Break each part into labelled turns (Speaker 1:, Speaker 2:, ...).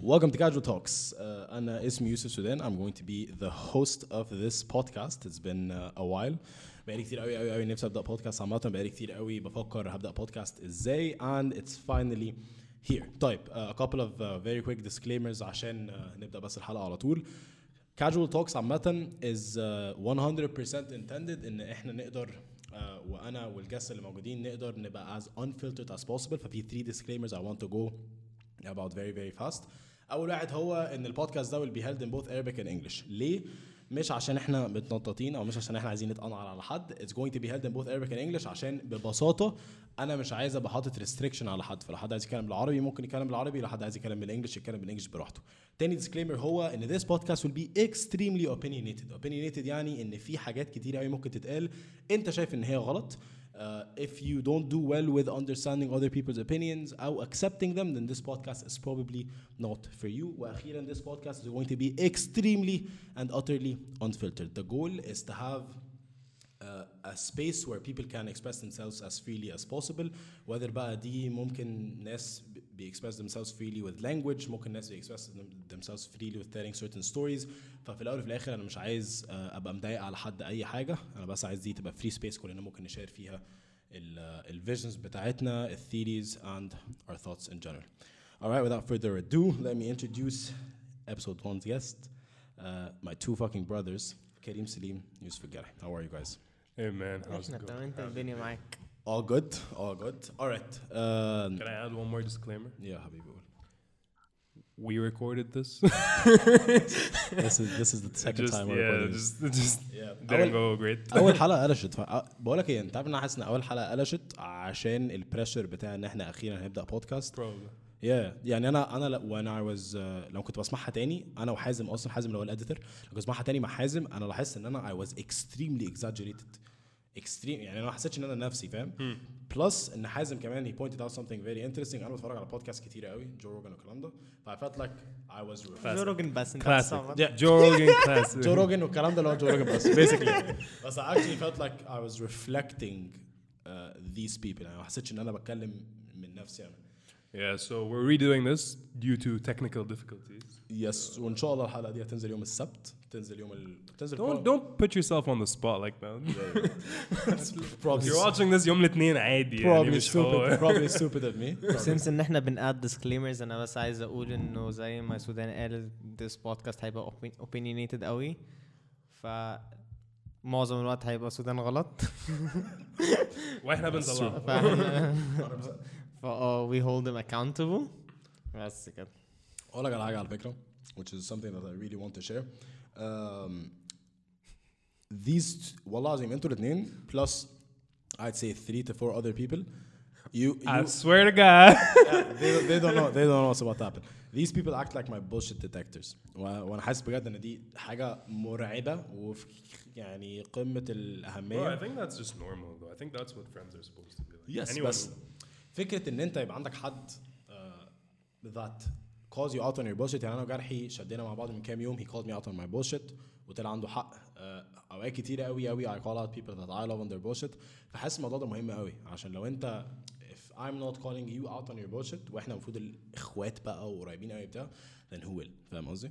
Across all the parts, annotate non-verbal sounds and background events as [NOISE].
Speaker 1: Welcome to Casual Talks. Uh, أنا اسمي يوسف سودان. I'm going to be the host of this podcast. It's been uh, a while. بقالي كتير قوي قوي قوي نفسي أبدأ بودكاست عامة بقالي كتير قوي بفكر هبدأ بودكاست إزاي and it's finally here. طيب uh, a couple of uh, very quick disclaimers عشان uh, نبدأ بس الحلقة على طول. Casual Talks عامة is uh, 100% intended إن إحنا نقدر آه، وانا والجاست اللي موجودين نقدر نبقى as unfiltered as possible ففي 3 disclaimers I want to go about very very fast اول واحد هو ان البودكاست ده will be held in both Arabic and English ليه مش عشان احنا متنططين او مش عشان احنا عايزين نتقنعر على حد it's going to be held in both Arabic and English عشان ببساطه انا مش عايز ابقى حاطط restriction على حد فلو حد عايز يتكلم بالعربي ممكن يتكلم بالعربي لو حد عايز يتكلم بالانجلش يتكلم بالانجلش براحته تاني disclaimer هو ان this podcast will be extremely opinionated opinionated يعني ان في حاجات كتير قوي ممكن تتقال انت شايف ان هي غلط Uh, if you don't do well with understanding other people's opinions or accepting them, then this podcast is probably not for you. وأخيرا, this podcast is going to be extremely and utterly unfiltered. The goal is to have uh, a space where people can express themselves as freely as possible whether بقى دي ممكن ناس بي express themselves freely with language ممكن ناس بي express them- themselves freely with telling certain stories ففي الاول وفي الاخر انا مش عايز آه، ابقى مضايق على حد اي حاجه انا بس عايز دي تبقى free space كلنا ممكن نشير فيها الفيجنز بتاعتنا الثيريز and our thoughts in general All right, without further ado, let me introduce episode one's guest, uh, my two fucking brothers, Karim Salim, Yusuf Gare. How are you guys?
Speaker 2: Hey man, how's
Speaker 3: احنا
Speaker 2: it going?
Speaker 3: تمام انت الدنيا معاك
Speaker 1: All good. All good. All right. Um,
Speaker 2: Can I add one more disclaimer?
Speaker 1: yeah, حبيبي قول.
Speaker 2: We recorded this.
Speaker 1: This is this is
Speaker 2: [LAUGHS]
Speaker 1: the [LAUGHS] second
Speaker 2: just,
Speaker 1: time we're
Speaker 2: yeah,
Speaker 1: recording this.
Speaker 2: just, [LAUGHS] just
Speaker 1: Yeah.
Speaker 2: didn't go great.
Speaker 1: اول حلقه قلشت ف... بقول لك ايه انت عارف ان انا حاسس ان اول حلقه قلشت عشان البريشر بتاع ان احنا اخيرا هنبدا بودكاست
Speaker 2: Probably.
Speaker 1: يا yeah. يعني انا انا لو وانا واز آه، لو كنت بسمعها تاني انا وحازم اصلا حازم اللي هو الاديتور لو كنت بسمعها تاني مع حازم انا لاحظت ان انا اي واز اكستريملي اكزاجريتد اكستريم يعني انا ما حسيتش ان انا نفسي فاهم بلس ان حازم كمان هي بوينتد اوت سمثينج فيري انترستنج انا بتفرج على بودكاست كتير قوي جو روجن والكلام ده فاي فيلت لايك اي واز
Speaker 2: Classic.
Speaker 3: روجن بس انت
Speaker 2: Classic.
Speaker 3: بتصور.
Speaker 2: Yeah,
Speaker 1: [LAUGHS]
Speaker 2: Joe Rogan classic.
Speaker 1: جو روجن والكلام ده اللي هو جو روجن بس
Speaker 2: Basically.
Speaker 1: بس I actually felt like I was reflecting uh, these people يعني ما حسيتش ان انا بتكلم من نفسي انا
Speaker 2: Yeah, so we're redoing this due to technical difficulties.
Speaker 1: يس وان شاء الله الحلقه دي هتنزل يوم السبت تنزل يوم ال... تنزل
Speaker 2: Don't don't put yourself on the spot like that.
Speaker 1: [LAUGHS]
Speaker 2: [LAUGHS]
Speaker 1: probably
Speaker 2: You're watching this يوم الاثنين عادي يعني
Speaker 1: probably
Speaker 2: مش حوار. [LAUGHS]
Speaker 1: stupid probably stupid of me
Speaker 3: سنس ان احنا بنقاد ديسكليمرز انا بس عايز اقول انه زي ما سودان قال this بودكاست هيبقى اوبينيونيتد قوي ف معظم الوقت هيبقى سودان
Speaker 2: [LAUGHS]
Speaker 3: غلط
Speaker 2: واحنا بنطلع.
Speaker 3: ف آه، فا وي هولد him accountable بس كده
Speaker 1: اقول لك على حاجه على فكره which is something that I really want to share um, these والله العظيم انتوا الاثنين plus I'd say three to four other people you, you
Speaker 2: I swear to God.
Speaker 1: they, they don't know they don't know what's about to happen. These people act like my bullshit detectors. و- وانا حاسس بجد ان دي حاجه مرعبه وفي يعني قمه
Speaker 2: Bro, I
Speaker 1: الاهميه.
Speaker 2: think that's just normal though. I think that's what friends are supposed to be like.
Speaker 1: Yes,
Speaker 2: Anyone
Speaker 1: بس فكره ان انت يبقى عندك حد آه، that calls you out on your bullshit يعني انا وجرحي شدينا مع بعض من كام يوم he called me out on my bullshit وطلع عنده حق آه، اوقات كتير قوي قوي I call out people that I love on their bullshit فحاسس الموضوع ده مهم قوي عشان لو انت if I'm not calling you out on your bullshit واحنا المفروض الاخوات بقى وقريبين قوي بتاع then who will فاهم قصدي؟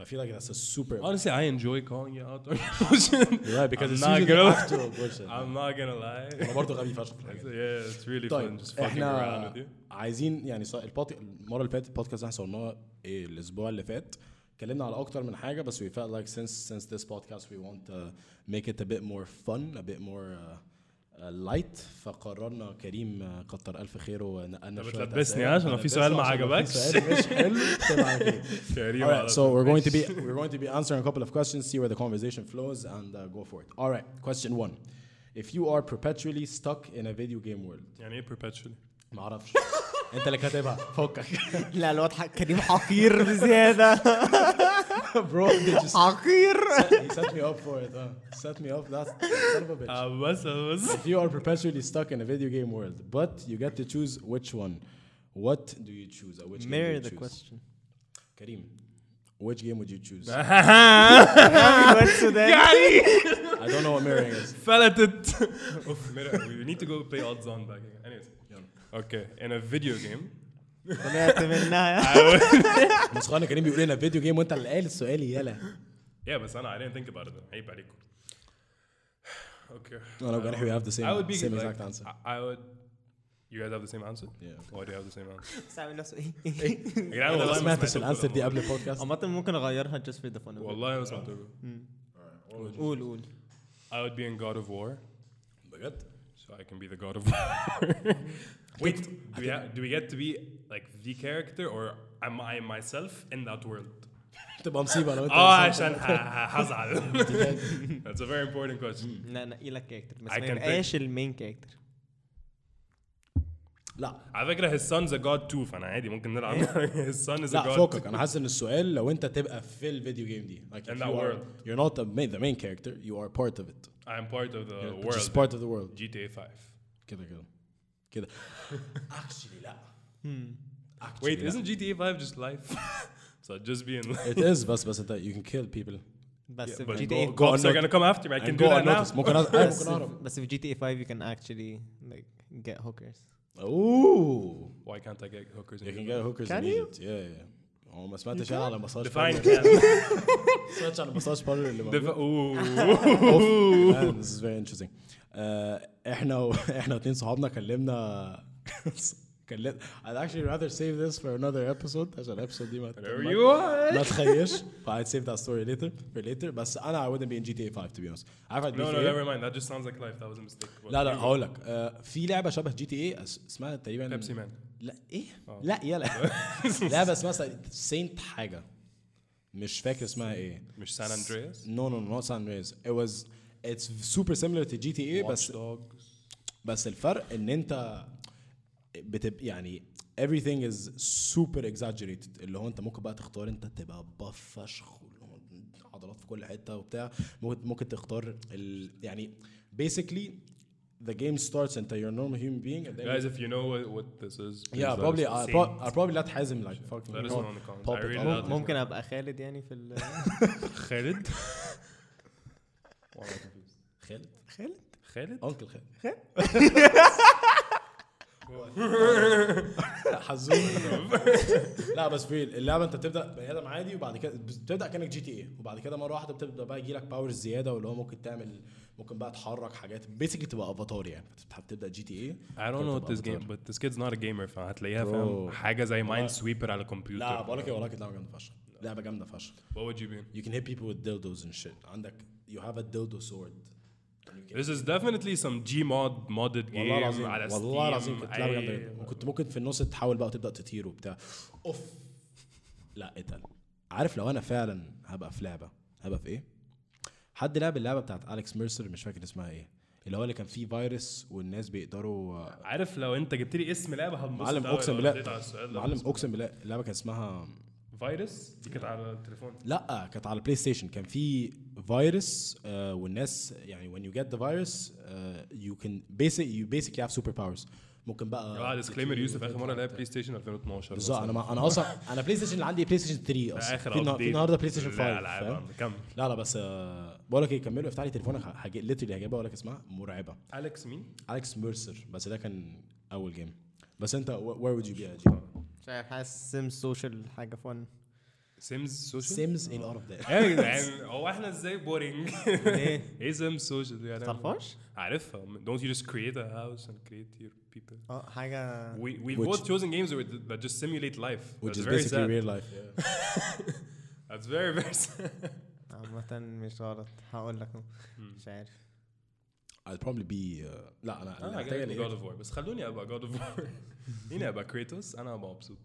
Speaker 1: I feel like that's a super
Speaker 2: Honestly, I enjoy calling you out [LAUGHS] on your bullshit.
Speaker 1: You're right, Oh, because
Speaker 2: I'm
Speaker 1: it's
Speaker 2: not
Speaker 1: usually [LAUGHS]
Speaker 2: gonna-
Speaker 1: after a bullshit.
Speaker 2: [LAUGHS] I'm not gonna lie.
Speaker 1: انا برضه غبي فشخ في الحاجات دي.
Speaker 2: yeah, it's really fun
Speaker 1: طيب
Speaker 2: just fucking around
Speaker 1: احنا
Speaker 2: with you.
Speaker 1: عايزين يعني صا- البودك- المره اللي فاتت البودكاست اللي احنا صورناه إيه الاسبوع اللي فات اتكلمنا على اكتر من حاجه بس we felt like since since this podcast we want to make it a bit more fun a bit more uh, uh, light فقررنا كريم آه، كتر الف خيره نقلنا
Speaker 2: طب
Speaker 1: شوية
Speaker 2: بتلبسني
Speaker 1: أسئلة.
Speaker 2: عشان لو في سؤال ما
Speaker 1: بتلبسني عشان لو في
Speaker 2: عجبكش.
Speaker 1: سؤال مش حلو طلع
Speaker 2: [LAUGHS]
Speaker 1: كده.
Speaker 2: Karim
Speaker 1: All right,
Speaker 2: على
Speaker 1: so
Speaker 2: طول.
Speaker 1: we're going to be [LAUGHS] we're going to be answering a couple of questions, see where the conversation flows, and uh, go for it. All right, question one: If you are perpetually stuck in a video game world,
Speaker 2: يعني ايه perpetually؟
Speaker 1: ما اعرفش انت اللي كاتبها فكك
Speaker 3: [LAUGHS]
Speaker 1: [LAUGHS]
Speaker 3: لا الواد ح- كريم حقير بزياده
Speaker 2: [LAUGHS]
Speaker 1: برو
Speaker 3: حقير
Speaker 1: he set me up for it huh? set me up that's son of a bitch
Speaker 2: آه، بس آه، بس
Speaker 1: if you are perpetually stuck in a video game world but you get to choose which one what do you choose or which game do
Speaker 3: mirror
Speaker 1: you
Speaker 3: the
Speaker 1: choose
Speaker 3: question [LAUGHS]
Speaker 1: Karim which game would you choose
Speaker 2: [LAUGHS] يعني
Speaker 1: [LAUGHS] I don't know what mirroring is
Speaker 2: فلتت [LAUGHS] اوف we need to go play odds on back again anyways
Speaker 1: يلا.
Speaker 2: okay in a video game
Speaker 3: طلعت
Speaker 2: [LAUGHS]
Speaker 3: منها
Speaker 1: مسخرنا كريم بيقول لنا فيديو جيم وانت اللي قال السؤال يلا
Speaker 2: Yeah, but Sana, I didn't think about it. then. عيب عليكم. [SIGHS] Okay.
Speaker 1: No, no, but we have the same-
Speaker 2: I would be
Speaker 1: same
Speaker 2: like,
Speaker 1: exact answer.
Speaker 2: I, I would. You guys have the same answer?
Speaker 1: Yeah.
Speaker 2: Why do you have the same [LAUGHS] answer?
Speaker 3: بس عامل نفسه [LAUGHS] ايه
Speaker 2: يا جدعان
Speaker 1: انا ما
Speaker 2: والله ما
Speaker 1: سمعتش
Speaker 2: سمعتكم
Speaker 1: الانسر دي
Speaker 2: والله.
Speaker 1: قبل [LAUGHS] البودكاست
Speaker 3: عامة ممكن اغيرها just for the fun of it
Speaker 2: والله ما سمعتكم.
Speaker 3: قول قول
Speaker 2: I would be in God of War,
Speaker 1: بجد
Speaker 2: so I can be the God of [LAUGHS] War. Wait, do we, ha- do we get to be like the character or am I myself in that world? Ah,
Speaker 1: تبقى مصيبه لو انت
Speaker 2: اه عشان ه- ه-
Speaker 1: [LAUGHS]
Speaker 2: هزعل. That's a very important
Speaker 1: Hmm.
Speaker 2: question.
Speaker 3: لا نقي لك كاركتر بس
Speaker 2: I
Speaker 3: ما
Speaker 2: can
Speaker 3: يبقاش المين كاركتر
Speaker 1: لا
Speaker 2: على فكره his son's a god too فانا عادي ممكن نلعب [LAUGHS] his son is a
Speaker 1: لا
Speaker 2: god
Speaker 1: فوقك انا حاسس ان السؤال لو انت تبقى في الفيديو جيم دي like if
Speaker 2: In
Speaker 1: you
Speaker 2: that
Speaker 1: are-
Speaker 2: world.
Speaker 1: you're not a main, the main character you are part of it
Speaker 2: I'm part of the
Speaker 1: you're just
Speaker 2: world
Speaker 1: part of the world
Speaker 2: GTA 5
Speaker 1: كده كده
Speaker 2: [LAUGHS]
Speaker 1: كده actually لا Actually
Speaker 2: Wait,
Speaker 1: لا.
Speaker 2: isn't GTA 5 just life? [LAUGHS] so I'd just be in.
Speaker 1: it is بس بس انت you can kill people
Speaker 3: بس
Speaker 2: but
Speaker 3: في جي تي
Speaker 2: go-
Speaker 3: اي
Speaker 2: cops are
Speaker 1: unnoticed.
Speaker 2: gonna come after me. I
Speaker 1: And
Speaker 2: can
Speaker 1: go
Speaker 2: do that now.
Speaker 1: unnoticed. ممكن أز- أيوة،
Speaker 2: [LAUGHS]
Speaker 1: ممكن اهرب
Speaker 3: بس في جي تي اي 5 you can actually like get hookers
Speaker 1: اوه
Speaker 2: Why can't I get hookers?
Speaker 1: You
Speaker 2: In
Speaker 1: can
Speaker 2: Egypt?
Speaker 1: get hookers
Speaker 3: Can
Speaker 1: in
Speaker 3: you?
Speaker 1: Egypt. Yeah, yeah. هو ما سمعتش انا على مساج
Speaker 2: Define
Speaker 1: parlor.
Speaker 2: can.
Speaker 1: ما سمعتش على مساج بارلر اللي موجود.
Speaker 2: Defi- [LAUGHS] Ooh.
Speaker 1: Man, This is very interesting. آه، احنا و... [LAUGHS] احنا اتنين صحابنا كلمنا [LAUGHS] كلمنا I'd actually rather save this for another episode عشان الابيسود دي ما
Speaker 2: Whatever
Speaker 1: ما-
Speaker 2: you want.
Speaker 1: ما تخيش [LAUGHS] فايد سيف ذات ستوري later for later بس انا I wouldn't be in GTA 5 to be honest عارف I'd be
Speaker 2: No, no,
Speaker 1: fair.
Speaker 2: never mind. That just sounds like life. That was a mistake. But
Speaker 1: لا لا هقول لك آه، في لعبه شبه جي تي اي اسمها تقريبا
Speaker 2: Pepsi آه. Man.
Speaker 1: لا ايه لا
Speaker 2: [LAUGHS]
Speaker 1: يلا لعبه اسمها سينت حاجه مش فاكر اسمها ايه
Speaker 2: مش San Andreas?
Speaker 1: نو نو نو سان ريز it was it's super similar to GTA
Speaker 2: Watch
Speaker 1: بس
Speaker 2: Dogs.
Speaker 1: بس الفرق ان انت بتبقى يعني everything is super exaggerated اللي هو انت ممكن بقى تختار انت تبقى باف فشخ واللي هو عضلات في كل حته وبتاع ممكن ممكن تختار ال يعني basically the game starts انت you're a normal human being and then
Speaker 2: Guys, if you uh, know what, what this is, please
Speaker 1: yeah
Speaker 2: let
Speaker 1: probably
Speaker 2: us
Speaker 1: I,
Speaker 2: know.
Speaker 1: pro- I probably not حازم like fucking
Speaker 2: Let us know in the comments.
Speaker 1: pop
Speaker 2: I
Speaker 1: it
Speaker 2: really
Speaker 1: up.
Speaker 2: love
Speaker 3: ممكن ابقى خالد يعني في ال
Speaker 2: [LAUGHS] Khalid. [LAUGHS] Why am I confused? Oh,
Speaker 1: خالد
Speaker 3: خالد
Speaker 2: Khalid?
Speaker 1: انكل خالد
Speaker 2: [LAUGHS]
Speaker 1: حزون لا بس في اللعبه انت بتبدا بني ادم عادي وبعد كده بتبدا كانك جي تي اي وبعد كده مره واحده بتبدا بقى يجي لك باورز زياده واللي هو ممكن تعمل ممكن بقى تحرك حاجات بيسكلي تبقى افاتار يعني بتبقى- بتبدا جي تي إيه. اي
Speaker 2: I don't know what this game, but this kid's not a gamer. فهتلاقيها فاهم
Speaker 1: Bro.
Speaker 2: حاجة زي Minesweeper على الكمبيوتر.
Speaker 1: لا بقول لك ايه والله كانت لعبه جامده فشخ لعبه جامده فشخ
Speaker 2: What would you be?
Speaker 1: you can hit people with dildos and shit عندك you have a dildo sword
Speaker 2: This is definitely some Gmod modded game.
Speaker 1: والله العظيم
Speaker 2: إيه، على
Speaker 1: والله
Speaker 2: Steam.
Speaker 1: العظيم
Speaker 2: أيوة.
Speaker 1: كنت لعبه جامده
Speaker 2: أي-
Speaker 1: جدا وكنت ممكن في النص تحاول بقى تبدا تطير وبتاع اوف لا اتقل عارف لو انا فعلا هبقى في لعبه هبقى في ايه؟ حد لعب اللعبه بتاعت اليكس ميرسر مش فاكر اسمها ايه اللي هو اللي كان فيه فيروس والناس بيقدروا
Speaker 2: عارف لو انت جبت لي اسم لعبه هنبسط
Speaker 1: معلم
Speaker 2: أوي
Speaker 1: اقسم
Speaker 2: لو
Speaker 1: بالله
Speaker 2: رديت على السؤال ده.
Speaker 1: معلم اقسم بالله اللعبه كان اسمها
Speaker 2: فيروس دي كانت على التليفون
Speaker 1: لا كانت على البلاي ستيشن كان في فيروس آه والناس يعني when you get the virus آه you can basic you basically have super powers ممكن بقى
Speaker 2: اه ديسكليمر يوسف اخر مره لعب بلاي ستيشن 2012
Speaker 1: آه، بالظبط انا ما انا اصلا انا بلاي ستيشن اللي عندي بلاي ستيشن 3 اصلا
Speaker 2: اخر
Speaker 1: في, النه-
Speaker 2: update.
Speaker 1: في النهارده بلاي ستيشن
Speaker 2: لا،
Speaker 1: 5
Speaker 2: لا،
Speaker 1: فاهم؟
Speaker 2: لا، كمل
Speaker 1: لا لا بس آه، بقول لك ايه كملوا افتح لي تليفونك هجي ليترلي هجيبها اقول لك اسمها مرعبه
Speaker 2: اليكس مين؟
Speaker 1: اليكس ميرسر بس ده كان اول جيم بس انت وير وود يو بي اجي
Speaker 3: مش عارف حاسس سيم سوشيال حاجه
Speaker 2: [LAUGHS]
Speaker 3: فن
Speaker 2: سيمز [LAUGHS] سوشيال
Speaker 1: سيمز ان اوف ذات
Speaker 2: يا جدعان يعني هو احنا ازاي بورينج؟
Speaker 3: ليه؟
Speaker 2: [LAUGHS] ايه سيمز سوشيال دي؟ يعني
Speaker 3: تعرفهاش؟
Speaker 2: عارفها don't you just create a house and create your people
Speaker 3: اه حاجه
Speaker 2: we we've
Speaker 1: آه. Which-
Speaker 2: both chosen games that- that just simulate life
Speaker 1: [LAUGHS] which
Speaker 2: that's
Speaker 1: is
Speaker 2: very
Speaker 1: basically
Speaker 2: sad
Speaker 1: real life
Speaker 2: that's very very
Speaker 1: [LAUGHS]
Speaker 2: sad [LAUGHS]
Speaker 3: عامة مش غلط هقول لك مش عارف
Speaker 1: I'd probably be آه، لا انا
Speaker 2: انا
Speaker 1: أنا يعني. محتاج
Speaker 2: عجبني
Speaker 1: ألاقي-
Speaker 2: God of War بس خلوني ابقى God of War [LAUGHS] مين ابقى كريتوس انا ابقى مبسوط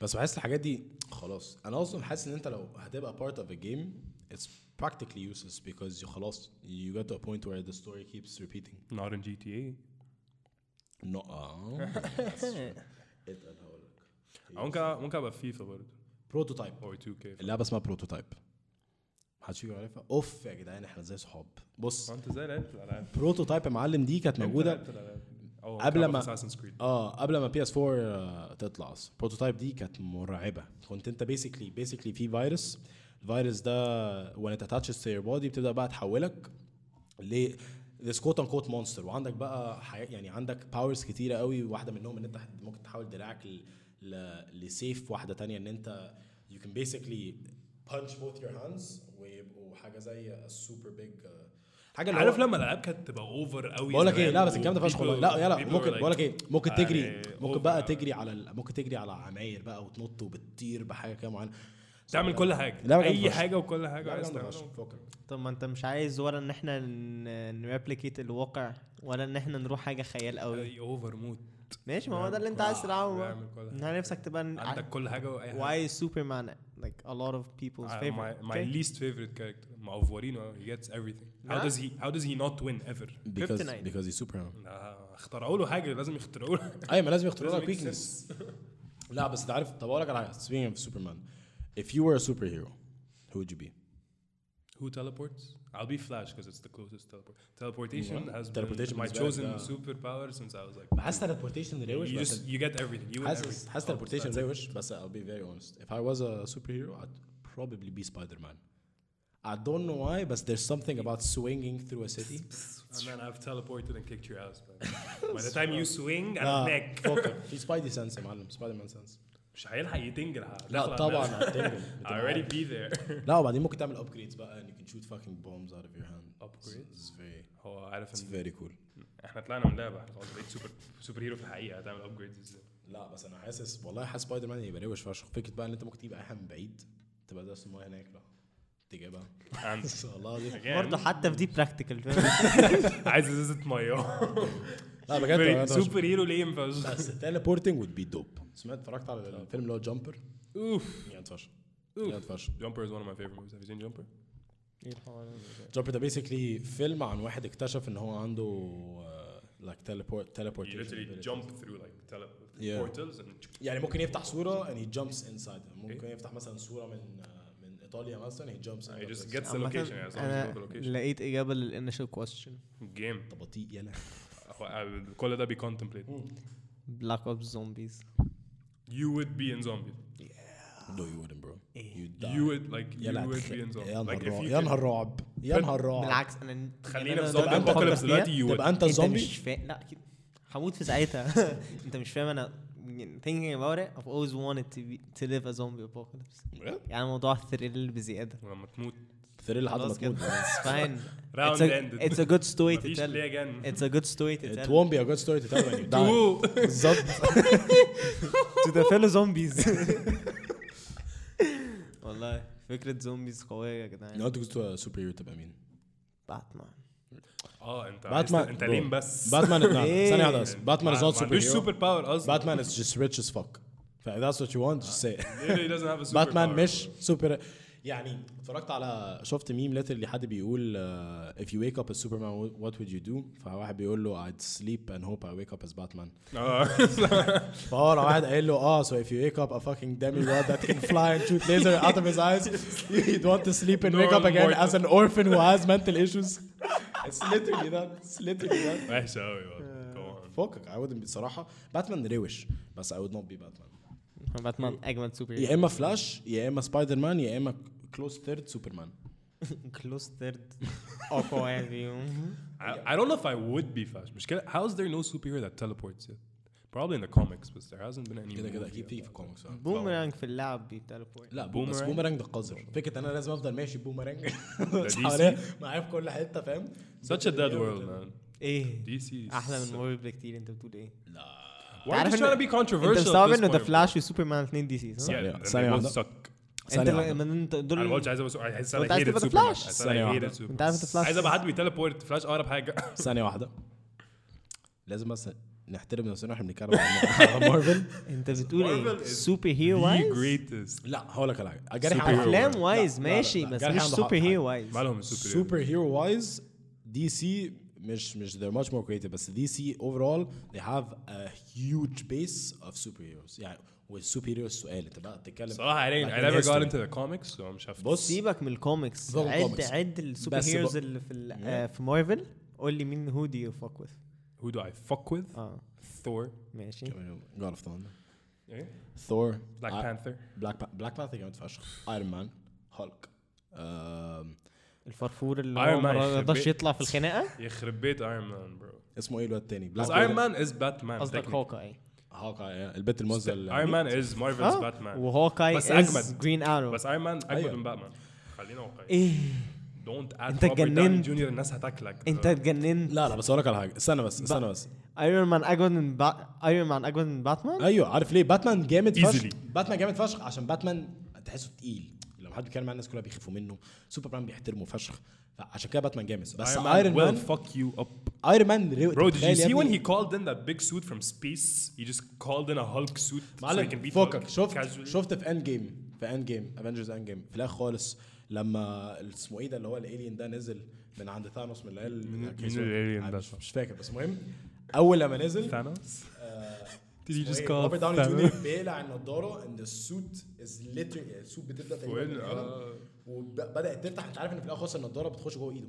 Speaker 1: بس بحس الحاجات دي خلاص انا اصلا حاسس ان انت لو هتبقى part of a game it's practically useless because you خلاص you get to a point where the story keeps repeating
Speaker 2: not in GTA
Speaker 1: No. اه اتقل هقول لك
Speaker 2: ممكن ممكن ابقى فيفا برضه
Speaker 1: بروتوتايب
Speaker 2: or 2K
Speaker 1: اللعبه اسمها بروتوتايب محدش فيكم عارفها اوف يا جدعان احنا زي صحاب بص
Speaker 2: انت ازاي لعبت الالعاب؟
Speaker 1: بروتوتايب يا معلم دي كانت موجوده
Speaker 2: oh,
Speaker 1: قبل ما-
Speaker 2: اساسن كريد
Speaker 1: اه قبل ما بي اس 4 آه، تطلع اصلا بروتوتايب دي كانت مرعبه كنت انت بيسكلي بيسكلي في فيروس الفيروس ده when it attaches to your body بتبدا بقى تحولك ل this quote unquote monster وعندك بقى حي... يعني عندك powers كتيره قوي واحده منهم ان انت ممكن تحاول دراعك ل... ل... لسيف واحده تانية ان انت you can basically punch both your hands ويبقوا حاجه زي a super big uh, حاجه اللي
Speaker 2: عارف
Speaker 1: هو-
Speaker 2: لما الالعاب كانت تبقى اوفر قوي
Speaker 1: بقول لك ايه
Speaker 2: زمان
Speaker 1: لا بس الكلام ده
Speaker 2: و
Speaker 1: فشخ والله
Speaker 2: eh, people-
Speaker 1: لا يلا
Speaker 2: people
Speaker 1: ممكن
Speaker 2: were
Speaker 1: بقول لك
Speaker 2: like-
Speaker 1: ايه ممكن تجري
Speaker 2: يعني
Speaker 1: ممكن بقى
Speaker 2: over.
Speaker 1: تجري على ال- ممكن تجري على عماير بقى وتنط وبتطير بحاجه كده معينه
Speaker 2: تعمل كل حاجه
Speaker 1: لا،
Speaker 2: اي
Speaker 1: بجد
Speaker 2: حاجه وكل
Speaker 1: لا،
Speaker 2: حاجه
Speaker 1: لا،
Speaker 2: عايز
Speaker 1: لا،
Speaker 2: تعملها.
Speaker 1: فشخ. فكك.
Speaker 3: [LAUGHS] طب ما انت مش عايز ولا ان احنا نريبليكيت الواقع ولا ان احنا نروح حاجه خيال قوي
Speaker 2: أي اوفر موت
Speaker 3: ماشي ما هو ده اللي انت
Speaker 2: كل-
Speaker 3: عايز تلعبه بقى
Speaker 2: بعمل كل
Speaker 3: انت
Speaker 2: حاجة.
Speaker 3: نفسك تبقى
Speaker 2: عندك كل حاجه واي حاجه
Speaker 3: why is Superman like a lot of people's
Speaker 2: Uh, eh, my,
Speaker 3: favorite
Speaker 2: my
Speaker 3: okay?
Speaker 2: least favorite character, Mauvorino, he gets everything. How
Speaker 3: Nah.
Speaker 2: does he how does he not win ever?
Speaker 3: Mm.
Speaker 1: because
Speaker 3: Kryptonite.
Speaker 1: because he's super [LAUGHS]
Speaker 2: آه، اخترعوا له حاجه لازم يخترعوا له
Speaker 1: ايوه ما لازم يختاروا
Speaker 2: لازم
Speaker 1: لك
Speaker 2: make
Speaker 1: ويكنس
Speaker 2: sense.
Speaker 1: [LAUGHS] لا بس انت عارف طب اقول لك على حاجه speaking of Superman if you were a superhero who would you be
Speaker 2: Who teleports? I'll be Flash because it's the closest teleport. Teleportation
Speaker 1: Yeah.
Speaker 2: has
Speaker 1: Teleportation
Speaker 2: been my
Speaker 1: بالنسبة لك ده-
Speaker 2: chosen superpower since I was like.
Speaker 1: حاسس teleportation
Speaker 2: You,
Speaker 1: really
Speaker 2: just you get everything. You win
Speaker 1: حاسس
Speaker 2: everything.
Speaker 1: حاسس
Speaker 2: Oh, that's
Speaker 1: teleportation
Speaker 2: it.
Speaker 1: زي وش بس uh, I'll be very honest if I was a superhero I'd probably be Spider-Man I don't know why but there's something about swinging through a city
Speaker 2: And then I've teleported and kicked your ass.
Speaker 1: [LAUGHS]
Speaker 2: man. By the time you swing, I'm neck. [LAUGHS]
Speaker 1: فكر في سبايدي سنس يا معلم سبايدر مان سنس
Speaker 2: مش هيلحق يتنجل
Speaker 1: لا
Speaker 2: هتطلع
Speaker 1: طبعا
Speaker 2: الناس. [LAUGHS]
Speaker 1: هتنجم.
Speaker 2: I'll
Speaker 1: بتبقى
Speaker 2: already be
Speaker 1: [LAUGHS]
Speaker 2: there.
Speaker 1: لا وبعدين ممكن تعمل upgrades بقى and you can shoot fucking bombs out of your hand
Speaker 2: Upgrades?
Speaker 1: It's very
Speaker 2: هو عارف
Speaker 1: it's
Speaker 2: ان
Speaker 1: very cool
Speaker 2: احنا طلعنا من لعبه احنا خلاص بقيت سوبر سوبر هيرو في الحقيقه هتعمل ابجريدز ازاي
Speaker 1: لا بس انا حاسس والله حاسس سبايدر مان هيبقى روش فشخ فكره بقى ان انت ممكن تجيب اي حاجه من بعيد تبقى ده المايه هناك بقى تجيبها
Speaker 2: عن-
Speaker 1: [LAUGHS] والله العظيم
Speaker 3: برضه
Speaker 2: [LAUGHS] Again.
Speaker 3: حتى في دي براكتيكال [LAUGHS]
Speaker 2: عايز ازازه
Speaker 1: [LAUGHS]
Speaker 2: ميه
Speaker 1: لا بجد والله ده وحش.
Speaker 2: سوبر هيرو ليه ما ينفعش
Speaker 1: [LAUGHS] بس آه. التليبورتنج would be dope سمعت اتفرجت على الفيلم اللي هو جامبر
Speaker 2: اوف
Speaker 1: جامد فشخ
Speaker 2: أوف.
Speaker 1: جامد فشخ
Speaker 2: جامبر از ون اوف ماي فيفرت موفيز هاف يو سين جامبر
Speaker 3: إيه،
Speaker 1: جامبر ده بيسكلي فيلم عن واحد اكتشف ان هو عنده آه، لايك تليبورت
Speaker 2: يو ليترلي
Speaker 1: تليبورت
Speaker 2: جامب ثرو لايك
Speaker 1: Yeah.
Speaker 2: بورتلز اند
Speaker 1: يعني ممكن يفتح صوره and he jumps inside ممكن
Speaker 2: إيه؟
Speaker 1: يفتح مثلا صوره من آه، من ايطاليا مثلا he jumps
Speaker 2: اي
Speaker 1: and
Speaker 2: جاست
Speaker 1: goes-
Speaker 2: جيتس اللوكيشن
Speaker 3: انا
Speaker 2: يعني
Speaker 3: لقيت اجابه للانيشال كويستشن
Speaker 2: جيم
Speaker 1: طب بطيء يلا
Speaker 2: كل ده بيكونتمبليت
Speaker 3: بلاك اوبس زومبيز
Speaker 2: يو وود بي ان زومبي
Speaker 1: no you wouldn't bro
Speaker 3: إيه.
Speaker 1: you'd die
Speaker 2: يو وود لايك يو
Speaker 1: يلا
Speaker 2: وود
Speaker 1: هتخ-
Speaker 2: بي ان زومبي
Speaker 1: يا
Speaker 2: لايك
Speaker 1: نهار رعب
Speaker 2: اف
Speaker 1: يا نهار رعب يا
Speaker 2: يو
Speaker 1: نهار رعب
Speaker 3: بالعكس انا
Speaker 2: خلينا في
Speaker 3: أنا- أنا-
Speaker 2: زومبي
Speaker 3: أنا-
Speaker 1: أنت
Speaker 2: ابوكاليبس
Speaker 1: فكرت
Speaker 2: دلوقتي you
Speaker 1: تبقى
Speaker 2: would
Speaker 1: انت
Speaker 3: انت
Speaker 1: الزومبي
Speaker 3: مش فاهم لا اكيد هموت في ساعتها [LAUGHS] انت مش فاهم انا thinking about it I've always wanted to be to live a zombie apocalypse يعني الموضوع ثريل بزياده
Speaker 2: لما تموت
Speaker 1: ثريل لحد ما
Speaker 3: خلاص
Speaker 1: تموت [LAUGHS]
Speaker 3: كده it's fine
Speaker 2: [LAUGHS] Round
Speaker 3: It's a-
Speaker 2: ended.
Speaker 3: it's a good story
Speaker 2: [LAUGHS]
Speaker 3: to
Speaker 2: مفيش
Speaker 3: tell
Speaker 2: ليه again.
Speaker 3: it's a good story to
Speaker 1: It
Speaker 3: tell
Speaker 1: won't be a good story to tell when you
Speaker 2: [LAUGHS]
Speaker 1: die.
Speaker 2: Ooh.
Speaker 1: بالظبط
Speaker 3: to the [LAUGHS] fellow zombies والله فكرة زومبيز قوية يا
Speaker 1: لو
Speaker 3: جدعان
Speaker 1: انت كنت سوبر هيرو تبقى مين؟
Speaker 3: باتمان
Speaker 2: اه انت عايز-
Speaker 1: باتمان
Speaker 2: انت ليه بس
Speaker 1: باتمان
Speaker 3: إيه؟
Speaker 1: ثانية واحدة بس باتمان is
Speaker 2: ما
Speaker 1: not super
Speaker 2: عندوش
Speaker 1: hero
Speaker 2: سوبر باور قصدي
Speaker 1: Batman is just rich as fuck. ف if that's what you want just say it.
Speaker 2: Literally doesn't have a super
Speaker 1: باتمان
Speaker 2: power.
Speaker 1: مش سوبر يعني اتفرجت على شفت ميم ليتر اللي حد بيقول آه، if you wake up as Superman what would you do؟ فواحد بيقول له I'd sleep and hope I wake up as Batman.
Speaker 2: اه [LAUGHS]
Speaker 1: فهو لو واحد قال له اه so if you wake up a fucking demigod that can fly and shoot laser out of his eyes you'd want to sleep and wake up again as an orphan who has mental issues it's literally that it's literally that
Speaker 2: وحش قوي والله. Go on.
Speaker 1: فكك I wouldn't be بصراحة باتمان روش بس I would not be باتمان
Speaker 3: باتمان أجمد سوبر
Speaker 1: يا إما فلاش يا إما سبايدر مان يا إما كلوز ثيرد سوبرمان
Speaker 3: كلوز ثيرد أقوى واحد فيهم
Speaker 2: I, I don't know if I would be fast مش كده how is there no superhero that teleports yet probably in the comics but there hasn't been any
Speaker 1: كده كده
Speaker 2: movie
Speaker 1: أكيد تيجي في
Speaker 2: about
Speaker 1: الكوميكس
Speaker 3: Mm-hmm.
Speaker 2: it.
Speaker 3: بومرانج في اللعب بيتلبورت
Speaker 1: لا بوم بس
Speaker 2: بومرانج.
Speaker 1: بومرانج ده قذر فكرة أنا لازم أفضل ماشي بومرانج
Speaker 2: DC.
Speaker 1: حواليا معايا في كل حتة فاهم
Speaker 2: such a dead world man
Speaker 3: إيه
Speaker 2: DC
Speaker 3: أحلى من
Speaker 2: Marvel
Speaker 3: مارفل بكتير أنت بتقول إيه
Speaker 2: why are you
Speaker 3: تعرف
Speaker 2: trying to
Speaker 3: إن-
Speaker 2: be controversial at
Speaker 3: أنت مستوعب
Speaker 2: this
Speaker 3: إن ذا
Speaker 2: point,
Speaker 3: فلاش وسوبرمان اثنين دي سي صح؟
Speaker 2: bro? yeah
Speaker 1: ثانية-
Speaker 2: and
Speaker 1: ثانية
Speaker 2: they both
Speaker 1: واحدة.
Speaker 2: suck
Speaker 3: أنت
Speaker 1: ثانية
Speaker 3: لما-
Speaker 1: واحدة.
Speaker 3: من أنت
Speaker 2: I
Speaker 3: دول
Speaker 2: watched عايز ابقى I said
Speaker 3: أنت
Speaker 2: I
Speaker 3: عايز
Speaker 2: hated
Speaker 3: تبقى The
Speaker 2: Superman
Speaker 3: Flash.
Speaker 2: I said
Speaker 1: ثانية
Speaker 2: I
Speaker 1: واحدة.
Speaker 2: hated Superman
Speaker 3: أنت عارف The Flash.
Speaker 2: عايز ابقى حد بيتلبورت فلاش اقرب
Speaker 3: [LAUGHS]
Speaker 2: حاجه
Speaker 1: ثانية واحدة لازم بس نحترم نفسنا واحنا بنتكلم [LAUGHS] على على مارفل
Speaker 3: أنت بتقول
Speaker 2: Marvel
Speaker 3: إيه
Speaker 2: is
Speaker 3: سوبر هيرو
Speaker 2: the
Speaker 3: وايز
Speaker 2: greatest
Speaker 1: لا هقول لك على حاجة جاري عنده حق.
Speaker 3: أفلام
Speaker 2: لا،
Speaker 3: وايز
Speaker 1: لا، لا،
Speaker 3: ماشي
Speaker 1: لا،
Speaker 3: بس
Speaker 1: جاري
Speaker 3: مش
Speaker 1: عنده حق
Speaker 3: سوبر
Speaker 1: في حاجة.
Speaker 3: هيرو وايز
Speaker 2: مالهم السوبر
Speaker 1: سوبر هيرو وايز دي سي مش مش they're much more creative بس دي سي overall they have a huge base of superheroes يعني والسوبر هيرو السؤال انت بقى بتتكلم
Speaker 2: صراحه I, didn't, I
Speaker 1: like
Speaker 2: never got
Speaker 1: history.
Speaker 2: into the comics so مش هفتي
Speaker 1: بص
Speaker 3: سيبك من الكوميكس
Speaker 1: سيبك من
Speaker 3: عد
Speaker 1: الكوميكس.
Speaker 3: عد السوبر
Speaker 1: بس
Speaker 3: هيروز
Speaker 1: بق-
Speaker 3: اللي في ال- آه، في مارفل قول لي مين هو دو يو فوك وذ
Speaker 2: who do I fuck with
Speaker 3: اه
Speaker 2: Thor
Speaker 3: ماشي
Speaker 1: God of Thunder
Speaker 2: إيه؟
Speaker 1: Thor
Speaker 2: Black Panther
Speaker 1: بلاك بلاك بانثر جامد فشخ ايرون مان هولك
Speaker 3: الفرفور اللي
Speaker 2: Iron
Speaker 3: هو
Speaker 2: Man
Speaker 3: ما
Speaker 2: يخرب
Speaker 3: رضاش
Speaker 2: بيت.
Speaker 3: يطلع في الخناقه
Speaker 2: يخرب بيت ايرون مان برو
Speaker 1: اسمه ايه الواد التاني
Speaker 2: بس
Speaker 1: بلاك
Speaker 2: ايرون مان از باتمان
Speaker 3: قصدك هوكاي
Speaker 1: هوكاي آه، البت الموزه اللي-
Speaker 2: ايرون مان از مارفلز
Speaker 1: آه.
Speaker 3: آه،
Speaker 2: باتمان
Speaker 3: وهوكاي
Speaker 2: بس
Speaker 3: از
Speaker 2: أجمد.
Speaker 3: جرين ارو
Speaker 2: بس ايرون مان
Speaker 1: أيوة.
Speaker 2: اجمد من باتمان خلينا
Speaker 1: إيه.
Speaker 2: واقعيين
Speaker 3: ايه
Speaker 2: دونت اد
Speaker 3: أنت
Speaker 2: انت جننت
Speaker 3: اتجننت.
Speaker 2: جونيور الناس هتاكلك
Speaker 3: انت اتجننت
Speaker 1: لا لا بس اقول لك على حاجه استنى بس استنى بس
Speaker 3: ايرون مان اجمد من با... ايرون مان اجمد من باتمان
Speaker 1: ايوه عارف ليه باتمان جامد فشخ
Speaker 2: Easily.
Speaker 1: باتمان جامد فشخ عشان باتمان تحسه تقيل لما حد بيتكلم عن الناس كلها بيخافوا منه سوبرمان بيحترمه فشخ فعشان كده باتمان جامد بس ايرون
Speaker 2: will
Speaker 1: مان
Speaker 2: fuck you up
Speaker 1: ايرون مان ريو-
Speaker 2: Bro, did you
Speaker 1: تخيل يا
Speaker 2: see when
Speaker 1: ابني-
Speaker 2: he called in that big suit from space? He just called in a Hulk suit so he can
Speaker 1: معلم
Speaker 2: beat
Speaker 1: فوقك
Speaker 2: Hulk
Speaker 1: شفت
Speaker 2: casually.
Speaker 1: شفت في اند جيم في اند جيم افنجرز اند جيم في الاخر خالص لما اسمه ايه ده اللي هو الالين ده نزل من عند ثانوس من العيال
Speaker 2: مين-
Speaker 1: الأكياس
Speaker 2: مين
Speaker 1: ولا-
Speaker 2: الalien
Speaker 1: أنا
Speaker 2: Mm-hmm. ده؟
Speaker 1: مش- مش فاكر بس المهم اول لما نزل
Speaker 2: Thanos?
Speaker 1: آه،
Speaker 2: Did you
Speaker 1: اسمه
Speaker 2: just
Speaker 1: إيه؟
Speaker 2: call
Speaker 1: روبرت داوني
Speaker 2: Thanos? [LAUGHS]
Speaker 1: جونيور بيقلع النضاره and the suit is literally السوت بتبدا تقريبا
Speaker 2: uh,
Speaker 1: من
Speaker 2: آه.
Speaker 1: هنا، وبدات تفتح انت عارف ان في الاخر خالص النضاره بتخش جوه ايده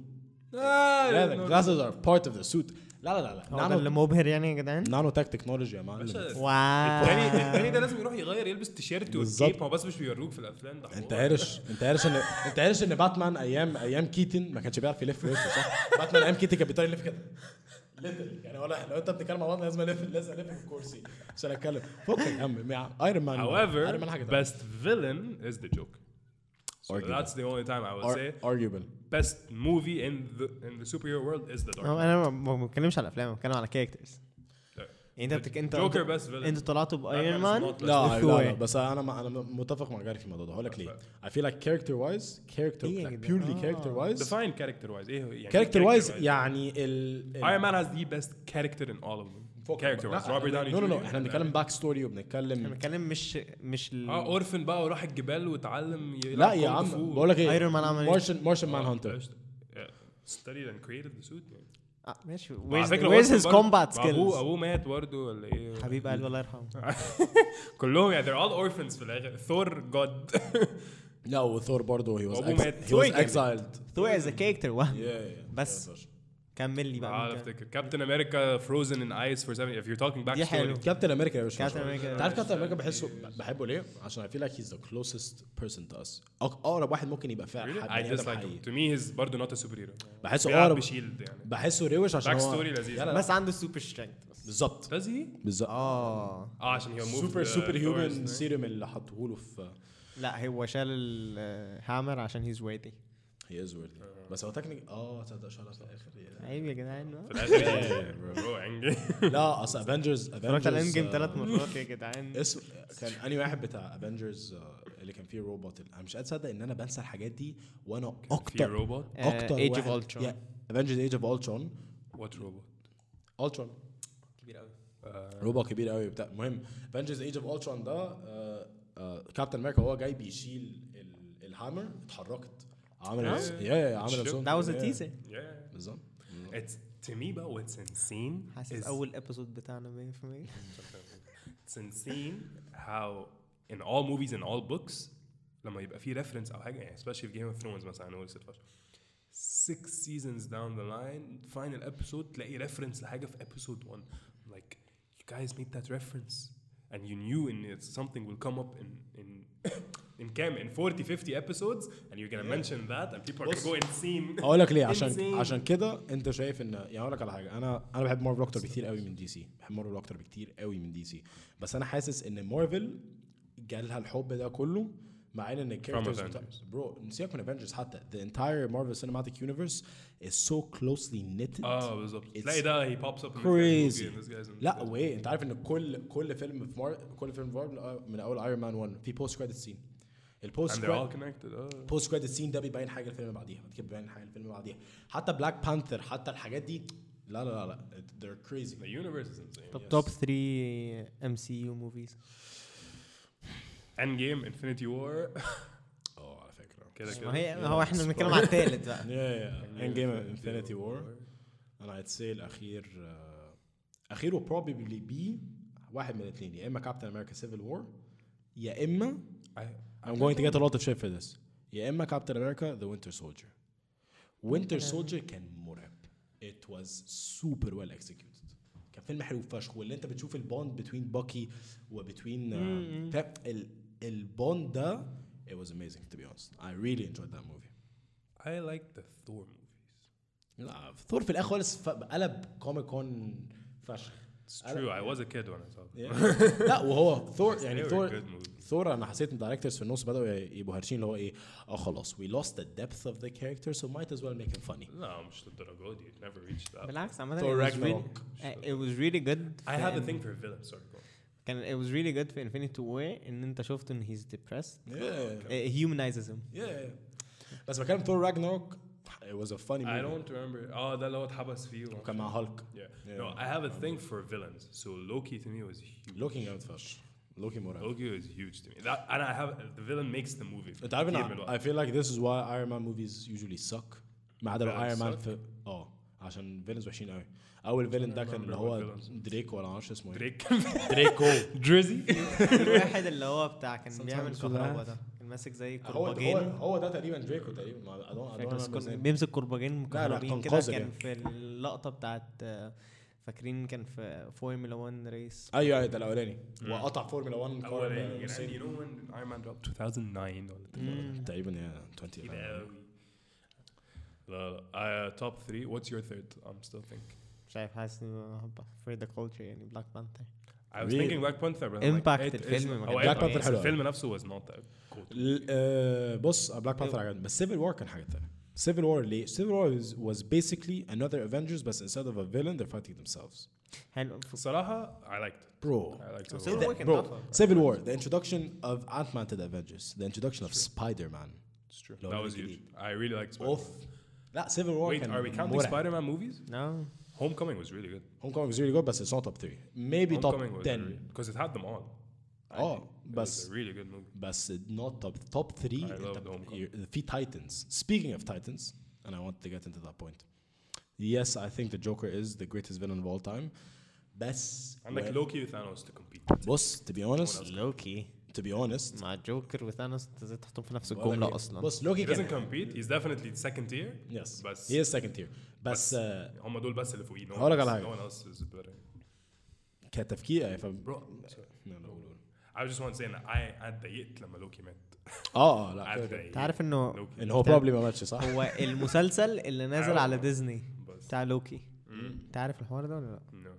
Speaker 1: لا لا
Speaker 2: Ah,
Speaker 1: glasses are part of the suit لا لا لا
Speaker 3: هو ده اللي
Speaker 1: لا
Speaker 3: مبهر يعني يا جدعان
Speaker 1: نانو تاك تكنولوجي يا معلم
Speaker 2: باشا،
Speaker 3: واو
Speaker 2: التاني التاني ده لازم يروح يغير يلبس تيشيرت
Speaker 1: بالظبط.
Speaker 2: وكيب هو بس مش بيوروك في الافلام ده
Speaker 1: انت عارف انت عارف ان انت عارف ان باتمان ايام ايام كيتن ما كانش بيعرف يلف وشه صح؟ باتمان ايام كيتن كان بيطير يلف كده ليترلي يعني ولا لو انت بتتكلم مع بعض لازم الف لازم الف في الكرسي عشان اتكلم فكك يا عم مع ايرون مان
Speaker 2: However,
Speaker 1: ايرون مان حاجه
Speaker 2: best villain is the Joker. So
Speaker 1: Arguable.
Speaker 2: that's the only time I would say
Speaker 1: ارجيبل
Speaker 2: best movie in the in the superhero world is the Dark
Speaker 3: هو
Speaker 2: Knight.
Speaker 3: انا ما ما بتكلمش على افلام بتكلم على كاركترز
Speaker 1: Ah.
Speaker 3: انت بتك... انت
Speaker 2: Joker best villain.
Speaker 3: انتوا طلعتوا بايرون
Speaker 2: Batman is
Speaker 3: مان
Speaker 2: not
Speaker 1: لا لا,
Speaker 3: Thor.
Speaker 1: لا بس انا ما انا متفق مع جاري في الموضوع ده هقول لك ليه I feel like character wise character
Speaker 3: ايه يا
Speaker 1: like
Speaker 3: جدعان؟
Speaker 1: purely character wise
Speaker 2: Define character wise. ايه هو- يعني
Speaker 1: character
Speaker 2: character
Speaker 1: wise
Speaker 2: wise.
Speaker 1: يعني ال ال-
Speaker 2: Iron Man has the best character in all of them. Character wise.
Speaker 1: لا،
Speaker 2: Robert Downey
Speaker 1: no no no
Speaker 2: Jr.
Speaker 1: احنا بنتكلم باك ستوري
Speaker 3: انا
Speaker 1: وبنتكلم
Speaker 3: بتكلم مش مش ال...
Speaker 2: اه اورفن بقى وراح الجبال واتعلم
Speaker 1: لا يا عم بقول لك ايه
Speaker 3: Iron Man عمل ايه؟
Speaker 1: مارشن مارشن
Speaker 2: Oh.
Speaker 1: مان
Speaker 2: آه،
Speaker 1: هانتر
Speaker 2: studied and created the suit يعني
Speaker 3: آه، ماشي
Speaker 2: وعلى
Speaker 3: where's,
Speaker 2: فكرة
Speaker 3: where's
Speaker 2: أورفن
Speaker 3: his
Speaker 2: برضه-
Speaker 3: combat
Speaker 2: ما ابوه
Speaker 3: skills
Speaker 2: ابوه مات برضه ولا ايه
Speaker 3: حبيب قلبي الله يرحمه
Speaker 2: كلهم يعني they're all orphans في الاخر ثور جود [LAUGHS]
Speaker 1: لا وثور برضه he was
Speaker 2: وأبوه
Speaker 1: ex-
Speaker 2: مات.
Speaker 1: he
Speaker 2: ثور
Speaker 1: was
Speaker 2: جامد.
Speaker 1: exiled
Speaker 3: ثور از ا كاركتر وهم
Speaker 1: yeah
Speaker 3: بس. كمل لي
Speaker 2: تعال
Speaker 3: بقى
Speaker 2: افتكر كابتن امريكا فروزن ان ايس for seven if you're talking back
Speaker 3: دي حلو.
Speaker 1: كابتن امريكا يا باشا
Speaker 3: Captain
Speaker 1: مش-
Speaker 3: America.
Speaker 1: انت عارف كابتن امريكا بحسه بحبه ليه؟ عشان I feel like he's the closest person to us أق- اقرب واحد ممكن يبقى فعلا
Speaker 2: Really?
Speaker 1: حد
Speaker 2: I
Speaker 1: بني آدم
Speaker 2: dislike him.
Speaker 1: حقيقي
Speaker 2: To me he's برضه not a superhero.
Speaker 1: بحسه
Speaker 2: بيلعب
Speaker 1: اقرب
Speaker 2: بشيلد يعني.
Speaker 1: بحسه روش عشان
Speaker 2: Back
Speaker 1: هو
Speaker 2: story لذيذ.
Speaker 1: لا، لا، لا.
Speaker 3: بس عنده سوبر سترينث
Speaker 1: بالظبط
Speaker 2: Does he?
Speaker 1: بالظبط
Speaker 3: اه
Speaker 2: اه عشان هي
Speaker 1: سوبر سوبر هيومن سيروم اللي حطوه له في
Speaker 3: لا هو شال الهامر عشان هيز ويتي
Speaker 1: هي از ويرد
Speaker 3: Uh,
Speaker 1: بس هو تكنيك اه تصدق شالها في الاخر yeah.
Speaker 3: عيب يا جدعان
Speaker 2: في
Speaker 1: [LAUGHS]
Speaker 2: الاخر
Speaker 1: Yeah, bro. [LAUGHS]
Speaker 2: برو انجي
Speaker 1: لا اصل افنجرز
Speaker 3: [LAUGHS] اتفرجت على اند
Speaker 1: افنجرز
Speaker 3: جيم ثلاث مرات يا جدعان
Speaker 1: آه، اسم كان اني واحد بتاع افنجرز اللي كان فيه روبوت انا مش قادر اصدق ان انا بنسى الحاجات دي وانا
Speaker 2: في
Speaker 1: اكتر
Speaker 2: روبوت
Speaker 3: آه،
Speaker 1: اكتر
Speaker 3: Age of Ultron.
Speaker 1: افنجرز ايج اوف الترون
Speaker 2: وات روبوت
Speaker 1: الترون
Speaker 2: كبير قوي آه،
Speaker 1: روبوت كبير قوي بتاع المهم افنجرز ايج اوف الترون ده آه، آه، كابتن امريكا وهو جاي بيشيل ال- الهامر اتحركت عمل
Speaker 2: آه.
Speaker 1: يا يا عمل
Speaker 2: Sure.
Speaker 1: zoom.
Speaker 3: That was a
Speaker 1: Yeah.
Speaker 3: teaser
Speaker 2: yeah.
Speaker 1: بالظبط
Speaker 2: It's to me بقى what's insane
Speaker 3: حاسس
Speaker 2: is
Speaker 3: اول ابيسود بتاعنا 100%
Speaker 2: it's insane how in all movies and all books لما يبقى في reference او حاجه يعني especially في Game of Thrones مثلا اول ست فشل six seasons down the line final episode تلاقي reference لحاجه في episode 1 like you guys made that reference and you knew in it something will come up in in [COUGHS] in كام in 40 50 episodes and you're gonna mention that and people are gonna go insane
Speaker 1: [LAUGHS] هقول لك ليه عشان
Speaker 2: Insane.
Speaker 1: عشان كده انت شايف ان يعني هقول لك على حاجه انا انا بحب مارفل اكتر بكتير قوي من دي سي بحب مارفل اكتر بكتير قوي من دي سي بس انا حاسس ان مارفل جالها الحب ده كله مع ان الكاركترز
Speaker 2: Avengers.
Speaker 1: برو سيبك من افنجرز حتى the entire Marvel Cinematic Universe is so closely knitted
Speaker 2: اه بالظبط
Speaker 1: It's
Speaker 2: تلاقي ده he pops up in this guy's
Speaker 1: crazy.
Speaker 2: movie and this guy's in this
Speaker 1: لا
Speaker 2: guy's-
Speaker 1: وايه انت عارف ان كل كل فيلم في مار... كل فيلم في مارفل من اول ايرون مان 1 في بوست كريدت سين
Speaker 2: and
Speaker 1: البوست
Speaker 2: they're all connected Oh. اه
Speaker 1: بوست كريدت سين ده بيبين حاجه الفيلم اللي بعديها بعد كده بيبين حاجه الفيلم اللي بعديها حتى بلاك بانثر حتى الحاجات دي لا لا لا لا they're
Speaker 2: The
Speaker 1: crazy
Speaker 2: universe is insane.
Speaker 3: طب توب 3 ام سي يو موفيز
Speaker 2: Endgame, Infinity War.
Speaker 1: اه على فكره
Speaker 2: كده كده.
Speaker 3: ما هي ما هو احنا بنتكلم على الثالث بقى
Speaker 1: يا اند جيم انفينيتي وور انا هيت سي الاخير آه، اخيره probably بي واحد من الاثنين يا اما كابتن امريكا سيفل وور يا اما
Speaker 2: I-
Speaker 1: I'm going to get a lot of shit for this يا اما كابتن امريكا ذا وينتر سولجر وينتر سولجر كان مرعب it was super well executed كان فيلم حلو فشخ واللي انت بتشوف البوند بين باكي وبتوين البوند ده it was amazing to be honest I really enjoyed that movie
Speaker 2: I like the Thor movies.
Speaker 1: لا ثور في الاخر خالص ف- قلب كوميك كون فشخ
Speaker 2: It's
Speaker 1: I
Speaker 2: true. I was a kid when I saw [LAUGHS] them.
Speaker 1: Yeah. لا وهو ثور يعني
Speaker 2: They were
Speaker 1: ثور
Speaker 2: good movies.
Speaker 1: ثور انا حسيت ان الدايركتورز في النص بداوا يبقوا هرشين اللي هو ايه اه خلاص we lost the depth of the character so might as well make him funny
Speaker 2: No, مش للدرجة دي. It never reached that.
Speaker 3: بالعكس عامة
Speaker 1: Thor
Speaker 3: it was really-
Speaker 1: Ragnarok.
Speaker 3: uh, it was really good
Speaker 2: I
Speaker 3: في
Speaker 2: have a
Speaker 3: إن-
Speaker 2: thing for villains. Sorry, go on.
Speaker 3: كان it was really good في Infinity War ان انت شفت ان he's depressed
Speaker 1: yeah
Speaker 3: it humanizes
Speaker 1: [LAUGHS]
Speaker 3: [LAUGHS] him
Speaker 1: yeah بس بتكلم ثور راجناروك it was a funny
Speaker 2: I
Speaker 1: movie
Speaker 2: don't remember. Oh, ده اللي هو اتحبس فيه. وما-
Speaker 1: وكان مع هالك
Speaker 2: Yeah.
Speaker 1: Yeah. Um,
Speaker 2: No, I have a thing for villains. So Loki to me was huge.
Speaker 1: looking out فشخ looking more out
Speaker 2: Loki was huge to me. That and I have the villain makes the movie.
Speaker 1: انت عارف
Speaker 2: كتير من
Speaker 1: انا
Speaker 2: الوقت.
Speaker 1: I feel like this is why Iron Man movies usually suck ما عدا لو
Speaker 2: فعلا
Speaker 1: Iron Man
Speaker 2: suck.
Speaker 1: في اه عشان فيلنز وحشين قوي اول فيلن ده كان اللي
Speaker 2: remember
Speaker 1: هو
Speaker 2: what villains.
Speaker 1: دريكو ولا معرفش اسمه ايه
Speaker 2: [LAUGHS] دريك
Speaker 1: دريكو
Speaker 2: دريزي
Speaker 3: الواحد اللي هو بتاع كان بيعمل
Speaker 1: Sometimes we
Speaker 3: كهرباء
Speaker 1: laugh.
Speaker 3: ده كان ماسك
Speaker 1: [LAUGHS]
Speaker 3: زي
Speaker 1: هو هو
Speaker 3: كرباجين
Speaker 1: هو ده تقريبا دريكو تقريبا ما- I don't- I don't
Speaker 3: فاكر إيه.
Speaker 1: remember his
Speaker 3: بس كان
Speaker 1: name.
Speaker 3: بيمسك كرباجين
Speaker 1: لا، لا، كان
Speaker 3: مكهربين كده
Speaker 1: قذر
Speaker 3: كان
Speaker 1: يعني.
Speaker 3: في اللقطة بتاعت آه، فاكرين كان في فورمولا 1 ريس
Speaker 1: ايوه ايوه ده الاولاني وقطع فورمولا 1 كار
Speaker 2: اولاني
Speaker 1: نصين.
Speaker 2: you know when Iron Man dropped 2009 ولا
Speaker 1: تقريبا يا 20
Speaker 2: كتير قوي لا لا توب 3 uh, what's your third I'm still thinking
Speaker 3: مش عارف حاسس ان فور ذا كولتشر يعني بلاك بانثر
Speaker 2: I was
Speaker 1: Really?
Speaker 2: thinking Black Panther but I'm
Speaker 3: Impact
Speaker 2: like, it Oh,
Speaker 3: الفيلم
Speaker 2: isn't-
Speaker 3: ما
Speaker 2: هو
Speaker 1: كانش
Speaker 2: Impact
Speaker 1: Black Panther
Speaker 2: بس
Speaker 1: حلو.
Speaker 2: الفيلم نفسه was not that good
Speaker 1: ل- آه، بص بلاك بانثر عجبني بس سيفل وور كان حاجه ثانيه سيفل وور ليه؟ سيفل وور was basically another Avengers بس instead of a villain they're fighting themselves.
Speaker 3: حلو
Speaker 2: الصراحة I liked it
Speaker 1: Bro.
Speaker 2: I liked
Speaker 3: Civil
Speaker 2: it
Speaker 3: War
Speaker 1: The,
Speaker 3: كان
Speaker 1: bro,
Speaker 3: تحفة.
Speaker 1: Civil War, the introduction of Ant-Man to the Avengers, the introduction of Spider-Man.
Speaker 2: It's true.
Speaker 1: لو
Speaker 2: that
Speaker 1: أنا
Speaker 2: was huge
Speaker 1: جديد.
Speaker 2: I really liked Spider-Man
Speaker 1: Off. لا Civil War
Speaker 2: wait
Speaker 1: كان
Speaker 2: are we counting
Speaker 1: مرعب.
Speaker 2: Spider-Man movies
Speaker 3: نو
Speaker 2: Homecoming was really good
Speaker 1: Homecoming was really good بس it's not top 3. Maybe top Oh,
Speaker 2: Homecoming was
Speaker 1: 10.
Speaker 2: because it had them all
Speaker 1: اه
Speaker 2: It
Speaker 1: بس
Speaker 2: was a really good movie
Speaker 1: بس not top top 3
Speaker 2: I love the Homecoming.
Speaker 1: في Titans. Speaking of Titans, and I want to get into that point. Yes, I think the Joker is the greatest villain of all time. بس
Speaker 2: عندك
Speaker 1: when-
Speaker 2: Loki with Thanos to compete
Speaker 1: بص to be honest
Speaker 3: لوكي
Speaker 1: to be honest
Speaker 3: مع جوكر وثانوس انت ازاي تحطهم في نفس الجملة اصلا
Speaker 1: بص لوكي
Speaker 2: he doesn't
Speaker 1: كان
Speaker 2: compete he's definitely second tier
Speaker 1: yes
Speaker 2: بس
Speaker 1: he is second tier uh, بس آه،
Speaker 2: هم دول بس اللي فوقيه No one
Speaker 1: هقولك على
Speaker 2: else-
Speaker 1: حاجة.
Speaker 2: no one else is better
Speaker 1: كتفكير ف...
Speaker 2: bro sorry. I just want to say that I اتضايقت لما لوكي مات
Speaker 1: اه اه لا كده كده.
Speaker 2: اتضايقت
Speaker 3: انت
Speaker 1: [LAUGHS]
Speaker 3: عارف انه
Speaker 2: لوكي
Speaker 1: ان هو بروبلي ما ماتش صح؟
Speaker 3: هو المسلسل اللي نازل على ديزني
Speaker 2: بس
Speaker 3: بتاع لوكي انت عارف الحوار ده ولا لا؟
Speaker 2: no.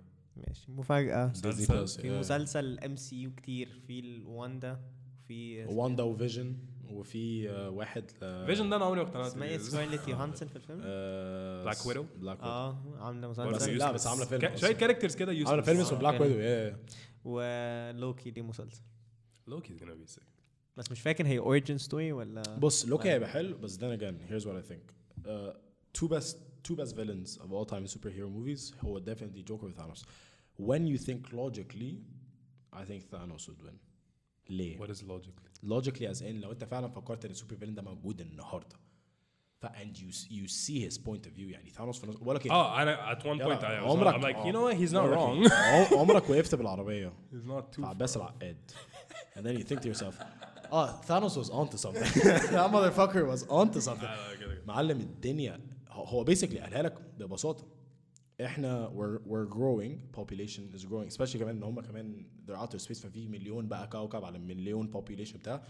Speaker 3: ماشي مفاجأة
Speaker 1: ديزني
Speaker 2: مسلسل-
Speaker 1: بلس
Speaker 3: في مسلسل ام سي يو كتير في الواندا في
Speaker 1: واندا وفيجن وفي آه، واحد
Speaker 2: فيجن ده انا عمري ما اقتنعت
Speaker 3: اسمها ايه سكارليت يوهانسن في الفيلم؟
Speaker 1: آه. بلاك
Speaker 2: Black Widow؟
Speaker 1: بلاك
Speaker 3: Ah,
Speaker 1: ويدو
Speaker 3: اه عاملة
Speaker 1: بس-
Speaker 3: مسلسل
Speaker 1: لا، بس عاملة فيلم أصلاً.
Speaker 2: شويه كاركترز كده يوسف
Speaker 1: عامله فيلم اسمه
Speaker 3: آه،
Speaker 1: بلاك
Speaker 3: فيلم.
Speaker 1: ويدو يا
Speaker 3: ولوكي دي مسلسل
Speaker 2: لوكي is gonna be sick
Speaker 3: بس مش فاكر هي اوريجن ستوري ولا
Speaker 1: بص [LAUGHS] لوكي هيبقى حلو بس then again here's what I think uh, two best two best villains of all time in superhero movies هو definitely Joker with Thanos when you think logically I think Thanos would win ليه؟
Speaker 2: what is logically
Speaker 1: logically as in لو انت فعلا فكرت ان السوبر فيلن ده موجود النهارده ف and you you see his point of view يعني ثانوس في بقول لك
Speaker 2: اه انا Oh, at one point I was
Speaker 1: عمرك
Speaker 2: I'm like
Speaker 1: آه.
Speaker 2: you know what he's not
Speaker 1: عمرك-
Speaker 2: wrong
Speaker 1: عم- عمرك وقفت بالعربيه
Speaker 2: he's not too
Speaker 1: مع عباس العقاد and then you think to [LAUGHS] yourself اه ثانوس was onto something [LAUGHS] that motherfucker was onto something
Speaker 2: آه، كده كده.
Speaker 1: معلم الدنيا هو- هو basically قالها لك ببساطه احنا we're, we're growing population is growing especially كمان ان هم كمان they're outer space ففي مليون بقى كوكب على مليون population بتاع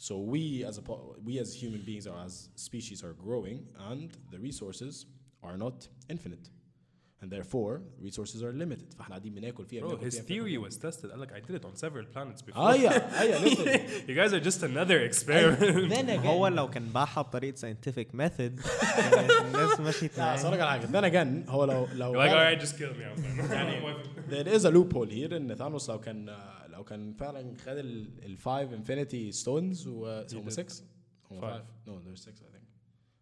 Speaker 1: so we as a po- we as human beings or as species are growing and the resources are not infinite and therefore resources are limited فاحنا قاعدين بناكل فيها
Speaker 2: bro
Speaker 1: بناكل
Speaker 2: his
Speaker 1: فيها، بناكل
Speaker 2: theory was tested قال لك I did it on several planets before
Speaker 1: اه يا اه يا listen.
Speaker 2: [LAUGHS] you guys are just another
Speaker 1: [LAUGHS]
Speaker 2: experiment
Speaker 3: ما [LAUGHS] هو لو كان باعها بطريقه ساينتفك ميثود الناس مشيت
Speaker 1: لا اصل
Speaker 3: معاه
Speaker 1: أقول لك على حاجه then again هو لو لو
Speaker 2: You're like
Speaker 1: فعلاً-
Speaker 2: alright just kill me I'm
Speaker 1: [LAUGHS]
Speaker 2: fine.
Speaker 1: there is a loophole here ان ثانوس لو كان لو كان فعلا خد ال- الفايف انفينيتي ستونز و هم
Speaker 2: did.
Speaker 1: 6 هم
Speaker 2: Five.
Speaker 1: 5 نو ذير 6 اي ثينك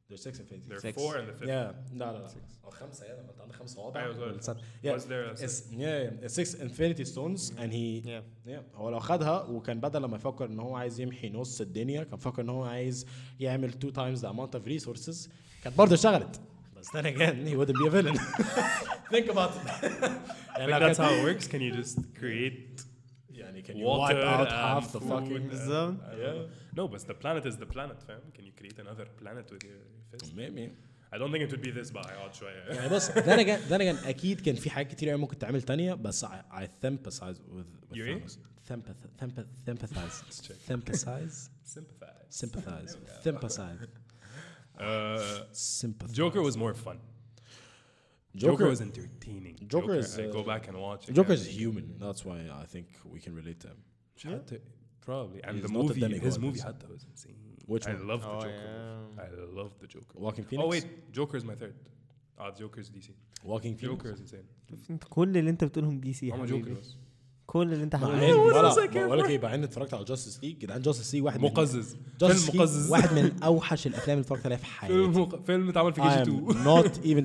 Speaker 1: ذير 6 انفينيتي
Speaker 2: there are
Speaker 3: Six.
Speaker 2: four and the fifth
Speaker 1: يا لا لا لا او خمسه يا لما انت عندك خمس صوابع
Speaker 2: أيوة، صح.
Speaker 1: والسن- Yeah.
Speaker 2: was there a sixth?
Speaker 1: It's- yeah, yeah. 6 انفينيتي ستونز and he
Speaker 3: Yeah.
Speaker 1: yeah. هو لو خدها وكان بدل لما يفكر ان هو عايز يمحي نص الدنيا كان فكر ان هو عايز يعمل 2 تايمز ذا اماونت اوف ريسورسز كانت برضه اشتغلت بس then again he wouldn't be a villain [LAUGHS] think about it يعني لو
Speaker 2: Like that's
Speaker 1: كانت-
Speaker 2: how it works. Can you just create
Speaker 1: يعني can you
Speaker 2: water
Speaker 1: wipe out
Speaker 2: and
Speaker 1: half the
Speaker 2: food
Speaker 1: fucking
Speaker 2: and-
Speaker 3: بالظبط.
Speaker 2: I don't know. No, but the planet is the planet, fam. Can you create another planet with your fist?
Speaker 1: maybe
Speaker 2: I don't think it would be this by odd شوية.
Speaker 1: يعني بص then again then again اكيد كان في حاجات كتير أوي ممكن تعمل تانية بس I, I sympathize with, with
Speaker 2: You
Speaker 1: Thanos. Sympath- sympath- sympathize sympathize
Speaker 2: Sympathize. [LAUGHS]
Speaker 1: sympathize sympathize
Speaker 2: Uh,
Speaker 1: sympathy.
Speaker 2: Joker was more fun. Joker,
Speaker 1: Joker
Speaker 2: was entertaining.
Speaker 1: Joker is,
Speaker 2: I
Speaker 1: uh,
Speaker 2: go back and watch. It.
Speaker 1: Joker
Speaker 2: yeah.
Speaker 1: is human. That's why I think we can relate to him.
Speaker 2: Shout out to- probably. And
Speaker 1: He's
Speaker 2: the
Speaker 1: not a
Speaker 2: movie, his
Speaker 1: demigod,
Speaker 2: movie
Speaker 1: so.
Speaker 2: Hatta was insane.
Speaker 1: Which
Speaker 2: I
Speaker 1: one?
Speaker 2: love the
Speaker 3: Oh,
Speaker 2: Joker. I love the Joker.
Speaker 1: Walking Phoenix.
Speaker 2: Oh wait, Joker is my third. Ah, Joker is DC.
Speaker 1: Walking Phoenix. [LAUGHS]
Speaker 2: Joker is insane.
Speaker 3: انت كل اللي انت بتقولهم دي سي يا
Speaker 2: I'm a
Speaker 3: حبيبي.
Speaker 2: Joker. was.
Speaker 3: كل اللي انت
Speaker 1: مع
Speaker 3: [LAUGHS] حبيبي
Speaker 1: إن- ولا-
Speaker 2: else I care
Speaker 1: بقول لك
Speaker 2: for?
Speaker 1: ايه مع اني اتفرجت على جاستس ليج جدعان جاستس ليج واحد من-
Speaker 2: مقزز.
Speaker 1: Justice
Speaker 2: فيلم
Speaker 1: League
Speaker 2: مقزز.
Speaker 1: واحد
Speaker 2: [LAUGHS]
Speaker 1: من اوحش الافلام اللي اتفرجت عليها في حياتي
Speaker 2: فيلم مق- فيلم اتعمل في
Speaker 1: I
Speaker 2: جي
Speaker 1: am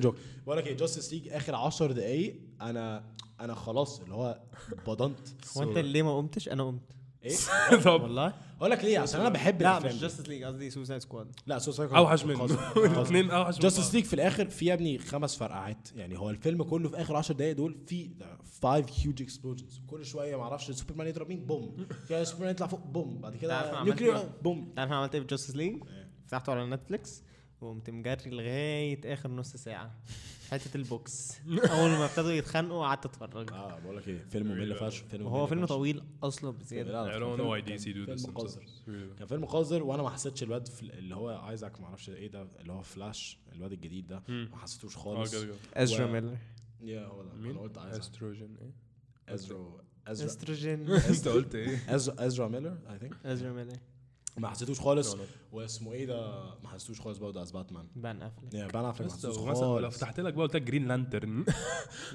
Speaker 2: 2
Speaker 1: not even joke بقول لك ايه جاستس ليج اخر 10 دقايق انا انا خلاص اللي هو بضنت
Speaker 3: هو انت ليه ما قمتش انا قمت
Speaker 1: ايه
Speaker 2: طب
Speaker 3: والله
Speaker 1: اقول لك ليه عشان انا بحب
Speaker 3: لا
Speaker 1: الافلام
Speaker 3: مش
Speaker 1: دي.
Speaker 3: جاستس ليج قصدي سوسايد سكواد
Speaker 1: لا سوسايد
Speaker 2: اوحش منه [LAUGHS] الاثنين اوحش من
Speaker 1: جاستس
Speaker 2: بعض.
Speaker 1: ليج في الاخر في يا ابني خمس فرقعات يعني هو الفيلم كله في اخر 10 دقايق دول في 5 هيوج اكسبلوجنز كل شويه ما اعرفش سوبرمان يضرب مين
Speaker 2: [LAUGHS]
Speaker 1: بوم كده سوبرمان يطلع فوق بوم بعد
Speaker 3: أنت عارف
Speaker 1: كده
Speaker 3: أنا عملت
Speaker 1: نيوكلير
Speaker 3: إيه؟
Speaker 1: بوم
Speaker 3: عارف انا عملت ايه في جاستس ليج؟
Speaker 2: إيه.
Speaker 3: فتحته على نتفليكس وقمت مجري لغايه اخر نص ساعه
Speaker 2: [LAUGHS]
Speaker 3: حته البوكس اول ما ابتدوا يتخانقوا قعدت اتفرج
Speaker 1: اه بقول لك ايه فيلم ممل فشخ فيلم
Speaker 3: وهو
Speaker 1: ممل
Speaker 3: فيلم
Speaker 1: فشخ.
Speaker 3: طويل اصلا بزياده
Speaker 1: لا، لا،
Speaker 2: I
Speaker 1: كان
Speaker 2: don't know
Speaker 1: فيلم-
Speaker 2: why
Speaker 1: كان
Speaker 2: DC do this
Speaker 1: فيلم قذر
Speaker 2: themselves. Really.
Speaker 1: كان فيلم قذر وانا ما حسيتش الواد في- اللي هو ايزاك ما اعرفش ايه ده اللي هو فلاش الواد الجديد ده ما حسيتوش
Speaker 2: اه
Speaker 1: خالص
Speaker 2: جد- جد.
Speaker 3: ازرا
Speaker 1: و-
Speaker 3: ميلر
Speaker 1: يا هو ده
Speaker 2: مين؟
Speaker 1: انا قلت ايزاك
Speaker 2: استروجين ايه؟ [LAUGHS]
Speaker 1: ازرا ازرا
Speaker 3: [LAUGHS] استروجين
Speaker 2: انت قلت [LAUGHS] ايه؟
Speaker 1: ازرا ازرا ميلر اي ثينك
Speaker 3: ازرا ميلر
Speaker 1: ما حسيتوش خالص
Speaker 2: No, no.
Speaker 1: واسمه ايه ده ما حسيتوش خالص برضه از باتمان
Speaker 3: بان افلك
Speaker 1: يا بان افلك ما
Speaker 2: بس
Speaker 1: حسيتوش
Speaker 2: لو مثلا لو
Speaker 1: خالص
Speaker 2: فتحت لك بقى قلت لك جرين [LAUGHS] لانترن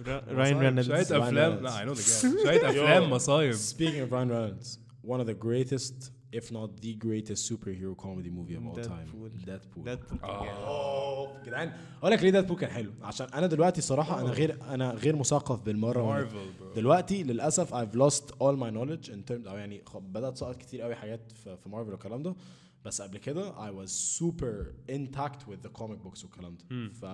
Speaker 3: راين
Speaker 2: شوية [LAUGHS]
Speaker 3: رينالدز
Speaker 2: افلام لا I know the [LAUGHS] guy شوية افلام مصايب
Speaker 1: Speaking of Ryan Reynolds, one of the greatest, if not the greatest superhero comedy movie of all time.
Speaker 3: Deadpool.
Speaker 1: Deadpool.
Speaker 2: آه.
Speaker 3: ده
Speaker 1: اوه جدعان اقول لك ليه ديدبول كان حلو عشان انا دلوقتي صراحه انا غير انا غير مثقف بالمره وأنا-
Speaker 2: Marvel, bro.
Speaker 1: دلوقتي للاسف I've lost all my knowledge in terms او يعني خ- بدات سقط كتير قوي حاجات في, في مارفل والكلام ده بس قبل كده I was super intact with the comic books والكلام ده ف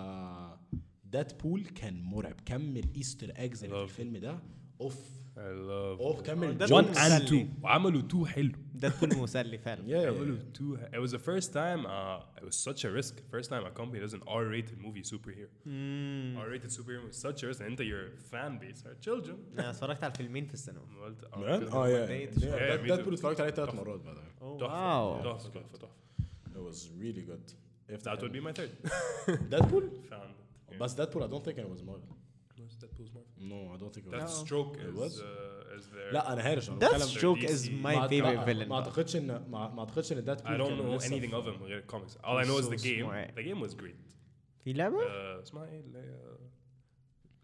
Speaker 1: ديدبول كان مرعب كم الايستر ايجز اللي في
Speaker 2: Love.
Speaker 1: الفيلم ده اوف
Speaker 2: I love
Speaker 1: اوف كم
Speaker 3: Deadpool
Speaker 1: الجوكس.
Speaker 2: one and
Speaker 3: مسلي.
Speaker 2: two وعملوا two حلو
Speaker 3: ديدبول مسلي فعلا
Speaker 1: Yeah, yeah,
Speaker 2: عملوا two it was the first time uh, it was such a risk first time a company does an R-rated movie superhero R-rated superhero was such a risk and انت your fan base are children
Speaker 3: انا اتفرجت على الفيلمين في السينما
Speaker 2: قلت
Speaker 1: yeah. Man? اه يا
Speaker 3: Yeah,
Speaker 2: yeah, me too.
Speaker 1: ديدبول اتفرجت عليه ثلاث مرات بعد كده.
Speaker 2: تحفة تحفة تحفة تحفة
Speaker 1: It was really good. If
Speaker 2: that would be my third
Speaker 1: Deadpool,
Speaker 2: found it.
Speaker 1: but Deadpool, I don't think it was Marvel.
Speaker 2: Was Deadpool's Marvel
Speaker 1: No, I don't think it
Speaker 2: that
Speaker 1: was.
Speaker 2: stroke
Speaker 1: It
Speaker 2: is
Speaker 1: was?
Speaker 2: uh, is there
Speaker 1: لا انا هارش انا
Speaker 3: That
Speaker 1: بتكلم
Speaker 3: stroke
Speaker 2: DC.
Speaker 3: is my
Speaker 1: ما-
Speaker 3: favorite
Speaker 1: لا، ما
Speaker 3: villain
Speaker 1: اعتقدش ان ما ما اعتقدش ان Deadpool uh,
Speaker 2: I don't
Speaker 1: كان
Speaker 2: know
Speaker 1: لسه
Speaker 2: anything
Speaker 1: في-
Speaker 2: of him غير comics all I know is the
Speaker 3: So
Speaker 2: game
Speaker 3: smart.
Speaker 2: the game was great
Speaker 3: في لعبه؟
Speaker 2: آه، اسمها ايه اللي هي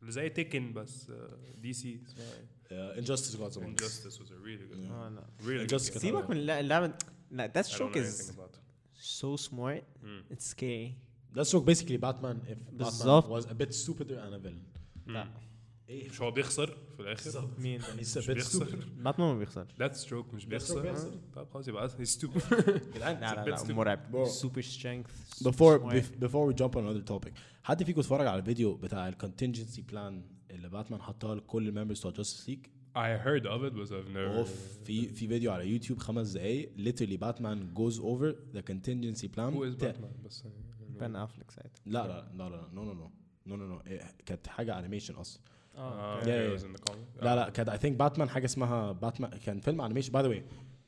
Speaker 2: اللي زي تيكن بس دي سي اسمها ايه
Speaker 1: Uh, Injustice Gods Among Us.
Speaker 2: Injustice was a really good
Speaker 1: Yeah.
Speaker 3: اه لا
Speaker 2: really good
Speaker 1: Injustice
Speaker 2: game.
Speaker 1: كانت-
Speaker 3: سيبك من اللع- اللعبه لا ذات
Speaker 2: I don't
Speaker 3: ستروك
Speaker 2: know anything
Speaker 3: از
Speaker 2: about it.
Speaker 3: سو سمارت
Speaker 2: Mm.
Speaker 3: اتس سكيري
Speaker 1: That stroke basically Batman if Batman
Speaker 3: بالظبط.
Speaker 1: was a bit stupider and a villain.
Speaker 3: لا
Speaker 1: ايه
Speaker 2: مش هو بيخسر في الاخر
Speaker 1: يعني
Speaker 3: مين؟
Speaker 1: he's a
Speaker 2: مش
Speaker 1: bit stupid.
Speaker 2: بيخسر
Speaker 3: باتمان ما بيخسرش
Speaker 2: ذات ستروك مش
Speaker 1: بيخسر.
Speaker 2: بيخسر طب خلاص يبقى هي ستوب
Speaker 1: جدعان
Speaker 3: لا لا
Speaker 2: It's a bit
Speaker 3: لا
Speaker 2: stupid.
Speaker 1: Bro.
Speaker 3: مرعب سوبر سترينث
Speaker 1: before bef- before we jump on another topic حد فيكم اتفرج على الفيديو بتاع الكونتنجنسي بلان اللي باتمان حطها لكل الممبرز بتوع جاستس ليج
Speaker 2: I heard of it but I've never
Speaker 1: اوف في في فيديو على يوتيوب خمس دقايق literally Batman goes over the contingency plan
Speaker 2: who is
Speaker 1: بتاع-
Speaker 2: Batman بس يعني-
Speaker 3: بان افليك ساعتها
Speaker 1: لا لا لا لا نو نو نو نو نو نو كانت حاجه انيميشن اصلا
Speaker 2: آه،
Speaker 1: Yeah,
Speaker 2: okay,
Speaker 1: yeah.
Speaker 2: it Uh, was in the comic. Um,
Speaker 1: لا لا كانت اي ثينك باتمان حاجه اسمها باتمان كان فيلم انيميشن باي ذا واي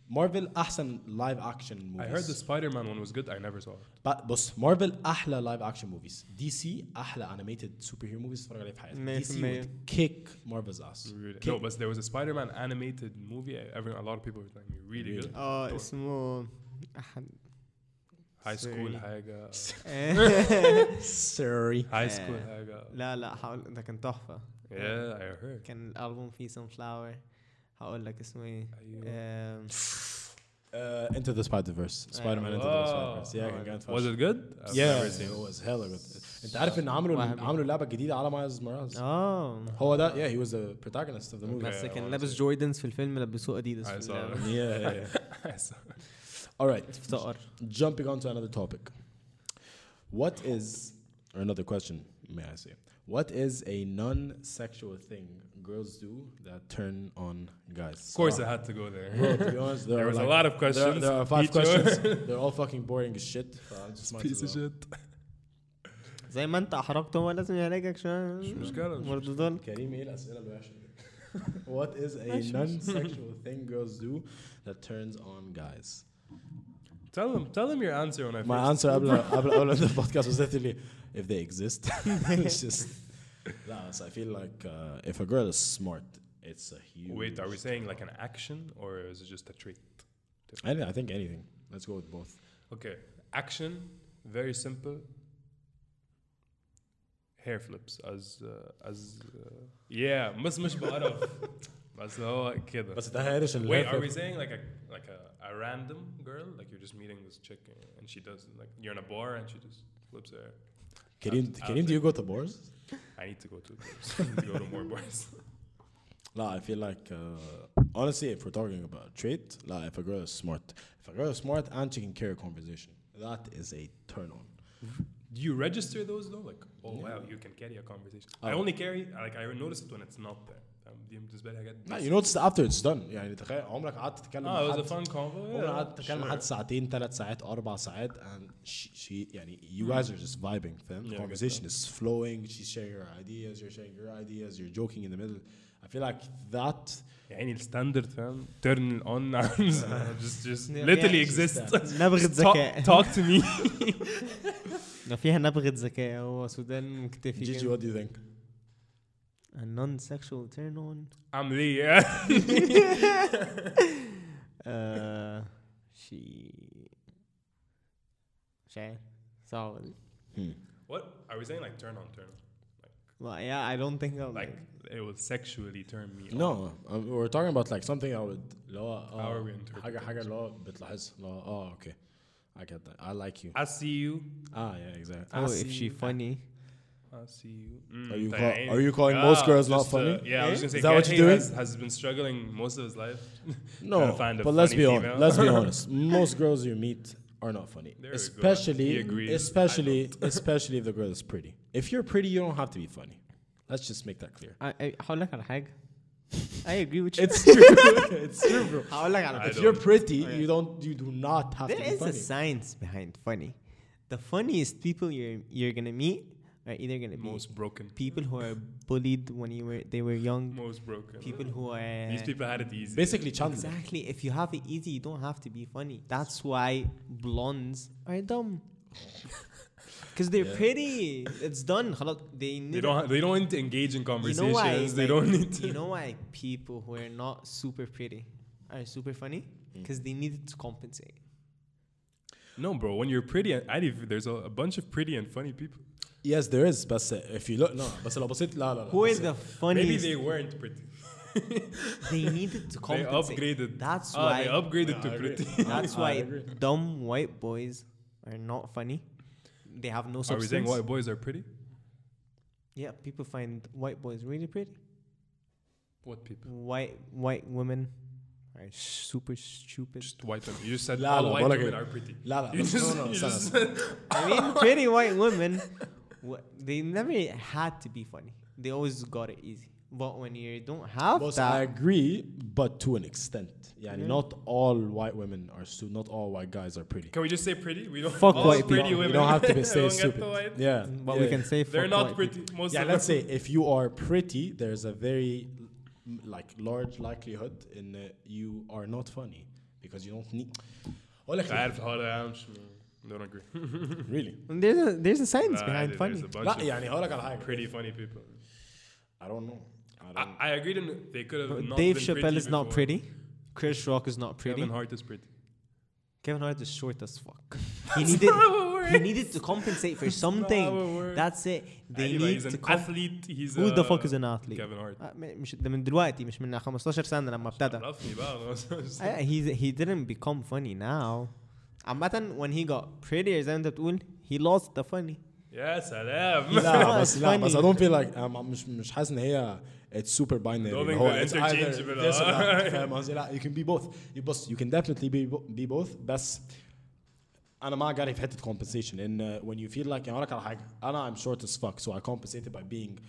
Speaker 1: مارفل احسن لايف اكشن
Speaker 2: I heard the
Speaker 1: موفيز
Speaker 2: Spider-Man one was good. I never saw it.
Speaker 1: بص مارفل احلى لايف اكشن موفيز دي سي احلى انيميتد سوبر هيرو موفيز تتفرج عليها في حياتك
Speaker 3: مية
Speaker 1: دي
Speaker 3: في
Speaker 1: سي
Speaker 3: المية.
Speaker 1: would kick مارفلز ass
Speaker 2: Really. No,
Speaker 1: Kick-
Speaker 2: but there was a Spider-Man animated movie. I- Every a lot of people were telling me really
Speaker 1: Really?
Speaker 2: good.
Speaker 3: اه اسمه احد
Speaker 2: High school
Speaker 3: Sorry.
Speaker 1: [LAUGHS]
Speaker 2: حاجة.
Speaker 1: sorry
Speaker 2: High school
Speaker 1: [LAUGHS]
Speaker 2: حاجة.
Speaker 3: [LAUGHS] لا لا هقول ده كان تحفه
Speaker 2: Yeah, I heard.
Speaker 3: كان الالبوم فيه سان فلاور هقول لك اسمه ايه
Speaker 2: أيوه.
Speaker 3: آم،
Speaker 1: uh, into the spider verse spider man into the spider verse yeah كان جامد
Speaker 2: Was
Speaker 1: فشخ.
Speaker 2: it good? I've
Speaker 1: Yeah,
Speaker 2: never
Speaker 1: it
Speaker 2: seen it.
Speaker 1: was hella good. انت عارف ان عملوا
Speaker 3: واحد من-
Speaker 1: عملوا اللعبه الجديده على مايلز مورالز
Speaker 3: اه
Speaker 1: هو ده yeah he was the protagonist of the movie
Speaker 3: بس
Speaker 2: Yeah,
Speaker 3: كان
Speaker 2: honestly.
Speaker 3: لابس جوردنز في الفيلم لبسوه اديداس
Speaker 2: I
Speaker 3: في
Speaker 2: saw
Speaker 3: اللعبة.
Speaker 2: that.
Speaker 1: yeah [LAUGHS] yeah,
Speaker 2: [LAUGHS]
Speaker 1: yeah.
Speaker 2: I saw it.
Speaker 1: all right
Speaker 3: افتقر
Speaker 1: jumping on to another topic what is or another question may I say what is a non-sexual thing girls do that turn on guys
Speaker 2: Of course, I had to go there.
Speaker 1: Bro, to be honest, there,
Speaker 2: [LAUGHS] There
Speaker 1: are
Speaker 2: was a
Speaker 1: like-
Speaker 2: lot of
Speaker 1: there-
Speaker 2: questions.
Speaker 1: There, are five
Speaker 2: Each one. [LAUGHS]
Speaker 1: questions. They're all fucking boring as shit. so I just might as
Speaker 2: Piece of
Speaker 1: well.
Speaker 2: shit.
Speaker 3: زي ما انت احرجته هو لازم يعالجك شويه
Speaker 2: مشكلة، مش
Speaker 3: مردودان
Speaker 1: كريم ايه الاسئله الوحشه دي؟ [LAUGHS] What is a non-sexual thing girls do that turns on guys?
Speaker 2: Tell them, tell them your answer when I first.
Speaker 1: My answer قبل قبل قبل the podcast was literally if they exist. it's just no, so I feel like uh, if a girl is smart, it's a huge.
Speaker 2: Wait, are we saying like an action or is it just a trait?
Speaker 1: I, don't- I think anything. Let's go with both.
Speaker 2: Okay, action, very simple. Hair flips as uh, as uh, yeah, مش مش بعرف بس هو كده.
Speaker 1: بس ده هيرش ال-
Speaker 2: oh, Wait, are we saying like a like a, a random girl? Like you're just meeting this chick and she does like you're in a bar and she just flips her.
Speaker 1: Kareem,
Speaker 2: Out-
Speaker 1: Kareem, do you go to bars?
Speaker 2: I need to go to [LAUGHS] I need to go to more bars.
Speaker 1: No, I feel like uh, honestly, if we're talking about trait, like if a girl is smart, if a girl is smart and she can carry a conversation, that is a turn on.
Speaker 2: Do you register those though? Like, oh wow, you can carry a conversation. I
Speaker 1: Oh.
Speaker 2: only carry like I notice it when it's not there. Um, دي بالنسبة لي حاجات
Speaker 1: No, you notice after it's done. يعني تخيل عمرك قعدت تتكلم
Speaker 2: Ah, it
Speaker 1: مع
Speaker 2: was
Speaker 1: حد
Speaker 2: a fun convo.
Speaker 1: عمرك
Speaker 2: Yeah.
Speaker 1: قعدت تتكلم مع حد ساعتين ثلاث ساعات أربع ساعات and she, she يعني you guys are just vibing فاهم
Speaker 2: Mm. Yeah, I get
Speaker 1: conversation is flowing she's sharing her ideas you're sharing your ideas you're joking in the middle I feel like that
Speaker 2: يعني الستاندرد فاهم turn on arms [LAUGHS] just just
Speaker 3: Yeah,
Speaker 2: literally
Speaker 3: yeah,
Speaker 2: exists [LAUGHS]
Speaker 3: نبغة
Speaker 2: talk,
Speaker 3: ذكاء
Speaker 2: talk to
Speaker 1: [LAUGHS]
Speaker 2: me
Speaker 3: لو فيها نبغة ذكاء هو سودان مكتفي
Speaker 1: Gigi
Speaker 3: كده
Speaker 1: what do you think
Speaker 3: A non-sexual turn on
Speaker 2: [LAUGHS] عامل ايه yeah.
Speaker 3: آه، شي مش عارف صعب دي.
Speaker 1: hmm.
Speaker 2: [LAUGHS] what are we saying like turn on turn on
Speaker 3: Well, yeah, I don't think I'll
Speaker 2: like it will sexually turn me on
Speaker 1: No, um, we're talking about like something I would اللي هو
Speaker 2: How are
Speaker 1: اه
Speaker 2: we interpreting
Speaker 1: حاجة حاجة اللي هو بتلاحظها اللي هو اه اوكي I get that I like you
Speaker 2: I see you Ah,
Speaker 1: اه yeah exactly
Speaker 3: Oh,
Speaker 2: I
Speaker 3: if she
Speaker 2: see.
Speaker 3: funny.
Speaker 2: I see you Mm,
Speaker 1: Are you
Speaker 2: طيب
Speaker 1: call-
Speaker 2: يعني-
Speaker 1: are you calling most
Speaker 2: Ah,
Speaker 1: girls not
Speaker 2: just, uh,
Speaker 1: funny? Eh?
Speaker 2: yeah I was gonna say
Speaker 1: Is that what
Speaker 2: Kanye
Speaker 1: you're doing?
Speaker 2: has, has been struggling most of his life
Speaker 1: no
Speaker 2: Trying to find a
Speaker 1: but let's
Speaker 2: funny
Speaker 1: be
Speaker 2: female.
Speaker 1: honest let's
Speaker 2: [LAUGHS]
Speaker 1: be honest most girls you meet are not funny
Speaker 2: There we go.
Speaker 1: especially
Speaker 2: He agrees. I
Speaker 1: especially
Speaker 2: [LAUGHS]
Speaker 1: especially if the girl is pretty if you're pretty you don't have to be funny let's just make that clear
Speaker 3: I- I- هقول لك على حاجة. I agree with you. [LAUGHS]
Speaker 1: it's true [LAUGHS] it's true bro
Speaker 3: هقول لك
Speaker 2: [LAUGHS]
Speaker 3: على
Speaker 2: I
Speaker 1: if
Speaker 2: don't- Oh,
Speaker 1: you're pretty you don't you do not have
Speaker 3: There
Speaker 1: to be
Speaker 3: is a
Speaker 1: funny
Speaker 3: science behind funny. The funniest people you're you're gonna meet are either gonna be
Speaker 2: most broken
Speaker 3: people who are bullied when you were they were young,
Speaker 2: most broken
Speaker 3: people who are
Speaker 2: these people had it easy
Speaker 1: basically Chandler
Speaker 3: exactly. If you have it easy, you don't have to be funny. That's why blondes are dumb. Because they're
Speaker 1: Yeah.
Speaker 3: pretty. It's done. خلاص.
Speaker 2: they
Speaker 3: They, never-
Speaker 2: don't ha- they don't need to engage in conversations they
Speaker 3: like,
Speaker 2: don't need to
Speaker 3: You know why people who are not super pretty are super funny?
Speaker 2: Mm.
Speaker 3: Because they needed to compensate.
Speaker 2: [LAUGHS] No, bro. When you're pretty, and I, there's a, a bunch of pretty and funny people.
Speaker 1: yes there is بس if you look no بس لو بصيت لا لا لا
Speaker 3: Who is
Speaker 1: بس-
Speaker 3: the
Speaker 2: Maybe
Speaker 3: funniest?
Speaker 2: they weren't pretty.
Speaker 3: They, needed to
Speaker 2: [LAUGHS] They
Speaker 3: compensate.
Speaker 2: upgraded.
Speaker 3: That's
Speaker 2: Ah,
Speaker 3: why.
Speaker 2: they upgraded
Speaker 1: Yeah, I
Speaker 2: to
Speaker 1: agree.
Speaker 2: pretty. [LAUGHS]
Speaker 3: That's
Speaker 1: I
Speaker 3: why
Speaker 1: agree.
Speaker 3: dumb white boys are not funny. They have no
Speaker 2: Are we
Speaker 3: substance.
Speaker 2: saying white boys are pretty?
Speaker 3: Yeah, people find white boys really pretty.
Speaker 2: What people?
Speaker 3: White white women are super stupid.
Speaker 2: Just white women. You just said
Speaker 1: La, la,
Speaker 2: all white
Speaker 1: bola
Speaker 2: women
Speaker 1: que-
Speaker 2: are pretty.
Speaker 1: لا لا
Speaker 2: You
Speaker 1: بس-
Speaker 2: just-
Speaker 1: no, no,
Speaker 2: you
Speaker 1: استنى،
Speaker 2: just
Speaker 1: استنى.
Speaker 3: I
Speaker 2: [LAUGHS]
Speaker 3: mean, pretty white women, wha- they never had to be funny. They always got it easy. But when you don't have
Speaker 1: Boss, I
Speaker 3: that,
Speaker 1: agree, but to an extent. Yeah,
Speaker 3: Yeah.
Speaker 1: not all white women are stupid. Not all white guys are pretty.
Speaker 2: Can we just say pretty? We don't.
Speaker 3: Fuck
Speaker 2: all
Speaker 3: white
Speaker 2: pretty
Speaker 1: You don't-
Speaker 2: Women.
Speaker 3: people.
Speaker 1: You don't have
Speaker 2: [LAUGHS]
Speaker 1: to be
Speaker 2: don't
Speaker 1: say
Speaker 2: get the
Speaker 1: stupid.
Speaker 2: white.
Speaker 1: Yeah.
Speaker 3: but
Speaker 1: yeah,
Speaker 3: we can say
Speaker 2: They're
Speaker 3: fuck
Speaker 2: not
Speaker 3: white
Speaker 2: pretty.
Speaker 3: people.
Speaker 2: Most
Speaker 1: Yeah,
Speaker 2: of
Speaker 1: let's
Speaker 2: them. [LAUGHS]
Speaker 1: say if you are pretty, there's a very mm, like large likelihood in uh, you are not funny because you don't need. أقول لك
Speaker 2: I have hard arms. Don't agree.
Speaker 1: ليه؟ really.
Speaker 3: And There's a there's a science
Speaker 2: Nah,
Speaker 3: behind
Speaker 2: there's
Speaker 3: funny.
Speaker 2: a
Speaker 1: لا
Speaker 2: bunch
Speaker 1: يعني هقول لك على
Speaker 2: of
Speaker 1: حاجة.
Speaker 2: pretty funny people.
Speaker 1: I don't know. I
Speaker 2: I,
Speaker 1: don't.
Speaker 2: I agreed. In, they could have. not
Speaker 3: Dave
Speaker 2: been
Speaker 3: Chappelle is not
Speaker 2: before.
Speaker 3: pretty. Chris Rock is not pretty.
Speaker 2: Kevin
Speaker 3: Kevin,
Speaker 2: Hart is pretty.
Speaker 3: Hart is short as fuck.
Speaker 2: [LAUGHS]
Speaker 3: He needed he needed to compensate for something. That's it. They
Speaker 2: Anyway,
Speaker 3: need
Speaker 2: he's
Speaker 3: to
Speaker 2: an
Speaker 3: comp-
Speaker 2: athlete. He's
Speaker 3: Who the fuck
Speaker 2: a-
Speaker 3: is an athlete? Uh,
Speaker 2: Kevin Hart.
Speaker 3: آه، م- مش ده من دلوقتي مش من 15 سنة لما ابتدى.
Speaker 2: عرفني [LAUGHS] بقى
Speaker 3: Uh, he he didn't become funny now. عامة when he got prettier زي ما انت بتقول he lost the funny.
Speaker 2: يا
Speaker 3: [LAUGHS]
Speaker 2: سلام
Speaker 1: لا
Speaker 3: It's
Speaker 1: بس لا بس I
Speaker 3: funny.
Speaker 1: don't feel like um, I'm- I'm مش مش حاسس ان هي it's super binary
Speaker 2: Don't
Speaker 1: اللي
Speaker 2: think
Speaker 1: هو
Speaker 2: they're
Speaker 1: it's either
Speaker 2: interchangeable.
Speaker 1: this or that فاهم قصدي لا you can be both you بص you can definitely be, bo- be both بس انا ما جاري في حته compensation ان uh, when you feel like يعني أقول لك على حاجه انا I'm short as fuck so I compensated by being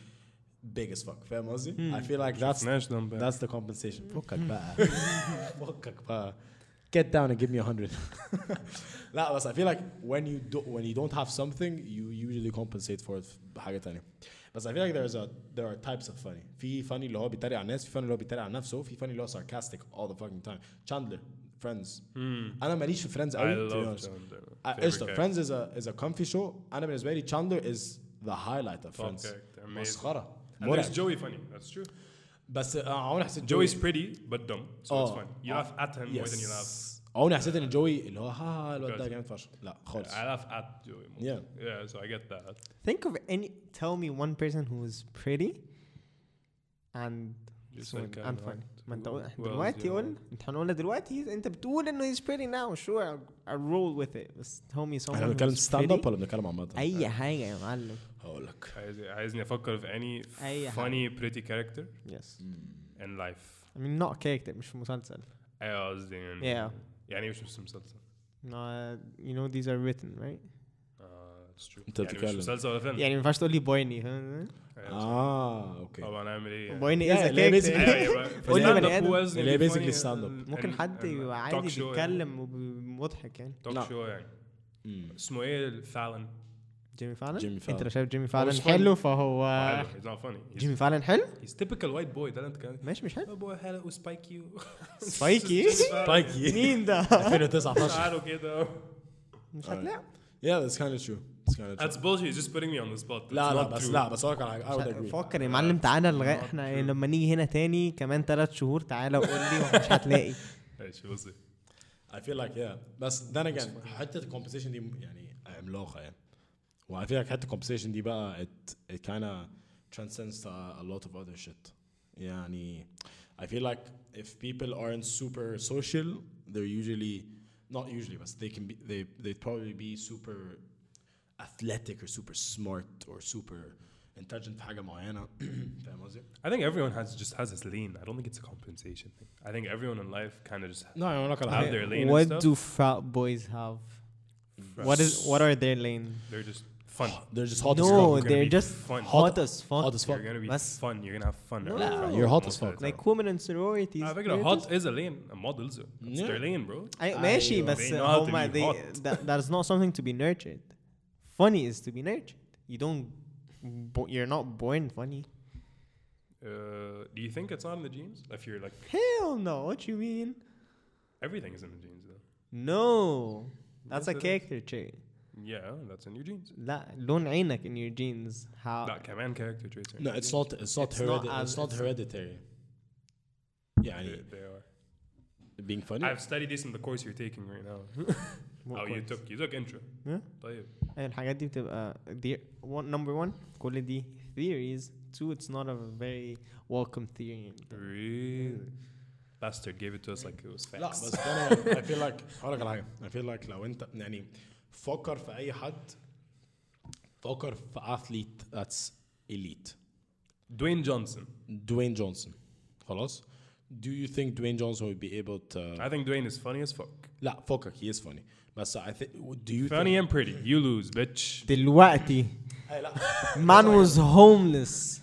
Speaker 1: big as fuck فاهم قصدي
Speaker 2: Hmm.
Speaker 1: I feel like that's
Speaker 2: شفناش ده امبارح.
Speaker 1: that's the compensation فكك
Speaker 2: Hmm. [LAUGHS]
Speaker 1: بقى فكك بقى get down and give me [LAUGHS] 100 لا بس I feel like when you do, when you don't have something you usually compensate for it بحاجة تانية بس I feel like there's a there are types of funny في funny اللي هو بيتريق على الناس في funny اللي هو بيتريق على نفسه في funny اللي هو sarcastic all the fucking time Chandler فريندز
Speaker 2: مم.
Speaker 1: انا ماليش في فريندز
Speaker 2: Hmm. I
Speaker 1: قوي to be
Speaker 2: love
Speaker 1: honest.
Speaker 2: Chandler.
Speaker 1: آه،
Speaker 2: Favorite
Speaker 1: قشطه
Speaker 2: character.
Speaker 1: فريندز از از ا كومفي شو انا بالنسبه لي تشاندلر از ذا هايلايت اوف
Speaker 2: Top
Speaker 1: فريندز
Speaker 2: character. Amazing.
Speaker 1: مسخره
Speaker 2: And there's
Speaker 1: مرعب
Speaker 2: Joey funny. That's true.
Speaker 1: بس آه، عمري حسيت
Speaker 2: Joey's pretty but dumb, so it's
Speaker 1: Oh.
Speaker 2: fun. You laugh at him more than you laugh.
Speaker 1: Yes. عمري حسيت ان جوي اللي هو ها ها الواد ده
Speaker 2: Because-
Speaker 1: جامد فشخ لا خالص
Speaker 2: I laugh at Joey more.
Speaker 1: Oh. Yeah.
Speaker 2: Yeah. So I get that.
Speaker 3: Think of any. Tell me one person who is pretty and
Speaker 2: Just
Speaker 3: smooth
Speaker 2: like I
Speaker 3: and
Speaker 2: know
Speaker 3: funny.
Speaker 2: it.
Speaker 3: ما انت
Speaker 2: Who
Speaker 3: قول-
Speaker 2: else do
Speaker 3: دلوقتي
Speaker 2: you
Speaker 3: قول انت هنقولها دلوقتي انت بتقول انه he's pretty now sure I, I roll with it بس tell me someone
Speaker 1: احنا
Speaker 3: who's
Speaker 1: بنتكلم ستاند اب
Speaker 3: pretty.
Speaker 1: ولا بنتكلم عامه؟
Speaker 3: اي حاجه يا معلم
Speaker 1: هقول لك
Speaker 2: عايز- عايزني افكر في any
Speaker 3: أي حاجة.
Speaker 2: funny pretty character
Speaker 3: yes
Speaker 2: in life.
Speaker 3: I mean not character مش في مسلسل
Speaker 2: ايوه قصدي يعني
Speaker 3: Yeah.
Speaker 2: يعني مش مش مسلسل.
Speaker 3: no, uh, you know these are written right
Speaker 2: آه، it's Uh, true.
Speaker 1: أنت
Speaker 2: يعني مش
Speaker 1: بتتكلم.
Speaker 2: مسلسل ولا فيلم.
Speaker 3: يعني ما ينفعش تقول لي بويني فاهم؟
Speaker 1: Ah,
Speaker 2: أيوة.
Speaker 1: اه اوكي
Speaker 2: طبعا اعمل ايه؟ يعني؟
Speaker 3: بويني
Speaker 1: Yeah,
Speaker 3: is a eh?
Speaker 1: اللي هي
Speaker 3: character
Speaker 1: basically-
Speaker 2: أيوة،
Speaker 1: [LAUGHS]
Speaker 2: يبقى
Speaker 3: قول لي
Speaker 2: stand-up
Speaker 3: بني آدم.
Speaker 2: who else
Speaker 1: اللي هي
Speaker 2: gonna be
Speaker 1: basically
Speaker 2: funny
Speaker 1: stand-up.
Speaker 2: and-
Speaker 3: ممكن
Speaker 2: and-
Speaker 3: حد
Speaker 2: and
Speaker 3: يبقى
Speaker 2: talk
Speaker 3: عادي
Speaker 2: show يعني.
Speaker 3: بيتكلم ومضحك يعني
Speaker 1: لا.
Speaker 2: توك شو يعني
Speaker 1: مم.
Speaker 2: اسمه ايه
Speaker 1: Uh,
Speaker 2: فالن
Speaker 3: جيمي فعلا
Speaker 1: جيمي
Speaker 3: انت
Speaker 1: فالن.
Speaker 3: لو شايف جيمي فعلا
Speaker 2: مش
Speaker 3: حلو
Speaker 2: funny.
Speaker 3: فهو
Speaker 2: هيز نوت فاني
Speaker 3: جيمي فعلا حلو
Speaker 2: هيز تيبيكال وايت بوي ده اللي انت كان
Speaker 3: ماشي مش حلو
Speaker 2: Oh boy, hello, [LAUGHS] Spike you. [LAUGHS]
Speaker 3: Spikey؟
Speaker 2: طيب.
Speaker 3: [LAUGHS]
Speaker 1: بايكي
Speaker 3: مين ده
Speaker 1: [LAUGHS] 2019
Speaker 2: شعره كده.
Speaker 3: مش هتلاقي
Speaker 1: Yeah that's kind of true It's kind of true
Speaker 2: That's bullshit. He's just putting me on the spot. That's
Speaker 1: لا لا
Speaker 2: not
Speaker 1: بس
Speaker 2: true.
Speaker 1: لا بس هقول لك على حاجه I would agree
Speaker 3: فكر يا معلم تعالى لغايه
Speaker 2: not
Speaker 3: احنا
Speaker 2: true.
Speaker 3: لما نيجي هنا تاني كمان ثلاث شهور تعالى وقول لي
Speaker 2: [LAUGHS]
Speaker 3: مش هتلاقي
Speaker 2: ماشي بصي
Speaker 1: I feel like yeah بس then again حته الكومبوزيشن دي يعني عملاقه يعني و I feel like حته الكومبوزيشن دي بقى it, it kind of transcends to a lot of other shit يعني I feel like if people aren't super social they're usually not usually but they can be they they'd probably be super athletic or super smart or super intelligent في حاجه معينه [CLEARS THROAT] فاهم قصدي؟
Speaker 2: I think everyone has just has this lean. I don't think it's a compensation thing. I think everyone in life kind of just
Speaker 1: No, I don't
Speaker 2: have their lane
Speaker 3: what
Speaker 2: and
Speaker 3: do
Speaker 2: stuff.
Speaker 3: frat boys have what is what are their lane
Speaker 2: They're just fun.
Speaker 1: They're just hot as
Speaker 3: No,
Speaker 1: fuck.
Speaker 2: You're gonna
Speaker 3: they're
Speaker 2: be
Speaker 3: just
Speaker 2: fun.
Speaker 3: hot as fuck
Speaker 1: Hot as fuck.
Speaker 2: You're gonna be
Speaker 3: That's-
Speaker 2: fun. You're gonna have fun.
Speaker 3: No.
Speaker 2: around friends
Speaker 1: You're hot
Speaker 2: most
Speaker 1: as
Speaker 2: of
Speaker 1: fuck.
Speaker 2: the
Speaker 3: like
Speaker 2: time.
Speaker 3: women and sororities
Speaker 2: على فكرة
Speaker 3: they're
Speaker 2: hot
Speaker 3: just-
Speaker 2: is a lane. A models. It's
Speaker 1: Yeah.
Speaker 2: their lane, bro.
Speaker 3: أي- ماشي
Speaker 1: أيوة.
Speaker 3: بس
Speaker 2: They know how to
Speaker 3: هما
Speaker 2: be
Speaker 3: they
Speaker 2: hot.
Speaker 3: that, that is not something to be nurtured funny is to be nurtured you don't bo- you're not born funny
Speaker 2: Uh, do you think it's not in the genes? If you're like
Speaker 3: hell no what you mean
Speaker 2: everything is in the genes though.
Speaker 3: No. That's
Speaker 2: Yes,
Speaker 3: a
Speaker 2: it is.
Speaker 3: character trait.
Speaker 2: Yeah, that's in your genes.
Speaker 3: لا لون عينك in your genes. How
Speaker 2: That command character traits. are in
Speaker 1: No,
Speaker 2: your
Speaker 1: it's
Speaker 2: genes.
Speaker 1: not. It's not.
Speaker 3: It's
Speaker 1: heredi-
Speaker 3: not as-
Speaker 1: it's not
Speaker 3: it's-
Speaker 1: hereditary. Yeah,
Speaker 2: They, they are.
Speaker 1: being funny.
Speaker 2: I've studied this in the course you're taking right now.
Speaker 3: what
Speaker 2: oh, you
Speaker 3: coins.
Speaker 2: took you took intro.
Speaker 3: Yeah.
Speaker 2: طيب.
Speaker 3: الحاجات دي بتبقى دي one, uh, number one كل دي theories. Two, it's not a very
Speaker 2: [LAUGHS]
Speaker 3: welcome theory.
Speaker 2: Really? Bastard gave it to us like it was
Speaker 1: لا
Speaker 2: facts.
Speaker 1: بس أنا- I feel like هقول لك على حاجة. I feel like لو أنت يعني فكر في أي حد فكر في athlete that's elite.
Speaker 2: Dwayne Johnson.
Speaker 1: Dwayne Johnson خلاص. Do you think Dwayne Johnson would be able to
Speaker 2: I think Dwayne is funny as fuck.
Speaker 1: لا فكك he is funny بس I think do you
Speaker 2: Funny
Speaker 1: think
Speaker 2: and pretty. You lose, bitch.
Speaker 3: دلوقتي
Speaker 1: أي لا
Speaker 3: man was homeless.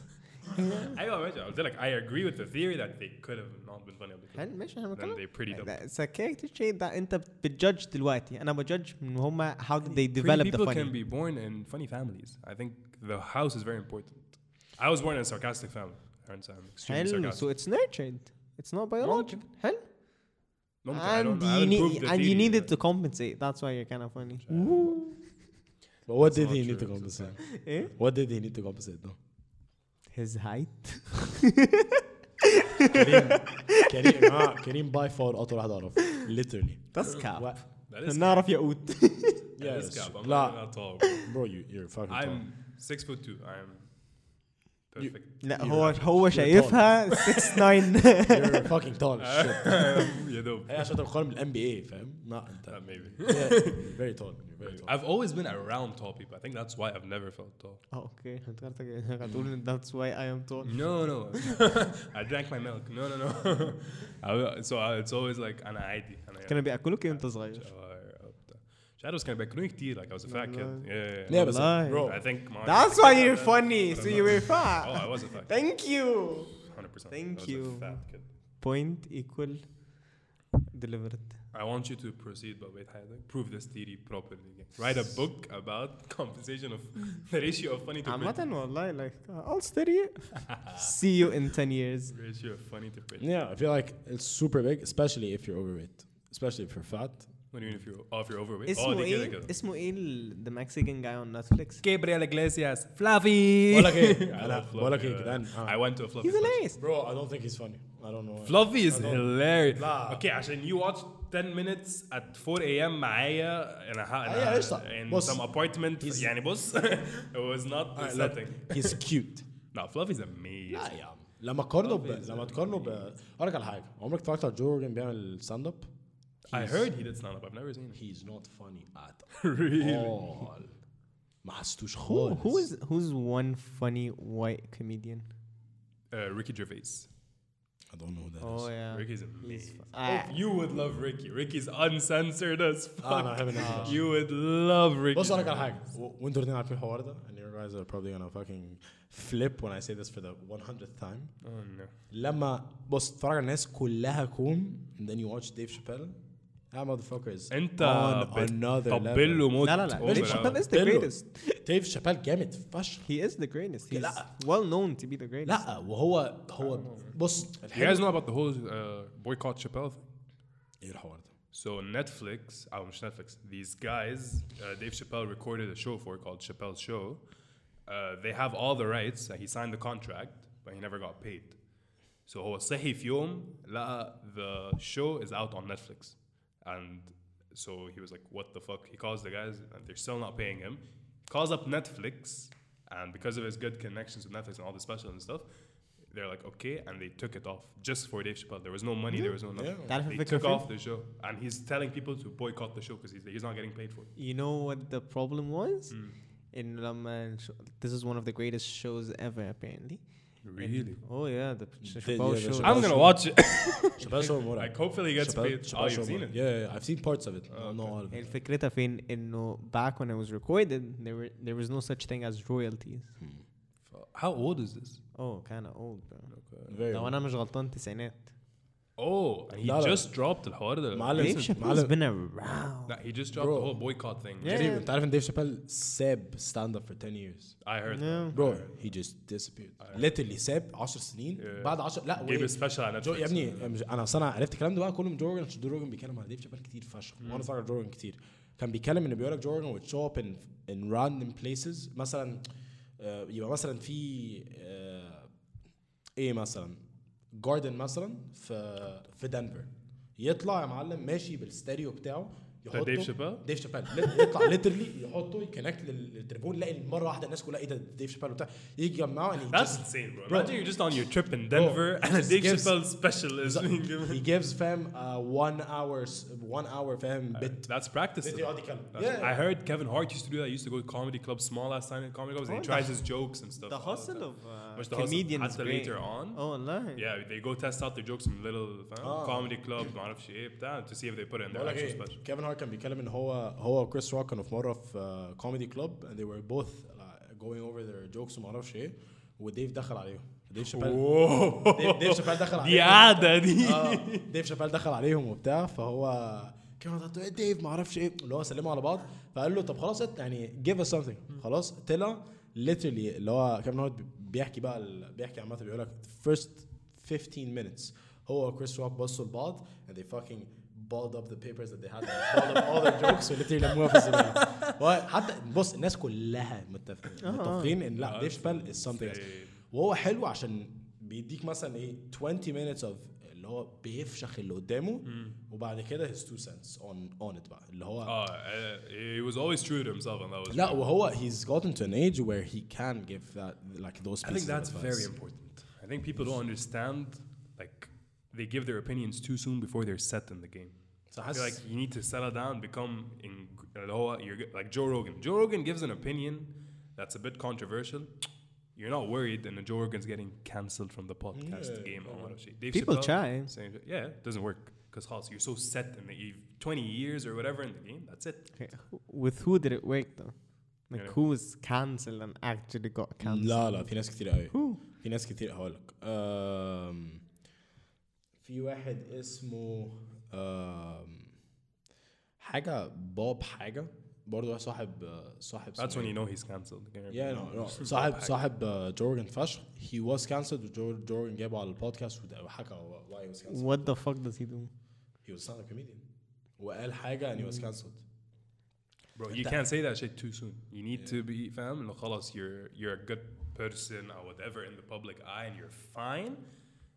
Speaker 2: ايوه ماشي قلت لك I agree with the theory that they could have not been funny
Speaker 3: حلو،
Speaker 2: because
Speaker 3: ماشي احنا
Speaker 2: then
Speaker 3: بنتكلم.
Speaker 2: they pretty dumb.
Speaker 3: It's a character trait that انت بتجudge دلوقتي. انا بجudge من هما how did they
Speaker 2: Pretty
Speaker 3: develop the
Speaker 2: people can
Speaker 3: funny.
Speaker 2: be born in funny families. I think the house is very important. I was born in a sarcastic family. Parents, I'm extremely
Speaker 3: حلو.
Speaker 2: sarcastic.
Speaker 3: So it's nurtured. It's not biological. حلو.
Speaker 2: ممكن. I don't-
Speaker 3: and
Speaker 2: I haven't
Speaker 3: you,
Speaker 2: proved
Speaker 3: need,
Speaker 2: the
Speaker 3: and
Speaker 2: theory,
Speaker 3: you needed
Speaker 2: but-
Speaker 3: to compensate. That's why you're kind of funny.
Speaker 1: but what
Speaker 2: That's
Speaker 1: did he
Speaker 2: not
Speaker 1: need to
Speaker 2: true.
Speaker 1: compensate
Speaker 3: Eh?
Speaker 1: what did he need to compensate though
Speaker 3: His height.
Speaker 1: كريم كريم [LAUGHS] يا جماعة، كريم باي فار اطول واحد اعرفه literally
Speaker 3: That's cap.
Speaker 1: What?
Speaker 2: That is [LAUGHS]
Speaker 3: نعرف يقود.
Speaker 2: Yeah,
Speaker 1: Yeah,
Speaker 2: this
Speaker 1: it's
Speaker 2: guy, but
Speaker 1: true.
Speaker 2: I'm
Speaker 1: لا.
Speaker 2: not that tall.
Speaker 1: Bro, you, you're fucking tall.
Speaker 2: I'm six foot two. I'm
Speaker 1: You- [LAUGHS]
Speaker 2: perfect.
Speaker 3: لا
Speaker 1: You're-
Speaker 3: هو هو
Speaker 1: you're
Speaker 3: شايفها
Speaker 2: [LAUGHS]
Speaker 3: [LAUGHS] 6 9
Speaker 1: You're fucking tall as shit.
Speaker 2: يا دوب.
Speaker 1: هي
Speaker 2: [LAUGHS]
Speaker 1: عشان تقارن بالان بي اي فاهم؟ لا
Speaker 2: Uh,
Speaker 1: انت
Speaker 2: Maybe.
Speaker 1: yeah,
Speaker 2: [LAUGHS]
Speaker 1: you're very tall. You're very tall.
Speaker 2: I've always been around tall people. I think that's why I've never felt tall.
Speaker 3: اوكي افتكرتك هتقول ان that's why I am
Speaker 1: Oh.
Speaker 3: tall.
Speaker 2: No, [LAUGHS] no. I drank my milk. No, no, [LAUGHS] no. I- so I, it's always like أنا عادي. أنا
Speaker 3: كانوا بياكلوك امتى صغير؟
Speaker 2: uh, شادوز كانوا بياكلوني كتير like I was a fat kid.
Speaker 3: والله.
Speaker 2: Yeah,
Speaker 1: Yeah,
Speaker 2: yeah,
Speaker 1: but
Speaker 3: والله.
Speaker 1: bro,
Speaker 2: yeah. I think my-
Speaker 3: That's why
Speaker 2: [LAUGHS]
Speaker 3: you're funny. So you were
Speaker 2: Oh, I
Speaker 3: fat.
Speaker 2: was a fat kid.
Speaker 3: Thank you.
Speaker 2: 100%.
Speaker 3: Thank
Speaker 2: I was
Speaker 3: you.
Speaker 2: a fat kid.
Speaker 3: Point equal delivered.
Speaker 2: I want you to proceed, but wait, Hayadak, prove this theory properly. Write a book about [LAUGHS] compensation of the ratio of funny to pretty.
Speaker 3: عامة والله like uh, I'll [LAUGHS] study it. See you in 10 years.
Speaker 2: Ratio of funny to pretty.
Speaker 1: yeah, I feel like it's super big, especially if you're overweight. especially if you're fat.
Speaker 2: What do you mean if you're oh if you're overweight؟ اه
Speaker 3: اسمه
Speaker 2: دي كده
Speaker 3: ايه
Speaker 2: كده
Speaker 3: اسمه ايه ذا مكسيكان جاي اون نتفليكس
Speaker 2: جابريال اجلاسياس فلافي
Speaker 1: بقول لك ايه انا بقول لك ايه جدعان
Speaker 2: I
Speaker 1: آه.
Speaker 2: went to a fluffy
Speaker 3: هيز
Speaker 2: place.
Speaker 3: ليست
Speaker 1: bro I don't think he's funny I don't know
Speaker 2: Fluffy is hilarious.
Speaker 1: لا.
Speaker 2: اوكي عشان you watch 10 minutes at 4 a.m. معايا انا ه...
Speaker 1: أيوة،
Speaker 2: انا
Speaker 1: قشطة.
Speaker 2: in
Speaker 1: بص.
Speaker 2: some apartment
Speaker 1: He's-
Speaker 2: يعني بص [LAUGHS] it was not
Speaker 1: Alright,
Speaker 2: the
Speaker 1: look,
Speaker 2: setting.
Speaker 1: he's
Speaker 2: [LAUGHS]
Speaker 1: cute
Speaker 2: No, Fluffy's amazing.
Speaker 1: لا يا عم لما تقارنه ب... لما تقارنه ب اقول لك على حاجه عمرك اتفرجت على جو روجن بيعمل ستاند اب؟
Speaker 2: I heard he did stand up. I've never seen it.
Speaker 1: he's not funny at
Speaker 2: [LAUGHS] really?
Speaker 1: all ما حسيتوش
Speaker 3: Who,
Speaker 1: خالص
Speaker 3: who is who's one funny white comedian?
Speaker 2: Uh, Ricky Gervais.
Speaker 1: I don't know who that
Speaker 3: Oh yeah.
Speaker 2: Ricky's
Speaker 3: He's fu-
Speaker 2: amazing.
Speaker 3: Ah.
Speaker 2: Oh, you would love Ricky. Ricky's uncensored as
Speaker 1: آه، انا
Speaker 2: fuck.
Speaker 1: بحب الناس دي.
Speaker 2: you would love Ricky.
Speaker 1: بص اقول لك على حاجه و- وانتوا الاثنين عارفين الحوار ده and you guys are probably gonna fucking flip when I say this for the 100th time
Speaker 2: Oh no.
Speaker 1: لما بص اتفرج على الناس كلها كوم and then you watch Dave Chappelle Ah, that motherfucker is
Speaker 2: انت
Speaker 1: on
Speaker 2: بت-
Speaker 1: another level
Speaker 2: طبله موت
Speaker 3: لا لا لا.
Speaker 2: أوبر
Speaker 3: Dave
Speaker 2: أوي.
Speaker 3: Chappelle is the
Speaker 1: بيلو.
Speaker 3: greatest.
Speaker 1: Dave Chappelle جامد فشخ
Speaker 3: He is the greatest. He's
Speaker 1: لا.
Speaker 3: well known to be the greatest.
Speaker 1: لا وهو هو بص
Speaker 2: You guys
Speaker 1: الحلو
Speaker 2: know about the whole uh, boycott Chappelle thing?
Speaker 1: ايه الحوار ده
Speaker 2: So Netflix, oh, مش Netflix. These guys, uh, Dave Chappelle recorded a show for called Chappelle's Show. Uh, they have all the rights. He signed the contract, but he never got paid. So هو صحي في يوم لقى the show is out on Netflix, and so he was like, "What the fuck?" He calls the guys, and they're still not paying him. Calls up Netflix, and because of his good connections with Netflix and all the specials and stuff. They're like okay, and they took it off just for Dave Chappelle. There was no money, there was no nothing.
Speaker 1: Yeah.
Speaker 3: تعرف
Speaker 2: They
Speaker 3: الفكرة
Speaker 2: took
Speaker 3: فين؟
Speaker 2: off the show, and he's telling people to boycott the show because he's, he's not getting paid for it.
Speaker 3: You know what the problem was? In Lama, this is one of the greatest shows ever, apparently.
Speaker 2: Really?
Speaker 3: Oh yeah, the
Speaker 1: The-
Speaker 3: Ch- Chappelle
Speaker 1: yeah, the
Speaker 3: show.
Speaker 1: Chappelle-
Speaker 2: I'm gonna watch it.
Speaker 1: Chappelle show مرعب
Speaker 2: like, hopefully, he gets paid.
Speaker 1: Chappelle-
Speaker 2: Oh,
Speaker 1: Chappelle show Ah,
Speaker 2: you've
Speaker 1: مرعب.
Speaker 2: seen it.
Speaker 1: Yeah, yeah, I've seen parts of it. No, not all of it.
Speaker 3: الفكرتها فين انه back when it was recorded there were there was no such thing as royalties.
Speaker 2: How old is this?
Speaker 3: Oh, kinda old bro.
Speaker 1: Very
Speaker 3: لو
Speaker 1: well.
Speaker 3: انا مش غلطان تسعينات.
Speaker 2: Oh, and he
Speaker 1: لا، لا.
Speaker 2: just dropped the
Speaker 1: معلم.
Speaker 2: الحوار
Speaker 3: Dave
Speaker 1: Listen,
Speaker 3: Chappelle's
Speaker 1: معلم.
Speaker 3: been around.
Speaker 2: No, he just dropped
Speaker 1: Bro.
Speaker 2: the whole boycott thing.
Speaker 3: Yeah.
Speaker 1: Kareem, انت عارف ان ديف شابيل ساب stand up for 10 years
Speaker 2: I heard.
Speaker 3: Yeah.
Speaker 2: that.
Speaker 1: bro he just disappeared literally ساب 10 سنين
Speaker 2: Yeah.
Speaker 1: بعد 10 لا
Speaker 2: Gave a
Speaker 1: wait.
Speaker 2: special on
Speaker 1: جو
Speaker 2: Netflix.
Speaker 1: يا ابني مش- انا اصل انا عرفت الكلام ده بقى كله من جو روجن عشان جو روجن بيتكلم على ديف شابيل كتير فشخ وانا اتفرج على جو روجن كتير كان بيتكلم ان بيقول لك جو روجن would show up in in random places مثلا آه، يبقى مثلا في آه، ايه مثلا جاردن مثلا في في دنفر يطلع يا معلم ماشي بالستيريو بتاعه يحطه
Speaker 2: Dave Chappelle؟
Speaker 1: ديف شابيل لت- يطلع ليترلي يحطه يكونكت للتليفون يلاقي مره واحده الناس كلها ايه ده ديف شابيل وبتاع يجي يجمعه and he
Speaker 2: That's
Speaker 1: just-
Speaker 2: insane, bro.
Speaker 1: Bro.
Speaker 2: Imagine you're just on your trip in [LAUGHS] Denver and a
Speaker 1: just
Speaker 2: Dave
Speaker 1: gives-
Speaker 2: Chappelle special is [LAUGHS] being
Speaker 1: he
Speaker 2: given.
Speaker 1: gives fam uh, one hour one hour fam bit
Speaker 2: That's practice.
Speaker 1: bit يقعد يتكلم
Speaker 2: That's- I heard Kevin Hart used to do that. He used to go to comedy clubs, small ass sign comedy clubs, and
Speaker 3: Oh,
Speaker 2: he
Speaker 3: the-
Speaker 2: tries his jokes and stuff.
Speaker 3: The
Speaker 2: all the
Speaker 3: hustle
Speaker 2: time.
Speaker 3: of uh,
Speaker 2: Which the hustle-
Speaker 3: comedians
Speaker 2: حتى
Speaker 3: great.
Speaker 2: later on.
Speaker 3: Oh, والله.
Speaker 2: Yeah, they go test out their jokes in little فاهم؟
Speaker 1: آه.
Speaker 2: comedy club ما اعرفش ايه بتاع to see if they put it in their
Speaker 1: بقول لك
Speaker 2: actual
Speaker 1: ايه
Speaker 2: special.
Speaker 1: كيفن هارت كان بيتكلم ان هو هو وكريس روك كانوا في مره في كوميدي كلوب uh, and they were both uh, going over their jokes وما اعرفش ايه وديف دخل عليهم ديف شابيل
Speaker 2: [LAUGHS]
Speaker 1: ديف- ديف شابيل دخل عليهم
Speaker 2: دي قعده
Speaker 3: [LAUGHS]
Speaker 2: دي
Speaker 3: Oh.
Speaker 1: آه، ديف شابيل دخل عليهم وبتاع فهو كيفن هارت قال له، ايه ديف ما اعرفش ايه اللي هو سلموا على بعض فقال له طب خلاص ات- يعني give us something خلاص طلع literally اللي هو كيفن هارت بيحكي بقى ال- بيحكي عامه بيقول لك first 15 minutes هو وكريس روك بصوا لبعض and they fucking balled up the papers that they had and balled up all their jokes وليتري لموها في الزباله هو حتى بص الناس كلها متفقين متفقين ان لا ديف شابيل is something else وهو حلو عشان بيديك مثلا ايه 20 minutes of اللي هو بيفشخ اللي قدامه وبعد كده his two cents on on it بقى اللي هو
Speaker 2: اه آه، Oh, uh, he was always true to himself and that was
Speaker 1: لا وهو he's gotten to an age where he can give that like those
Speaker 2: I think
Speaker 1: pieces of
Speaker 2: that's very
Speaker 1: advice.
Speaker 2: important. I think people don't understand like they give their opinions too soon before they're set in the game. So I feel
Speaker 1: حاسس-
Speaker 2: like you need to settle down, become in اللي هو you're g- like Joe Rogan. Joe Rogan gives an opinion that's a bit controversial. You're not worried, and Joe Rogan's getting cancelled from the podcast game. or whatever shit. Dave
Speaker 3: People
Speaker 2: Chappelle,
Speaker 3: try.
Speaker 2: same shit. yeah, it doesn't work because you're so set in the you've 20 years or whatever in the game. That's it.
Speaker 3: Okay. who- With who did it work though? Like
Speaker 2: Yeah.
Speaker 3: who was cancelled and actually got cancelled?
Speaker 1: لا لا في ناس كتير قوي
Speaker 3: Who?
Speaker 1: في ناس كتير هقول لك أم، في واحد اسمه أم، حاجه بوب حاجه برضه صاحب صاحب
Speaker 2: That's
Speaker 1: اسمه
Speaker 2: when
Speaker 1: إيه؟
Speaker 2: you know he's cancelled. Okay,
Speaker 1: Yeah, no, no. صاحب صاحب آه، جورجن فشخ he was cancelled وجورجن جورجن جابه على البودكاست وحكى why he was cancelled
Speaker 3: What the fuck does he do?
Speaker 1: he was not a comedian وقال حاجه and he was cancelled
Speaker 2: Bro, you
Speaker 1: أنت-
Speaker 2: can't say that shit too soon. You need
Speaker 1: Yeah.
Speaker 2: to be fam. No, خلاص, you're you're a good person or whatever in the public eye, and you're fine,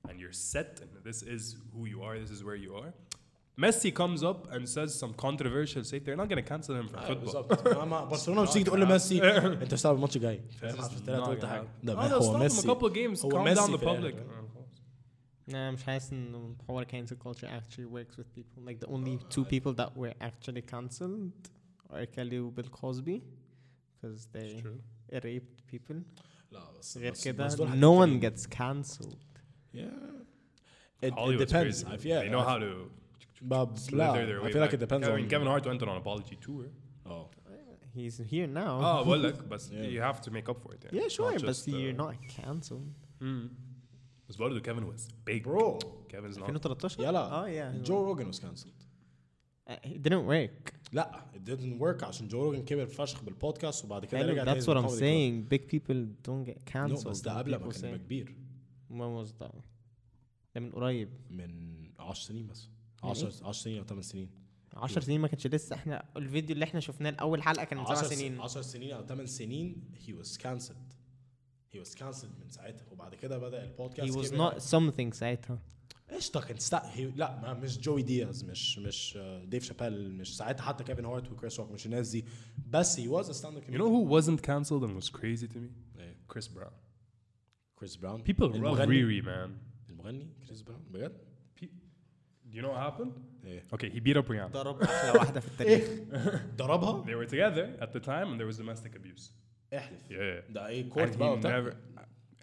Speaker 2: and you're set, and this is who you are. This is where you are. Messi comes up and says some controversial shit. They're not gonna cancel him from
Speaker 1: آه،
Speaker 2: football.
Speaker 1: بالظبط ما- ما- برشلونه مش تيجي تقول لميسي انت بتلعب الماتش الجاي
Speaker 2: This
Speaker 1: فاهم
Speaker 2: is
Speaker 1: عشان طلعت
Speaker 2: not
Speaker 1: قلت
Speaker 2: gonna
Speaker 1: حاجه
Speaker 2: happen.
Speaker 1: ده
Speaker 3: آه،
Speaker 2: Oh, they'll
Speaker 1: هو
Speaker 2: stop him a
Speaker 1: ميسي
Speaker 2: couple games.
Speaker 1: هو
Speaker 2: Calm
Speaker 1: ميسي
Speaker 2: down the
Speaker 1: في الآخر،
Speaker 2: public. Oh,
Speaker 3: انا مش حاسس ان حوار cancel culture actually works with people like the only two people that were actually cancelled are Kelly وبيل كوزبي because
Speaker 2: It's
Speaker 3: they
Speaker 2: true.
Speaker 3: raped people
Speaker 1: لا بس
Speaker 3: غير
Speaker 1: بس-
Speaker 3: كده
Speaker 1: بس دول
Speaker 3: no one
Speaker 1: حاجتين.
Speaker 3: gets cancelled
Speaker 1: Yeah. It, it
Speaker 2: Hollywood's
Speaker 1: depends.
Speaker 2: crazy.
Speaker 1: I
Speaker 2: bro.
Speaker 1: feel,
Speaker 2: They know how to
Speaker 1: But لا,
Speaker 2: slither their way
Speaker 1: I feel like
Speaker 2: back.
Speaker 1: it depends
Speaker 2: I
Speaker 1: on.
Speaker 2: mean, Kevin Hart went on an apology tour.
Speaker 1: Oh.
Speaker 3: he's here now
Speaker 2: Oh, well, look, but
Speaker 1: [LAUGHS] Yeah.
Speaker 2: you have to make up for it.
Speaker 3: yeah
Speaker 2: It's
Speaker 3: sure
Speaker 2: not
Speaker 3: but
Speaker 2: just,
Speaker 3: you're
Speaker 2: uh,
Speaker 3: not cancelled
Speaker 2: Mm. Because برضه Kevin was big.
Speaker 1: Bro.
Speaker 2: Kevin's not.
Speaker 3: 2013
Speaker 1: يلا.
Speaker 3: اه Oh, yeah
Speaker 1: Joe Rogan was cancelled.
Speaker 3: Uh, it didn't work
Speaker 1: لا it didn't work عشان Joe Rogan كبر فشخ بالبودكاست وبعد كده
Speaker 3: Hello,
Speaker 1: رجع تاني
Speaker 3: that's what I'm
Speaker 1: comedy club.
Speaker 3: saying big people don't get
Speaker 1: No,
Speaker 3: cancelled
Speaker 1: بس ده
Speaker 3: and
Speaker 1: قبل ما
Speaker 3: people
Speaker 1: كان يبقى
Speaker 3: say-
Speaker 1: كبير
Speaker 3: when was that ده من قريب
Speaker 1: من 10 سنين بس
Speaker 3: من
Speaker 1: 10 10 سنين او 8 سنين
Speaker 3: 10 سنين ما كانش لسه احنا الفيديو اللي احنا شفناه لاول حلقه كان من 7 سنين
Speaker 1: 10 سنين او 8 سنين he was cancelled he was cancelled من ساعتها وبعد كده بدا
Speaker 3: he
Speaker 1: البودكاست
Speaker 3: was
Speaker 1: كبر.
Speaker 3: not
Speaker 2: يعني.
Speaker 3: something ساعتها
Speaker 1: قشطه كان ستا... هي... لا ما مش جوي دياز مش مش آه، ديف شابيل مش ساعتها حتى كيفن هارت وكريس روك مش الناس دي بس he was a stand up
Speaker 2: You know who wasn't canceled and was crazy to me?
Speaker 1: who
Speaker 2: Chris Brown.
Speaker 1: كريس براون
Speaker 2: People love
Speaker 1: المغني
Speaker 2: Riri, man.
Speaker 1: المغني كريس براون بجد؟
Speaker 2: Pe- Do you know what happened?
Speaker 1: ايه
Speaker 2: Okay, he beat up Rihanna.
Speaker 3: [LAUGHS] ضرب احلى واحده
Speaker 2: [LAUGHS]
Speaker 3: في التاريخ
Speaker 1: ضربها
Speaker 2: They were together at the time, and there was domestic abuse.
Speaker 1: احلف
Speaker 2: Yeah.
Speaker 1: ده ايه
Speaker 2: And
Speaker 1: كورت
Speaker 2: he
Speaker 1: بقى وبتاع
Speaker 2: never.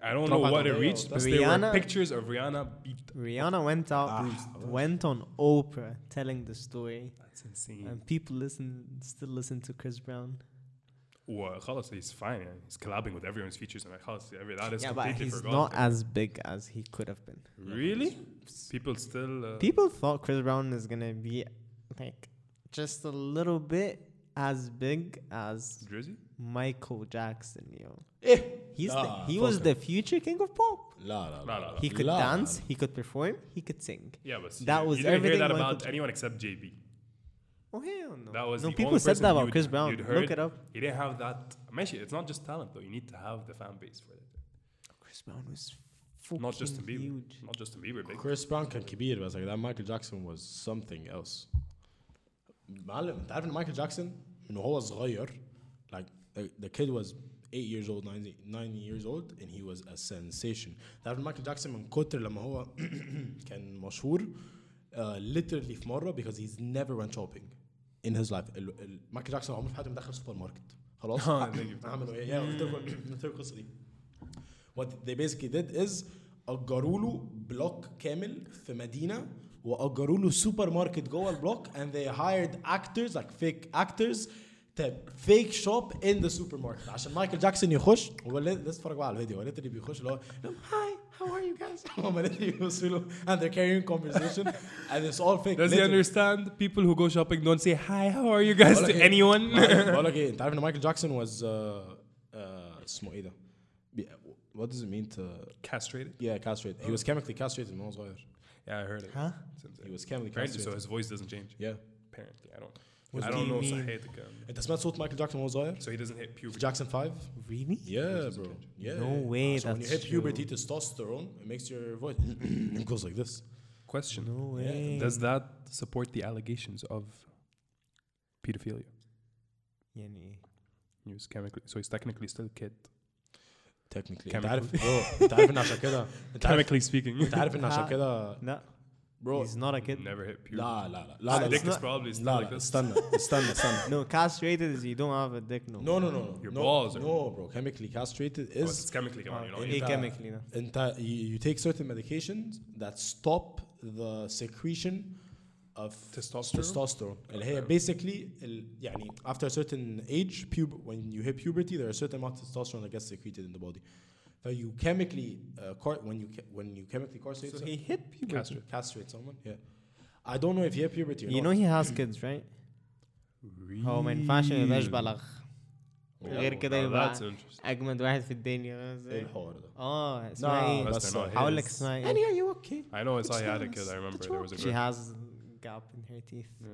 Speaker 2: I don't know
Speaker 1: Trump
Speaker 2: what it
Speaker 1: Ateneo
Speaker 2: reached, but
Speaker 1: وبتاع.
Speaker 2: there were
Speaker 3: Rihanna-
Speaker 2: pictures of Rihanna beat.
Speaker 3: Rihanna went out
Speaker 1: Ah,
Speaker 3: went on Oprah telling the story
Speaker 2: That's insane.
Speaker 3: and people listen still listen to Chris Brown
Speaker 2: Well, خلاص, he's fine. yeah. He's collabing with everyone's features, and like, خلاص, every- that is
Speaker 3: yeah but
Speaker 2: completely
Speaker 3: he's
Speaker 2: forgotten.
Speaker 3: not as big as he could have been
Speaker 2: Really? People still. Uh,
Speaker 3: people thought Chris Brown is gonna be like just a little bit as big as
Speaker 2: Drizzy?
Speaker 3: Michael Jackson yo
Speaker 1: ايه
Speaker 3: he's
Speaker 1: Ah,
Speaker 3: the, he was
Speaker 1: fucker.
Speaker 3: the future king of pop
Speaker 1: لا لا
Speaker 2: لا، لا، لا.
Speaker 3: He could
Speaker 1: لا.
Speaker 3: dance, he could perform, he could sing.
Speaker 2: Yeah, but
Speaker 3: That
Speaker 2: you,
Speaker 3: was
Speaker 2: you didn't hear
Speaker 3: everything
Speaker 2: that
Speaker 3: Michael
Speaker 2: about
Speaker 3: Jackson-
Speaker 2: anyone except JB.
Speaker 3: Oh hell no.
Speaker 2: That was
Speaker 3: no
Speaker 2: the
Speaker 3: people
Speaker 2: only
Speaker 3: said
Speaker 2: person
Speaker 3: that about
Speaker 2: you'd-
Speaker 3: Chris Brown.
Speaker 2: you'd heard.
Speaker 3: Look it up.
Speaker 2: He didn't have that. Actually, it's not just talent though. You need to have the fan base for it.
Speaker 3: Chris Brown was fucking
Speaker 2: Not Justin Bieber.
Speaker 3: huge.
Speaker 2: Not Justin Bieber, big.
Speaker 1: كريس براون كان كبير بس يا جدعان مايكل جاكسون was something else معلم انت عارف ان مايكل جاكسون من وهو صغير like the, the kid was 8 years old 9 9 years old and he was a sensation انت عارف إن مايكل جاكسون من كتر لما هو [CLEARS THROAT] كان مشهور uh, literally في مره because he's never went shopping in his life ال- ال- مايكل جاكسون عمره في حياته ما دخل سوبر ماركت خلاص عملوا ايه يا قلت لكم قلت لكم القصه دي what they basically did is اجروا له بلوك كامل في مدينه واجروا له سوبر ماركت جوه البلوك and they hired actors like fake actors to fake shop in the supermarket عشان مايكل جاكسون يخش هو ليه- لسه اتفرج بقى على الفيديو هو اللي بيخش اللي هو [LAUGHS] هاي هاو ار يو جايز هم literally بيبصوا له and they're carrying conversation and it's all fake
Speaker 2: Does he
Speaker 1: literally.
Speaker 2: understand? People who go shopping don't say hi. How are you guys to [LAUGHS] anyone?
Speaker 1: بقول لك ايه انت عارف ان مايكل جاكسون was uh, uh, اسمه ايه ده؟ بي- what does it mean to
Speaker 2: Castrated.
Speaker 1: Yeah, castrated. He was chemically castrated when I was صغير.
Speaker 2: Yeah, I heard it.
Speaker 3: Huh?
Speaker 2: It's insane.
Speaker 1: He was chemically
Speaker 2: Apparently, so
Speaker 1: castrated.
Speaker 2: his voice doesn't change.
Speaker 1: Yeah.
Speaker 2: Apparently, I don't.
Speaker 1: What
Speaker 2: I
Speaker 1: do
Speaker 2: don't
Speaker 1: you
Speaker 2: know.
Speaker 1: mean?
Speaker 2: صحتك. Um,
Speaker 1: انت سمعت صوت مايكل جاكسون وهو صغير؟
Speaker 2: So he doesn't hit puberty.
Speaker 1: جاكسون 5؟
Speaker 3: Really?
Speaker 1: Yeah, bro. Yeah.
Speaker 3: No way,
Speaker 1: So when you
Speaker 3: that's
Speaker 1: hit puberty
Speaker 3: true.
Speaker 1: testosterone, it makes your voice [CLEARS THROAT] it goes like this.
Speaker 2: Question:
Speaker 3: No
Speaker 1: Yeah,
Speaker 3: way.
Speaker 2: Does that support the allegations of pedophilia?
Speaker 3: يعني
Speaker 2: He was chemically, so he's technically still a kid.
Speaker 1: Technically. Oh, انت
Speaker 2: Chemical.
Speaker 1: عارف [LAUGHS] bro، انت عارف ان عشان كده انت عارف
Speaker 2: Chemically
Speaker 3: [LAUGHS]
Speaker 2: speaking.
Speaker 1: انت عارف ان [LAUGHS] عشان كده
Speaker 3: لا
Speaker 1: برو
Speaker 3: he's not a kid. [LAUGHS]
Speaker 2: Never hit puberty.
Speaker 1: لا لا لا
Speaker 2: His
Speaker 1: لا لا
Speaker 2: dick is
Speaker 1: لا
Speaker 2: probably still
Speaker 1: لا
Speaker 2: like
Speaker 1: لا،
Speaker 2: this.
Speaker 1: استنى [LAUGHS] استنى استنى
Speaker 3: No, castrated is you don't have a dick no.
Speaker 1: No no no
Speaker 2: Your
Speaker 1: no,
Speaker 2: balls are-
Speaker 1: no bro chemically castrated
Speaker 2: Oh,
Speaker 1: is
Speaker 2: it's chemically come on, you know.
Speaker 1: in
Speaker 3: ايه
Speaker 1: إنت-
Speaker 3: chemically ده؟
Speaker 1: انت you, you take certain medications that stop the secretion of
Speaker 2: Testosterone?
Speaker 1: testosterone اللي هي basically ال, يعني after a certain age pub- when you hit puberty there are certain amount of testosterone that gets secreted in the body so you chemically uh, car- when you ca- when you chemically castrate
Speaker 3: So
Speaker 1: some-
Speaker 3: he hit puberty.
Speaker 2: Castrate.
Speaker 1: castrate someone yeah I don't know if you hit puberty or
Speaker 3: You know
Speaker 1: not
Speaker 3: he has kids, right? Oh, هو ما ينفعش ما يبقاش بلغ. غير كده
Speaker 2: Now
Speaker 3: يبقى
Speaker 2: that's interesting.
Speaker 3: اجمد واحد في الدنيا فاهم
Speaker 1: ايه
Speaker 3: ازاي؟
Speaker 1: الحوار ده
Speaker 3: اه اسمها ايه؟
Speaker 2: بس they're not
Speaker 3: هقول لك
Speaker 2: his.
Speaker 3: اسمها
Speaker 1: Annie
Speaker 3: ايه؟
Speaker 1: are you okay
Speaker 2: I know I saw he had a
Speaker 1: It's
Speaker 2: kid. I remember there was a
Speaker 3: She
Speaker 2: girl.
Speaker 3: has gap in her teeth.
Speaker 2: Yeah.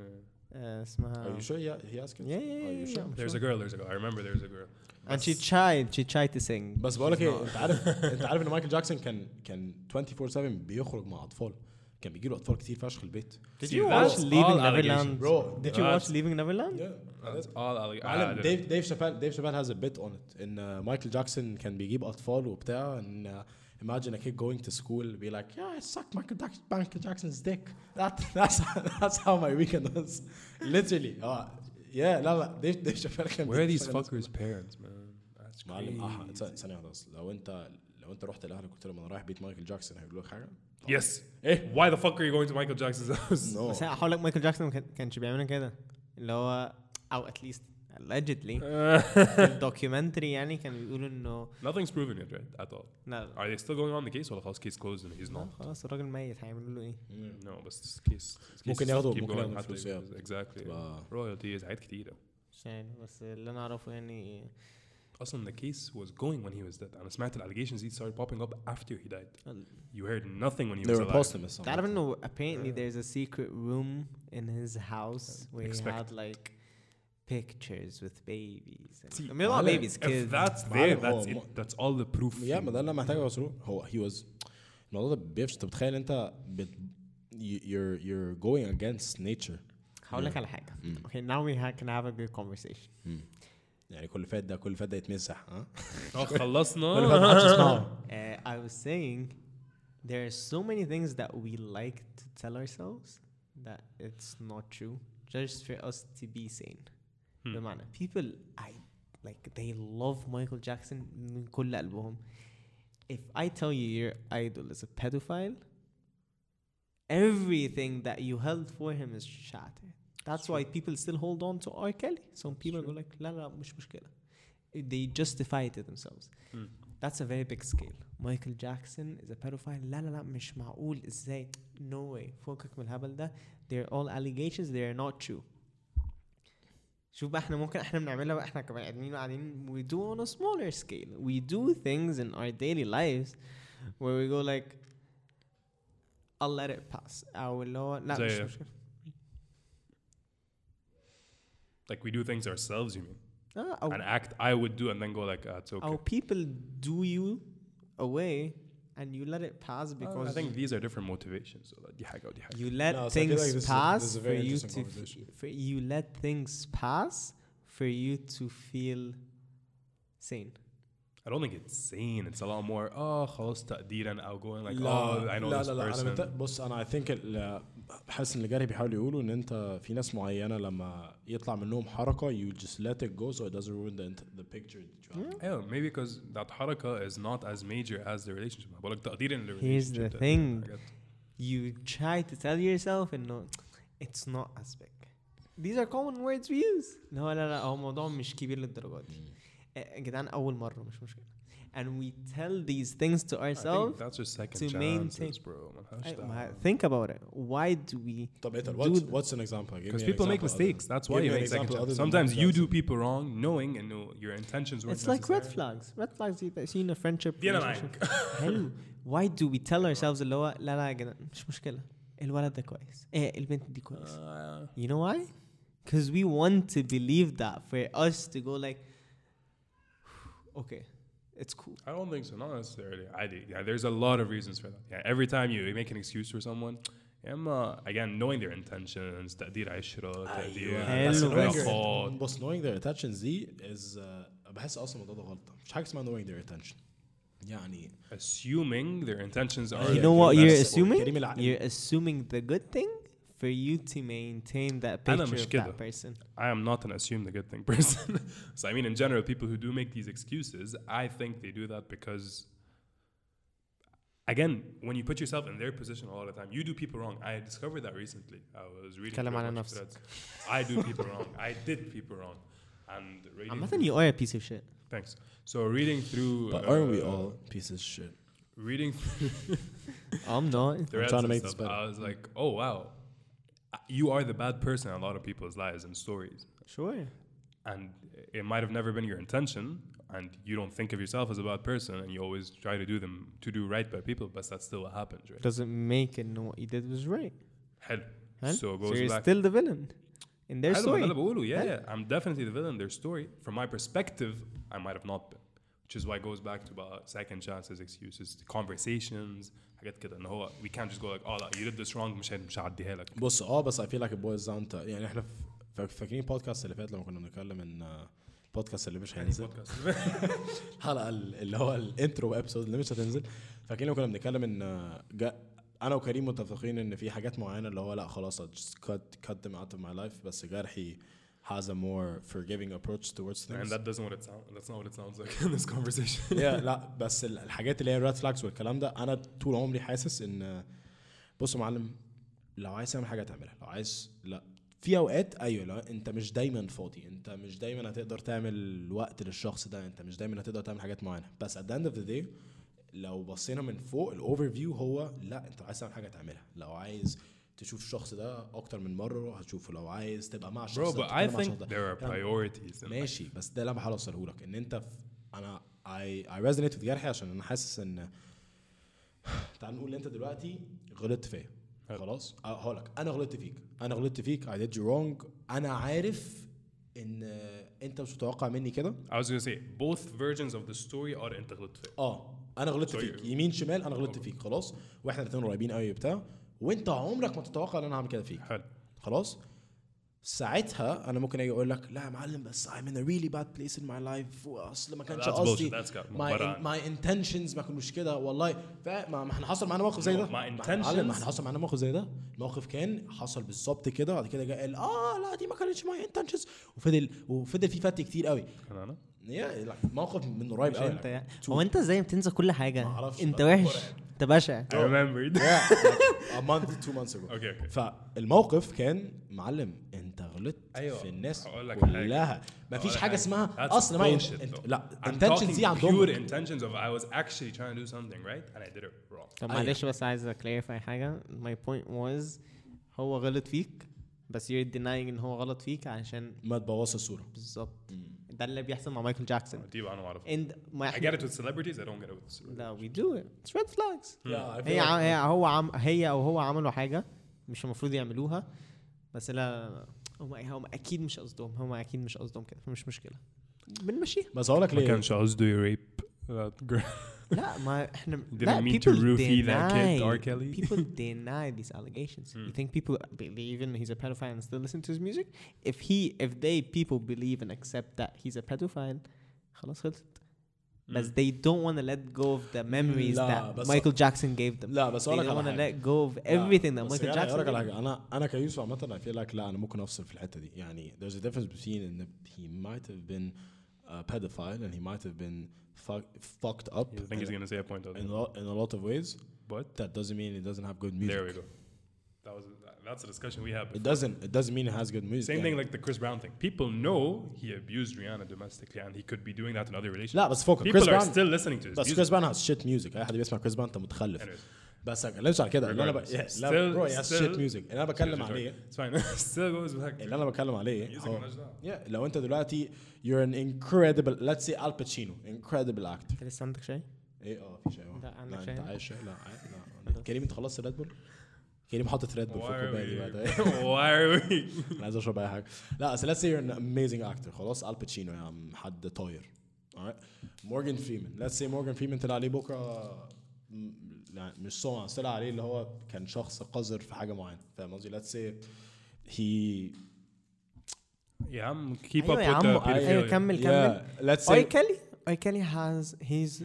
Speaker 3: آه، اسمها
Speaker 1: Are you sure he, he asked you?
Speaker 3: Yeah, yeah,
Speaker 1: Are you
Speaker 3: yeah,
Speaker 1: sure?
Speaker 3: yeah, I'm
Speaker 2: There's
Speaker 3: sure.
Speaker 2: a girl, there's a girl. I remember there's a girl.
Speaker 3: and she tried she tried to sing
Speaker 1: بس بقول لك ايه انت
Speaker 3: [LAUGHS]
Speaker 1: عارف انت عارف ان مايكل جاكسون كان كان 24 7 بيخرج مع اطفال كان بيجي له اطفال كتير فشخ البيت Uh,
Speaker 3: did
Speaker 2: See,
Speaker 3: you watch
Speaker 2: that's
Speaker 3: Leaving
Speaker 2: all
Speaker 3: Neverland
Speaker 2: allegations,
Speaker 1: bro.
Speaker 3: did you watch
Speaker 2: That's-
Speaker 3: Leaving Neverland
Speaker 2: That's all alleg- I
Speaker 1: معلم
Speaker 2: don't-
Speaker 1: ديف ديف شابال ديف شابال هاز ا بيت اون ات ان uh, مايكل جاكسون كان بيجيب اطفال وبتاع ان imagine a kid going to school be like yeah I sucked Michael, Jack- Michael Jackson's dick that [LAUGHS] that's that's how my weekend was [LAUGHS] literally اه yeah لا لا ديف ديف شابال كان
Speaker 2: Where are these
Speaker 1: بيشتغل-
Speaker 2: fuckers' parents, man? That's
Speaker 1: معلم
Speaker 3: إيه.
Speaker 1: اه
Speaker 2: crazy.
Speaker 1: ثانية- ثانية واحدة بس لو انت لو انت رحت لاهلك قلت لهم انا رايح بيت مايكل جاكسون هيقولوا لك حاجة؟
Speaker 2: Yes.
Speaker 1: ايه
Speaker 2: Why the fuck are you going to Michael Jackson's [LAUGHS] house?
Speaker 1: نو
Speaker 3: بس يعني انا هقول لك مايكل جاكسون ما كان- كانش بيعملها كده اللي هو او اتليست
Speaker 2: [LAUGHS]
Speaker 3: allegedly الدوكيومنتري يعني كانوا بيقولوا انه
Speaker 2: Nothing's proven yet, right? At all.
Speaker 3: لا
Speaker 2: Are they still going on the case? Well, the case closed and he's not.
Speaker 3: لا خلاص الراجل ميت هيعملوا له ايه
Speaker 2: No, but this case. this case
Speaker 1: ممكن
Speaker 2: is
Speaker 1: ياخدوا-
Speaker 2: keep
Speaker 1: ممكن
Speaker 2: going
Speaker 1: ياخدوا
Speaker 2: حتى
Speaker 1: فلوس، yeah.
Speaker 2: يبقى- Exactly.
Speaker 1: تبقى-
Speaker 2: Royalties, حاجات كتيرة.
Speaker 3: مش عارف بس اللي انا اعرفه يعني
Speaker 2: اصلا the case was going when he was dead انا سمعت allegations these started popping up after he died you heard nothing when he
Speaker 1: they
Speaker 2: was
Speaker 1: were
Speaker 2: alive
Speaker 1: posthumous
Speaker 3: تعرف انه apparently there's a secret room in his house where he
Speaker 2: Expect.
Speaker 3: had like pictures with babies and-
Speaker 2: See,
Speaker 3: I mean not
Speaker 1: معلم,
Speaker 3: babies
Speaker 2: if
Speaker 3: kids
Speaker 2: that's there
Speaker 1: معلم،
Speaker 2: that's
Speaker 1: هو
Speaker 2: it that's all the proof
Speaker 1: يا ما ده اللي أنا محتاجه يا وسرور هو هي واز الموضوع ده بيفش انت متخيل انت بت you- you're you're going against nature
Speaker 3: هقول لك على حاجه okay now we ha- can have a good conversation
Speaker 1: يعني كل فات ده كل فات ده يتمسح
Speaker 3: آه.
Speaker 1: ها [LAUGHS]
Speaker 2: اه
Speaker 1: كل فات ما حدش
Speaker 2: خلصنا
Speaker 1: يسمعه
Speaker 3: Uh, I was saying there are so many things that we like to tell ourselves that it's not true just for us to be sane.
Speaker 2: Hmm.
Speaker 3: بمعنى people I like they love Michael Jackson من كل قلبهم. If I tell you your idol is a pedophile, everything that you held for him is shattered. That's why people still hold on to R. Kelly. Some people go like لا لا مش مشكلة. They justify it to themselves.
Speaker 2: Hmm.
Speaker 3: That's a very big scale. مايكل جاكسون is a pedophile لا لا لا مش معقول ازاي no way فوقك من الهبل ده they're all allegations they are not true شوف بقى احنا ممكن احنا بنعملها بقى احنا كمان قاعدين قاعدين we do on a smaller scale we do things in our daily lives where we go like I'll let it pass او اللي هو لا
Speaker 2: زي
Speaker 3: مش
Speaker 2: ايه؟
Speaker 3: مشكلة
Speaker 2: like we do things ourselves you mean
Speaker 3: اه او
Speaker 2: an act I would do and then go like ah, it's okay
Speaker 3: او people do you away and you let it pass because
Speaker 2: I think these are different motivations so دي حاجة ودي حاجة
Speaker 3: You let
Speaker 1: No, so I feel
Speaker 3: things
Speaker 1: like this is- this
Speaker 3: pass
Speaker 1: is a
Speaker 3: for
Speaker 1: very
Speaker 3: you
Speaker 1: interesting
Speaker 3: to f-
Speaker 1: conversation.
Speaker 3: for you let things pass for you to feel sane.
Speaker 2: I don't think it's sane it's a lot more اه خلاص تقديرا او going like oh I know
Speaker 1: لا
Speaker 2: this
Speaker 1: لا لا انا مت-
Speaker 2: person
Speaker 1: بص انا اي ثينك حاسس ان اللي جاري بيحاولوا يقولوا ان انت في ناس معينه لما يطلع منهم حركه you just let it go so it doesn't ruin the, int- the picture that you have.
Speaker 2: Yeah, maybe because that haraka is not as major as the relationship. But like تقدير in the relationship.
Speaker 3: Here's the
Speaker 2: ده-
Speaker 3: thing.
Speaker 2: حاجات-
Speaker 3: You try to tell yourself and no, it's not as big. These are common words we use. No, لا لا هو الموضوع مش كبير للدرجة دي. يا جدعان أول مرة مش مشكلة. And we tell these things to
Speaker 2: I think
Speaker 3: ourselves.
Speaker 2: that's your second
Speaker 3: to
Speaker 2: chances,
Speaker 3: maintain-
Speaker 2: bro.
Speaker 3: I- ما- Think about it. Why do we
Speaker 1: طب ايه
Speaker 3: do
Speaker 1: what's,
Speaker 3: th-
Speaker 1: what's an example Give
Speaker 2: Because
Speaker 1: me an
Speaker 2: people make
Speaker 1: example other
Speaker 2: mistakes.
Speaker 1: than-
Speaker 2: That's
Speaker 1: give
Speaker 2: why
Speaker 1: me
Speaker 2: you
Speaker 1: an
Speaker 2: make second
Speaker 1: example other
Speaker 2: chances.
Speaker 1: than
Speaker 2: Sometimes
Speaker 1: Michael
Speaker 2: you
Speaker 1: Jackson.
Speaker 2: do people wrong, knowing and know your intentions weren't
Speaker 3: It's like red
Speaker 2: necessarily-
Speaker 3: flags. Red flags يبقى سين a friendship
Speaker 2: دي أنا
Speaker 3: relationship. [LAUGHS] حلو. Why do we tell ourselves اللي هو لا لا يا جدعان مش مشكلة الولد ده كويس ايه البنت دي كويس
Speaker 2: Uh,
Speaker 3: You know why? Because we want to believe that for us to go like [SIGHS] okay it's cool
Speaker 2: I don't think so. Not necessarily. I do. Yeah, there's a lot of reasons for that. Yeah, every time you make an excuse for someone, I'm, uh, again knowing their intentions. تقدير عشرة. تقدير
Speaker 1: ايوه بس
Speaker 3: حلو.
Speaker 1: knowing
Speaker 3: بس.
Speaker 2: علاقات.
Speaker 1: their- بص knowing their attentions دي is uh, بحس اصلا الموضوع ده غلط مش حاجه اسمها knowing their attention يعني
Speaker 2: assuming their intentions are.
Speaker 3: You know what you're
Speaker 1: بس
Speaker 3: assuming?
Speaker 1: كريم العقل.
Speaker 3: You're assuming the good thing for you to maintain that
Speaker 2: أنا
Speaker 3: picture
Speaker 2: مش
Speaker 3: of
Speaker 2: كده.
Speaker 3: that person
Speaker 2: I am not an assume the good thing [LAUGHS] person. so I mean, in general, people who do make these excuses, I think they do that because, again, when you put yourself in their position a lot of the time, you do people wrong. I discovered that recently. I was reading.
Speaker 3: اتكلم
Speaker 2: through a
Speaker 3: على
Speaker 2: bunch of
Speaker 3: نفسك.
Speaker 2: threads. I do people wrong. I did people wrong, and reading.
Speaker 3: عامة
Speaker 2: through-
Speaker 3: you are a piece of shit
Speaker 2: Thanks. So reading through. uh,
Speaker 1: but aren't we all pieces of shit
Speaker 2: Reading through
Speaker 3: I'm not
Speaker 2: threads
Speaker 1: trying to
Speaker 2: and
Speaker 1: make this
Speaker 2: stuff,
Speaker 1: better.
Speaker 2: I was like, oh wow, you are the bad person in a lot of people's lives and stories.
Speaker 3: sure
Speaker 2: and it might have never been your intention and you don't think of yourself as a bad person and you always try to do them to do right by people but that's still what happens right
Speaker 3: doesn't make it know what you did was right
Speaker 2: Hell.
Speaker 3: Huh?
Speaker 2: so it
Speaker 3: so
Speaker 2: goes
Speaker 3: you're
Speaker 2: back
Speaker 3: still the villain in their
Speaker 2: حلو، ما ده
Speaker 3: story
Speaker 2: اللي بقوله yeah,
Speaker 3: حلو.
Speaker 2: yeah I'm definitely the villain in their story from my perspective I might have not been which is why it goes back to about second chances excuses conversations حاجات كده ان هو we can't just go like oh لا you did this wrong مش مش هعديها لك
Speaker 1: بص اه بس اي فيل لايك البويز ده انت يعني احنا ف- فاكرين البودكاست اللي فات لما كنا بنتكلم ان آه، البودكاست اللي مش هينزل
Speaker 2: [LAUGHS]
Speaker 1: الحلقه ال- اللي هو الانترو ابسود اللي مش هتنزل فاكرين لما كنا بنتكلم ان آه، جا انا وكريم متفقين ان في حاجات معينه اللي هو لا خلاص I just cut cut them out of my life بس جرحي has a more forgiving approach towards
Speaker 2: and
Speaker 1: things
Speaker 2: that doesn't what it sounds that's not what it sounds like in [LAUGHS] this conversation
Speaker 1: yeah, لا بس ال- الحاجات اللي هي الريد فلاجز والكلام ده انا طول عمري حاسس ان آه، بص يا معلم لو عايز تعمل حاجه تعملها لو عايز لا في اوقات ايوه لا انت مش دايما فاضي انت مش دايما هتقدر تعمل وقت للشخص ده انت مش دايما هتقدر تعمل حاجات معينه بس at the end of the day لو بصينا من فوق الاوفر فيو هو لا انت عايز تعمل حاجه تعملها لو عايز تشوف الشخص ده اكتر من مره هتشوفه لو عايز تبقى مع الشخص
Speaker 2: bro
Speaker 1: ده
Speaker 2: but
Speaker 1: تتكلم
Speaker 2: I
Speaker 1: مع الشخص
Speaker 2: think
Speaker 1: ده.
Speaker 2: there are
Speaker 1: الكلام ده.
Speaker 2: priorities in life.
Speaker 1: ماشي بس ده اللي انا بحاول اوصله لك ان انت في انا اي اي ريزونيت في جرحي عشان انا حاسس ان [SIGHS] تعال نقول انت دلوقتي غلطت فيا
Speaker 2: حلو.
Speaker 1: خلاص أه، هقول لك انا غلطت فيك انا غلطت فيك اي ديد يو رونج انا عارف ان آه، انت مش متوقع مني كده
Speaker 2: I was gonna say both versions of the story are انت غلطت فيها
Speaker 1: اه انا غلطت
Speaker 2: Sorry.
Speaker 1: فيك يمين شمال انا غلطت فيك خلاص واحنا الاثنين قريبين قوي بتاع وانت عمرك ما تتوقع ان انا هعمل كده فيك
Speaker 2: حلو
Speaker 1: خلاص ساعتها انا ممكن اجي اقول لك لا يا معلم بس I'm in a really bad place in my life واصل ما كانش
Speaker 2: That's
Speaker 1: قصدي
Speaker 2: bullshit. That's got-
Speaker 1: my,
Speaker 2: برا.
Speaker 1: my intentions ما كانوش كده والله فما ما احنا حصل معانا موقف زي
Speaker 2: No,
Speaker 1: ده
Speaker 2: my
Speaker 1: ما احنا- معلم، ما
Speaker 2: intentions-
Speaker 1: احنا حصل معانا موقف زي ده الموقف كان حصل بالظبط كده بعد كده جه قال اه لا دي ما كانتش my intentions وفضل وفضل فيه فت كتير قوي
Speaker 2: كان انا
Speaker 1: يا- لا، موقف من قريب
Speaker 3: مش
Speaker 1: قوي
Speaker 3: انت يعني. هو انت ازاي بتنسى كل حاجه
Speaker 1: معرفش
Speaker 3: انت
Speaker 1: بقى.
Speaker 3: وحش انت بشع
Speaker 2: I remembered
Speaker 1: yeah, like a month, two months ago.
Speaker 2: [LAUGHS] Okay, okay.
Speaker 1: فالموقف كان معلم انت غلطت
Speaker 2: أيوة،
Speaker 1: أيوة. في الناس
Speaker 2: هقول لك حاجة.
Speaker 1: كلها مفيش
Speaker 2: ولا
Speaker 1: حاجه اسمها
Speaker 2: That's
Speaker 1: اصل ما
Speaker 2: bullshit,
Speaker 1: انت
Speaker 2: though.
Speaker 1: لا
Speaker 2: I'm
Speaker 1: intentions
Speaker 2: talking
Speaker 1: دي
Speaker 2: pure
Speaker 1: عندهم
Speaker 2: intentions of I was actually trying to do something right and I did it wrong.
Speaker 3: طب
Speaker 1: أيوة.
Speaker 3: معلش بس عايز اكلاريفاي حاجه my point was هو غلط فيك بس you're denying ان هو غلط فيك علشان
Speaker 1: ما تبوظش الصوره
Speaker 3: بالظبط ده اللي بيحصل مع مايكل جاكسون
Speaker 2: دي بقى انا ما اعرف.
Speaker 3: and ما
Speaker 2: I
Speaker 3: احنا
Speaker 2: get it with celebrities I don't get it with celebrities.
Speaker 3: لا we do it it's red flags
Speaker 2: Hmm.
Speaker 1: Yeah, I feel
Speaker 3: هي
Speaker 1: like-
Speaker 3: ع- هي هو عم هي او هو عملوا حاجه مش المفروض يعملوها بس لا هم هم اكيد مش قصدهم هم اكيد مش قصدهم كده فمش مشكله بنمشيها
Speaker 1: بس هقول لك
Speaker 2: ما
Speaker 1: ليه
Speaker 2: كانش قصده يريب that uh, girl.
Speaker 3: لا ما احنا
Speaker 2: [LAUGHS] Didn't
Speaker 3: لا
Speaker 2: mean to
Speaker 3: people
Speaker 2: roofie that kid,
Speaker 3: deny-
Speaker 2: R. Kelly. [LAUGHS] Hmm.
Speaker 3: people deny these allegations. You think people believe in he's a pedophile and still listen to his music? If he, if they people believe and accept that he's a pedophile, خلاص خلصت.
Speaker 2: Hmm.
Speaker 3: But they don't want to let go of the memories
Speaker 1: لا،
Speaker 3: that
Speaker 1: بس-
Speaker 3: Michael Jackson gave them.
Speaker 1: لا بس
Speaker 3: They
Speaker 1: هقول لك
Speaker 3: don't
Speaker 1: على
Speaker 3: want to
Speaker 1: حاجه
Speaker 3: let go of
Speaker 1: لا،
Speaker 3: everything that
Speaker 1: بس
Speaker 3: Michael
Speaker 1: يعني هقول
Speaker 3: Jackson
Speaker 1: لك على
Speaker 3: gave
Speaker 1: حاجه انا انا كيوسف عامه اي فيل لايك لا انا ممكن افصل في الحته دي يعني there's a difference between ان he might have been a pedophile and he might have been fuck- fucked up
Speaker 2: [LAUGHS] I think he's gonna say a point of
Speaker 1: in a lot- in a lot of ways
Speaker 2: But
Speaker 1: that doesn't mean it doesn't have good music
Speaker 2: there we go. That was that's a discussion we had.
Speaker 1: It
Speaker 2: before.
Speaker 1: doesn't. It doesn't mean it has good music.
Speaker 2: Same thing
Speaker 1: يعني.
Speaker 2: like the Chris Brown thing. People know he abused Rihanna domestically and he could be doing that in other
Speaker 1: لا
Speaker 2: relationships.
Speaker 1: بس فوق
Speaker 2: People
Speaker 1: كريس
Speaker 2: are
Speaker 1: بان
Speaker 2: still listening to his
Speaker 1: بس
Speaker 2: music.
Speaker 1: كريس بان has shit music أي حد بيسمع كريس بان أنت متخلف
Speaker 2: Anyways.
Speaker 1: بس ما اتكلمش على كده اللي أنا ب...
Speaker 2: Regardless.
Speaker 1: yeah, لا
Speaker 2: Still-
Speaker 1: برو he has shit
Speaker 2: still-
Speaker 1: music اللي أنا بتكلم عليه
Speaker 2: It's fine. [LAUGHS] Still goes back.
Speaker 1: اللي أنا بتكلم عليه
Speaker 2: Music
Speaker 1: هو
Speaker 2: مالناش دعوة.
Speaker 1: yeah, لو أنت دلوقتي you're an incredible let's say Al Pacino incredible actor
Speaker 3: انت لسه عندك شاي؟
Speaker 1: إيه أه في شيء أهو.
Speaker 3: لا، عندك
Speaker 1: أنت
Speaker 3: شاي؟
Speaker 1: عايز شاي؟ لا عاي- لا كريم أنت خلصت ريد بول؟ كريم حاطط ريد بول في
Speaker 2: Why are
Speaker 1: الكوباية
Speaker 2: we?
Speaker 1: دلوقتي
Speaker 2: [LAUGHS] Why are we?
Speaker 1: انا عايز اشرب اي حاجه لا بس let's say you're an amazing actor خلاص Al Pacino يا عم حد طاير alright مورجان فريمان let's say مورجان فريمان طلع عليه بكره م- لا، مش سمعه طلع عليه اللي هو كان شخص قذر في حاجه معينه فاهم قصدي let's say he
Speaker 2: يا عم keep up
Speaker 3: أيوة يا
Speaker 2: with the
Speaker 3: عم، أيوة
Speaker 2: pedophilia.
Speaker 3: كمل كمل.
Speaker 1: yeah let's
Speaker 3: R.
Speaker 1: say
Speaker 3: Kelly, R. Kelly has his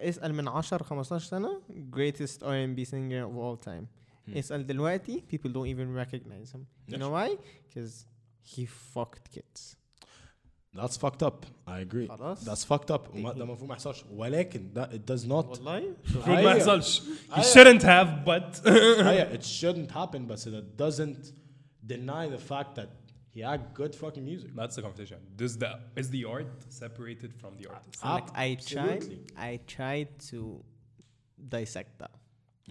Speaker 3: اسأل من 10 15 سنة greatest R&B singer of all time.
Speaker 1: Hmm.
Speaker 3: اسأل دلوقتي people don't even recognize him. You know why? Because he fucked kids.
Speaker 1: that's fucked up I agree
Speaker 3: خلاص.
Speaker 1: that's fucked up وما ده المفروض ما يحصلش ولكن ده it does not
Speaker 3: والله
Speaker 2: المفروض ما
Speaker 1: أيوة.
Speaker 2: يحصلش. He
Speaker 1: أيوة.
Speaker 2: shouldn't have but
Speaker 1: [LAUGHS]
Speaker 2: [LAUGHS]
Speaker 1: yeah, it shouldn't happen but it doesn't deny the fact that he had good fucking music
Speaker 2: That's the conversation. Does the is the art separated from the artist?
Speaker 1: Ah.
Speaker 3: like I tried
Speaker 1: Absolutely.
Speaker 3: I tried to dissect that.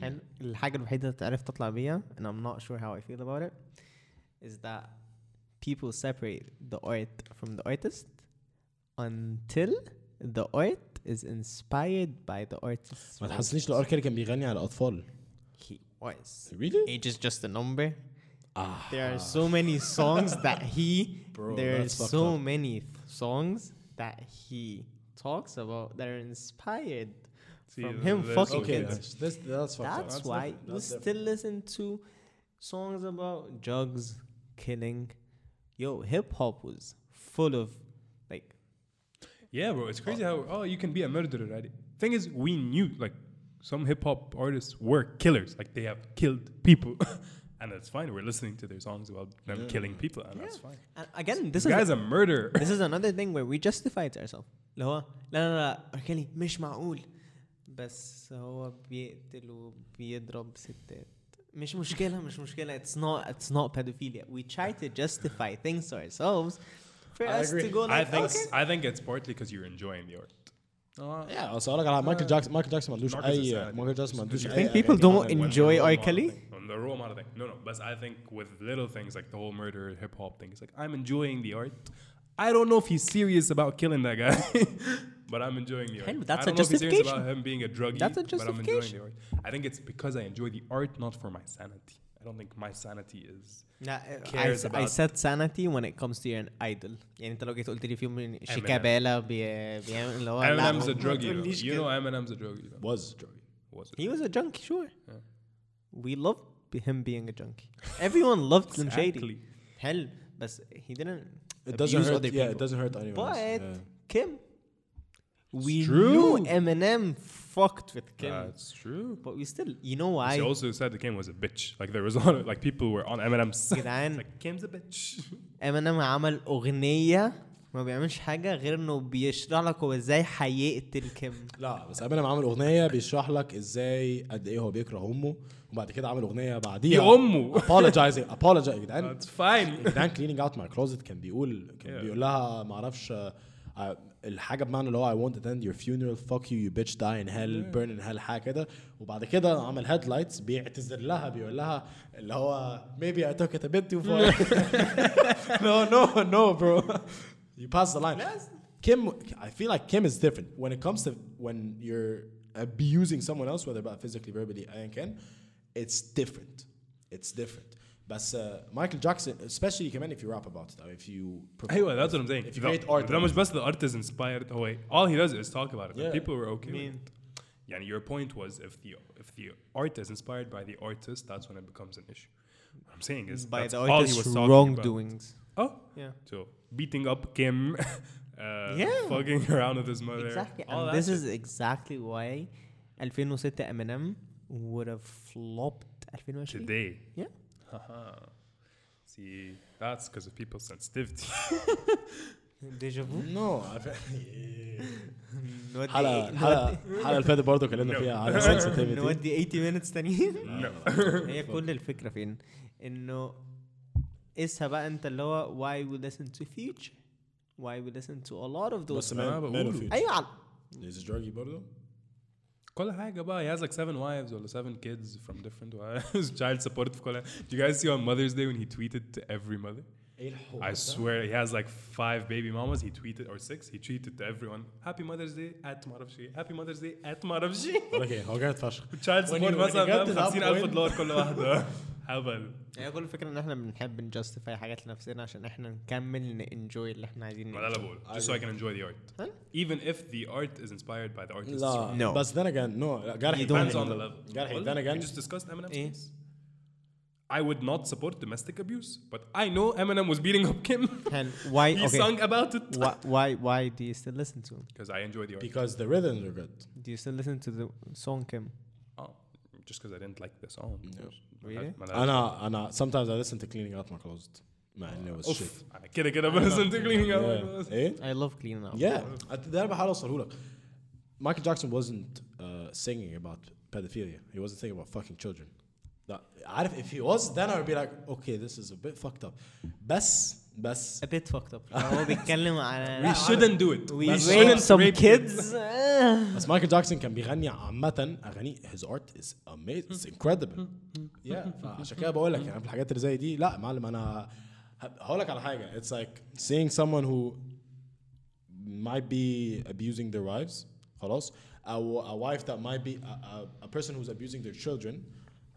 Speaker 3: حلو الحاجة الوحيدة اللي تعرف تطلع بيها and I'm not sure how I feel about it is that people separate the art from the artist until the art is inspired by the artist.
Speaker 1: ما تحسنيش لو R. Kelly كان بيغني على اطفال
Speaker 3: He was.
Speaker 1: really
Speaker 3: Age is just a number.
Speaker 1: Ah.
Speaker 3: There are so many songs that he.
Speaker 1: [LAUGHS] Bro,
Speaker 3: there are
Speaker 1: that's fucked
Speaker 3: so
Speaker 1: up.
Speaker 3: many th- songs that he talks about that are inspired
Speaker 2: See,
Speaker 3: from
Speaker 2: th-
Speaker 3: him
Speaker 2: there's-
Speaker 3: fucking
Speaker 1: Okay,
Speaker 3: kids.
Speaker 1: uh, that's, this, that's fucked up.
Speaker 3: That's,
Speaker 2: That's
Speaker 3: why
Speaker 1: different.
Speaker 3: you
Speaker 1: That's
Speaker 3: still
Speaker 1: different.
Speaker 3: listen to songs about drugs, killing. Yo, hip hop was full of like
Speaker 2: Yeah, bro, it's crazy how oh you can be a murderer. Right? Thing is, we knew like some hip hop artists were killers. Like they have killed people, [LAUGHS] and that's fine. We're listening to their songs about them killing people, and that's fine.
Speaker 3: and again this
Speaker 2: This
Speaker 3: is
Speaker 2: guy's a murderer.
Speaker 3: this is another thing where we justify it to ourselves. ah, اللي هو لا لا لا R. Kelly مش معقول بس هو بيقتل وبيضرب ستات مش مشكلة مش مشكلة it's not it's not pedophilia we try to justify things to ourselves for
Speaker 1: I
Speaker 3: us
Speaker 1: agree.
Speaker 3: to go
Speaker 2: I
Speaker 3: like
Speaker 2: think
Speaker 3: okay
Speaker 2: I think it's partly because you're enjoying the art.
Speaker 3: Ah.
Speaker 1: Yeah, اصل هقولك على مايكل جاكسون مايكل جاكسون ما عندوش
Speaker 2: Marcus is
Speaker 1: اي
Speaker 2: sad.
Speaker 1: مايكل جاكسون ما عندوش
Speaker 2: You
Speaker 1: اي
Speaker 3: think
Speaker 1: أغاني
Speaker 3: people don't
Speaker 1: عمل-
Speaker 2: When
Speaker 3: enjoy
Speaker 2: the role
Speaker 3: R.
Speaker 2: model
Speaker 3: Kelly?
Speaker 2: thing- On the role model thing. No, no. But I think with little things like the whole murder hip hop thing, it's like I'm enjoying the art. I don't know if he's serious about killing that guy, [LAUGHS] but I'm enjoying the art.
Speaker 3: Hey, but
Speaker 2: I
Speaker 3: that's
Speaker 2: don't
Speaker 3: a
Speaker 2: know if he's serious
Speaker 3: justification.
Speaker 2: about him being a druggie.
Speaker 3: That's a
Speaker 2: But I'm enjoying
Speaker 3: justification.
Speaker 2: the art. I think it's because I enjoy the art, not for my sanity. I don't think my sanity is.
Speaker 3: Nah, I,
Speaker 2: cares
Speaker 3: s- I
Speaker 2: about-
Speaker 3: said sanity when it comes to your idol يعني انت لو جيت قلت لي في يوم من شيكابالا بي- بيعمل اللي هو لا،
Speaker 2: Eminem's
Speaker 3: ما
Speaker 2: a druggie. though.
Speaker 3: تقوليش
Speaker 2: You
Speaker 3: كده.
Speaker 2: know Eminem's a druggie. though.
Speaker 1: was Joey.
Speaker 2: Was it?
Speaker 3: He was a junkie, sure.
Speaker 2: Yeah.
Speaker 3: We loved b- him being a junkie. Everyone loved Slim Shady.
Speaker 2: Exactly.
Speaker 3: Hell, but he didn't.
Speaker 1: It doesn't
Speaker 3: abuse
Speaker 1: hurt.
Speaker 3: other
Speaker 1: Yeah, it
Speaker 3: people.
Speaker 1: doesn't hurt anyone. else.
Speaker 3: But
Speaker 1: Yeah.
Speaker 3: Kim, we
Speaker 2: true.
Speaker 3: knew Eminem fucked with Kim,
Speaker 2: That's true.
Speaker 3: but we still, you know
Speaker 2: She
Speaker 3: why?
Speaker 2: also said the Kim was a bitch. Like there was on like people were on Eminem's [LAUGHS] side.
Speaker 3: جدعان
Speaker 2: Like Kim's a bitch. [LAUGHS]
Speaker 3: Eminem عمل أغنية ما بيعملش حاجة غير إنه بيشرح لك هو إزاي هيقتل كيم.
Speaker 1: لا بس امينيم عامل اغنيه بيشرح لك ازاي قد ايه هو بيكره امه وبعد كده عامل اغنيه بعديها
Speaker 2: يا أمه.
Speaker 1: apologizing apologize يا [LAUGHS] جدعان
Speaker 2: That's fine.
Speaker 1: يا جدعان cleaning out my closet كان بيقول كان
Speaker 2: Yeah.
Speaker 1: بيقول لها ما اعرفش آه، آه، الحاجه بمعنى اللي هو I won't attend your funeral fuck you you bitch die in hell burn in hell حاجه كده وبعد كده عمل هيدلايتس بيعتذر لها بيقول لها اللي هو maybe I took it a bit too far [LAUGHS] no no no bro you pass the line Kim I feel like Kim is different when it comes to when you're abusing someone else whether بقى physically verbally ايا كان it's different it's different بس uh, Michael Jackson especially كمان if you rap about it or if you perform-
Speaker 2: Anyway, that's what I'm saying.
Speaker 1: if you
Speaker 2: The-
Speaker 1: create art
Speaker 2: that much best the art is inspired away. All he does is talk about it. The
Speaker 1: Yeah.
Speaker 2: people were okay.
Speaker 3: I
Speaker 2: with
Speaker 3: mean,
Speaker 2: it. Yeah, and your point was if the if the art is inspired by the artist, that's when it becomes an issue. What I'm saying is
Speaker 3: by
Speaker 2: that's
Speaker 3: the
Speaker 2: all he
Speaker 3: artist's
Speaker 2: was talking
Speaker 3: wrongdoings.
Speaker 2: About. Oh,
Speaker 3: Yeah.
Speaker 2: so beating up Kim, [LAUGHS] uh,
Speaker 3: Yeah.
Speaker 2: fucking around with his mother.
Speaker 3: Exactly.
Speaker 2: all
Speaker 3: And
Speaker 2: that
Speaker 3: this
Speaker 2: shit.
Speaker 3: is exactly why 2006 Eminem would have flopped 2020.
Speaker 2: today.
Speaker 3: Yeah.
Speaker 2: Haha. See, that's because of people's sensitivity.
Speaker 3: Deja
Speaker 2: [LAUGHS]
Speaker 3: vu.
Speaker 1: no I
Speaker 3: نودي
Speaker 1: حلقة
Speaker 3: نودي-
Speaker 1: حلقة الحلقة اللي فاتت برضه اتكلمنا
Speaker 2: No.
Speaker 1: فيها على
Speaker 2: [LAUGHS]
Speaker 1: sensitivity
Speaker 3: نودي 80 minutes تانيين
Speaker 2: no.
Speaker 1: [LAUGHS]
Speaker 3: هي كل الفكرة فين؟ انه قيسها بقى انت اللي هو why we listen to future why we listen to a lot of
Speaker 1: بس
Speaker 3: those
Speaker 1: مان
Speaker 2: بقوله.
Speaker 1: مان فيوتشر
Speaker 3: ايوه على-
Speaker 1: is it druggy برضه
Speaker 2: كل حاجة بقى he has like seven wives or seven kids from different wives [LAUGHS] child support في كل حاجة. Do you guys see on Mother's Day when he tweeted to every mother?
Speaker 1: ايه الحوار
Speaker 2: I swear he has like five baby mamas he tweeted or six he tweeted to everyone Happy Mother's Day at معرفش إيه. Happy Mother's Day at معرفش
Speaker 1: [LAUGHS]
Speaker 2: إيه.
Speaker 1: اوكي هو جامد فشخ
Speaker 2: child
Speaker 1: When you- when
Speaker 2: support
Speaker 1: you get to
Speaker 2: مثلا فاهم
Speaker 1: that
Speaker 2: 50000
Speaker 1: point-
Speaker 2: دولار
Speaker 1: [LAUGHS]
Speaker 2: كل [LAUGHS] واحدة هبل
Speaker 3: هي كل الفكرة ان احنا بنحب نجستيفاي حاجات لنفسنا عشان احنا نكمل نانجوي اللي احنا عايزين
Speaker 2: ما ده اللي بقوله just so I can enjoy the art
Speaker 3: Huh?
Speaker 2: even if the art is inspired by the artist
Speaker 1: لا
Speaker 3: No.
Speaker 1: بس then again no لا، جرحي
Speaker 3: You
Speaker 2: depends
Speaker 3: don't-
Speaker 2: on the level.
Speaker 1: جرحي
Speaker 2: Well,
Speaker 1: then
Speaker 2: we
Speaker 1: again
Speaker 2: just discussed Eminem's
Speaker 3: Eh?
Speaker 2: case. I would not support domestic abuse, but I know Eminem was beating up Kim.
Speaker 1: [LAUGHS]
Speaker 3: And why
Speaker 2: he
Speaker 3: okay
Speaker 2: sung about it
Speaker 3: why, why why do you still listen to him?
Speaker 2: because I enjoy the art.
Speaker 1: because the rhythms are good
Speaker 3: Do you still listen to the song Kim?
Speaker 2: oh, just because I didn't like the song.
Speaker 3: Really?
Speaker 2: My dad-
Speaker 1: انا انا sometimes I listen to cleaning out my closet مع انه was shit
Speaker 2: Oof. I kid, I kid, I'm innocent to cleaning up.
Speaker 1: Yeah. ايه
Speaker 3: I love clean up.
Speaker 1: Yeah,
Speaker 2: Oh,
Speaker 1: I- ده انا بحاول اوصله لك. Michael Jackson wasn't uh, singing about pedophilia. He wasn't singing about fucking children. That, عارف if he was then I would be like okay this is a bit fucked up. بس بس
Speaker 3: A bit fucked up. [LAUGHS] هو بيتكلم على
Speaker 2: We shouldn't do it.
Speaker 3: we
Speaker 2: We
Speaker 3: rape
Speaker 2: shouldn't
Speaker 3: some
Speaker 2: rape
Speaker 3: kids.
Speaker 1: بس Michael Jackson كان بيغني عامة أغاني his art is amazing it's incredible. yeah فعشان كده بقول لك يعني في الحاجات اللي زي دي لا معلم أنا ه- هقول لك على حاجة it's like seeing someone who might be abusing their wives خلاص أو a wife that might be a, a, a person who's abusing their children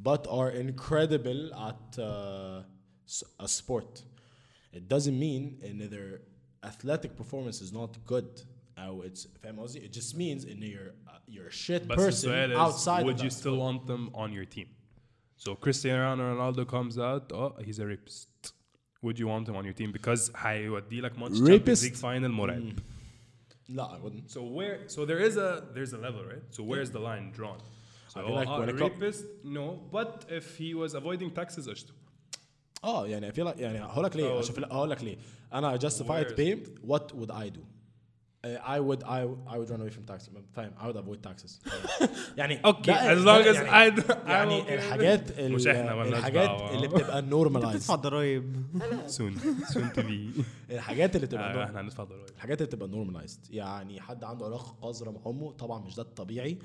Speaker 1: but are incredible at uh, s- a sport. It doesn't mean ان their athletic performance is not good او it's فاهم قصدي؟ It just means ان you're uh, you're a shit
Speaker 2: بس
Speaker 1: person
Speaker 2: السؤال
Speaker 1: outside
Speaker 2: is,
Speaker 1: of
Speaker 2: would you
Speaker 1: that
Speaker 2: still want them on your team? So Cristiano Ronaldo comes out, oh, he's a rapist. Would you want him on your team? Because هيودي لك ماتش Champions
Speaker 1: Rapist. Mm.
Speaker 2: League final مرعب.
Speaker 1: لا I wouldn't.
Speaker 2: So where so there is a there's a level, right? So where's the line drawn? So
Speaker 1: I feel like
Speaker 2: uh,
Speaker 1: when it co-
Speaker 2: rapist, no. But if he was avoiding taxes قشطة.
Speaker 1: اه يعني I feel like يعني هقول لك ليه
Speaker 2: Oh.
Speaker 1: عشان في الأ- هقول لك ليه انا justified
Speaker 2: Where is
Speaker 1: pay what would I do Uh, I would I I would run away from taxes فاهم I would avoid
Speaker 2: [LAUGHS]
Speaker 1: taxes يعني
Speaker 2: Okay,
Speaker 1: ده-
Speaker 2: as
Speaker 1: ده
Speaker 2: long as
Speaker 1: يعني-
Speaker 2: I d- I'm okay with
Speaker 1: يعني
Speaker 2: it. [LAUGHS]
Speaker 1: الحاجات ال-
Speaker 2: مش إحنا مالناش
Speaker 1: الحاجات
Speaker 2: دعوة.
Speaker 1: اللي
Speaker 2: [LAUGHS]
Speaker 1: بتبقى
Speaker 3: بتدفع
Speaker 1: normalized
Speaker 3: ضرايب
Speaker 2: Soon. Soon to
Speaker 1: [LAUGHS]
Speaker 2: be Ah,
Speaker 1: الحاجات اللي بتبقى
Speaker 2: آه،
Speaker 1: norm-
Speaker 2: احنا هندفع ضرايب.
Speaker 1: الحاجات اللي بتبقى normalized يعني حد عنده علاقه قذره مع امه طبعا مش ده الطبيعي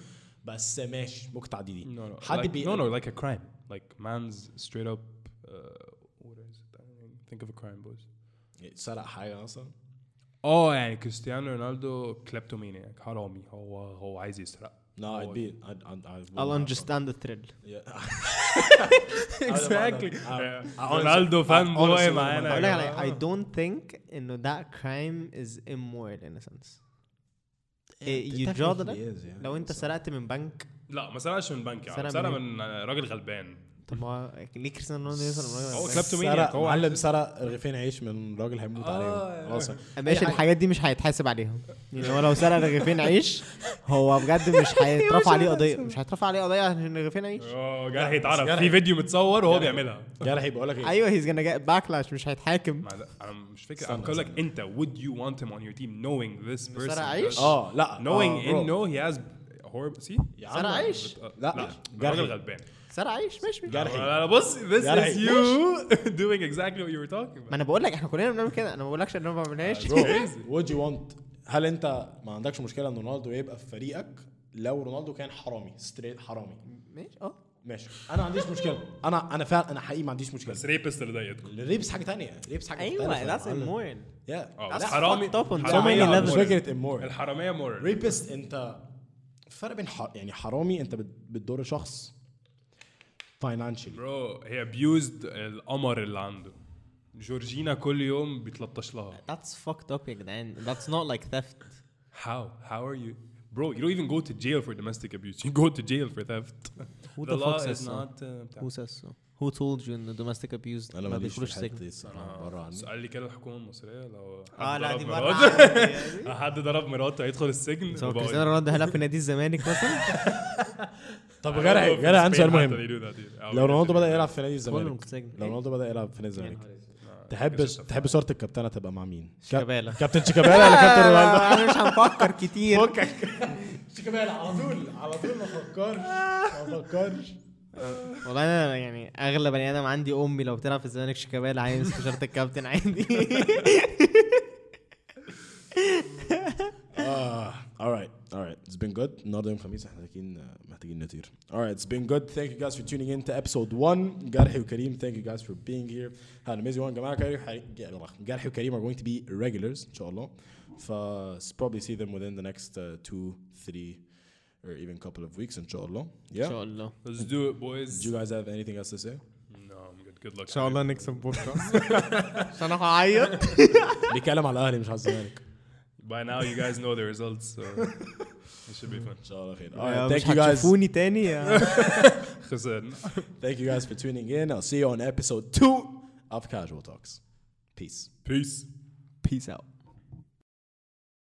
Speaker 1: بس ماشي ممكن تعدي دي
Speaker 2: No, no.
Speaker 1: حد
Speaker 2: like,
Speaker 1: بي
Speaker 2: no, no, like a crime. Like man's straight up. Uh, what is it? I don't know. Think of a crime, boys.
Speaker 1: سرق حاجه مثلا Oh,
Speaker 2: اه يعني كريستيانو رونالدو كليبتومانياك حرامي هو هو
Speaker 1: oh,
Speaker 2: عايز يسرق
Speaker 1: No, I'd
Speaker 2: هو-
Speaker 1: be I'd, I'd, I'd
Speaker 3: I'll understand the thrill
Speaker 1: Yeah. [LAUGHS]
Speaker 2: [LAUGHS] Exactly.
Speaker 1: I- I- I
Speaker 2: رونالدو
Speaker 1: honestly-
Speaker 2: فان
Speaker 1: I
Speaker 2: بوي
Speaker 1: Ah, honestly-
Speaker 2: معانا
Speaker 3: هقول
Speaker 2: يا
Speaker 3: لك على حاجة،
Speaker 2: جماعة.
Speaker 3: I don't think انه that crime is immoral in a sense إيه،
Speaker 1: It
Speaker 3: you draw the
Speaker 1: technically
Speaker 3: line.
Speaker 1: is, yeah.
Speaker 3: لو انت سرقت من بنك
Speaker 2: لا ما سرقش من بنك يا عم
Speaker 3: سرق
Speaker 2: سرق
Speaker 3: منين؟
Speaker 2: من آه، راجل غلبان
Speaker 3: طب ما هو ليه كريستيانو رونالدو يوصل
Speaker 2: هو
Speaker 3: لمراحل
Speaker 2: كلاب-
Speaker 3: البنك؟
Speaker 2: kleptomaniac.
Speaker 1: سرق
Speaker 2: هو
Speaker 1: معلم
Speaker 2: عايز-
Speaker 1: سرق رغيفين عيش من راجل هيموت
Speaker 2: آه،
Speaker 1: عليهم
Speaker 2: يا
Speaker 1: خلاص
Speaker 2: راجل.
Speaker 3: ماشي الحاجات دي مش هيتحاسب عليها يعني هو لو سرق رغيفين عيش هو بجد
Speaker 1: [LAUGHS]
Speaker 3: مش هيترفع عليه قضيه مش هيترفع عليه قضيه عشان رغيفين عيش
Speaker 2: اه جرح يتعرف
Speaker 1: جرح.
Speaker 2: في فيديو متصور وهو بيعملها
Speaker 1: جرحي بقول لك ايه
Speaker 3: ايوه هيز gonna get backlash مش هيتحاكم
Speaker 2: ما ده- انا مش فاكر
Speaker 1: استنى،
Speaker 2: انا بقول لك
Speaker 1: استنى.
Speaker 2: انت would you want him on your team knowing this person
Speaker 3: سرق عيش؟
Speaker 1: اه لا
Speaker 2: knowing
Speaker 1: آه، bro.
Speaker 2: انه he has horrible see
Speaker 1: يا
Speaker 3: سرق
Speaker 1: عم،
Speaker 3: عيش.
Speaker 1: بت-
Speaker 2: لا
Speaker 1: لا
Speaker 2: راجل
Speaker 1: جرحي
Speaker 2: غلبان
Speaker 3: سرق عيش ماشي ماشي.
Speaker 1: جرحي
Speaker 2: لا لا بص this
Speaker 1: جرحي.
Speaker 2: is you [LAUGHS] doing exactly what you were talking
Speaker 3: ما
Speaker 2: about
Speaker 3: انا بقول لك احنا كلنا بنعمل كده انا ما بقولكش ان انا ما بعملهاش
Speaker 1: برو وود يو وانت هل انت ما عندكش مشكله ان رونالدو يبقى في فريقك لو رونالدو كان حرامي ستريت حرامي
Speaker 3: ماشي اه
Speaker 1: ماشي انا ما عنديش مشكله انا انا فعلا انا حقيقي ما عنديش مشكله
Speaker 2: بس ريبست اللي ضايقتكم
Speaker 1: الريبس حاجه تانية ريبس حاجه
Speaker 3: ايوه that's immoral
Speaker 2: اه
Speaker 1: يا
Speaker 2: بس
Speaker 3: That's
Speaker 2: حرامي
Speaker 3: fucked up on so
Speaker 2: حرامية
Speaker 3: many
Speaker 1: مش
Speaker 2: moral.
Speaker 3: levels.
Speaker 1: فكره امور
Speaker 2: الحراميه مورال
Speaker 1: ريبست انت الفرق بين حر... يعني حرامي انت بت- بتضر شخص فاينانشالي
Speaker 2: برو هي ابيوزد القمر اللي عنده جورجينا كل يوم بيتلطش لها
Speaker 3: that's fucked up يا جدعان that's not like
Speaker 1: [LAUGHS]
Speaker 3: theft
Speaker 2: How? How are you? Bro, you don't even go to jail for domestic abuse. You go to jail for theft.
Speaker 3: Who
Speaker 2: the
Speaker 3: the
Speaker 2: law
Speaker 3: fuck says
Speaker 2: is
Speaker 3: so?
Speaker 2: not. Uh,
Speaker 3: who says so who told you ان domestic abuse
Speaker 1: انا
Speaker 3: ما
Speaker 1: ماليش في
Speaker 3: بيدخلوش
Speaker 1: الحته
Speaker 3: سجن
Speaker 1: دي الصراحه بره عني
Speaker 2: سؤال لي كده الحكومة المصرية لو حد
Speaker 3: اه لا
Speaker 2: ضرب
Speaker 3: دي
Speaker 2: مراته
Speaker 1: [LAUGHS]
Speaker 3: بره
Speaker 2: [LAUGHS] حد ضرب مراته هيدخل السجن
Speaker 3: سواء
Speaker 2: وبقول-
Speaker 3: كريستيانو رونالدو هيلعب في نادي الزمالك
Speaker 1: [LAUGHS]
Speaker 3: مثلا
Speaker 1: طب
Speaker 2: I don't
Speaker 1: جرح
Speaker 2: know if
Speaker 1: جرح
Speaker 2: in
Speaker 1: عندي سؤال
Speaker 2: Spain
Speaker 1: مهم
Speaker 2: حتى they do that here. أو
Speaker 1: لو
Speaker 2: in
Speaker 1: رونالدو
Speaker 2: Italy.
Speaker 1: بدا يلعب في نادي
Speaker 3: كلهم
Speaker 1: الزمالك
Speaker 3: في السجن
Speaker 1: لو رونالدو بدا يلعب في نادي الزمالك
Speaker 2: آه،
Speaker 1: تحب
Speaker 2: كأس
Speaker 1: تحب صوره الكابتنه تبقى مع مين؟ كاب-
Speaker 3: شيكابالا.
Speaker 1: كابتن شيكابالا ولا [LAUGHS] كابتن رونالدو؟
Speaker 3: انا مش هنفكر كتير
Speaker 1: فكك شيكابالا على طول على طول ما فكرش ما فكرش
Speaker 3: والله انا يعني اغلب بني ادم عندي امي لو بتلعب في الزمالك شيكابالا عايز شرط
Speaker 1: [LAUGHS]
Speaker 3: الكابتن عادي
Speaker 1: اه alright alright it's been good النهارده يوم الخميس احنا محتاجين محتاجين نطير alright it's been good thank you guys for tuning in to episode 1 جرحي وكريم thank you guys for being here had an amazing one جماعه جرحي جرحي وكريم are going to be regulars ان شاء الله ف probably see them within the next 2 3 or even couple of weeks ان شاء الله
Speaker 3: ان
Speaker 1: yeah
Speaker 3: شاء الله ان
Speaker 2: Let's do it,
Speaker 1: do
Speaker 2: boys.
Speaker 1: you guys have anything else to say
Speaker 2: No, I'm good. Good luck.
Speaker 3: نكسب بودكاست عشان انا هعيط
Speaker 1: بيتكلم على الاهلي مش على الزمالك
Speaker 2: By now, you guys know the results,
Speaker 3: [LAUGHS]
Speaker 2: so it should be fun.
Speaker 1: ان شاء الله خير
Speaker 3: يا
Speaker 1: alright
Speaker 3: آه، مش
Speaker 1: آه، thank you guys
Speaker 3: هتشوفوني تاني يا
Speaker 1: [LAUGHS]
Speaker 2: خسرنا.
Speaker 1: thank you guys for tuning in I'll see you on episode 2 of Casual Talks peace
Speaker 2: Peace.
Speaker 3: peace out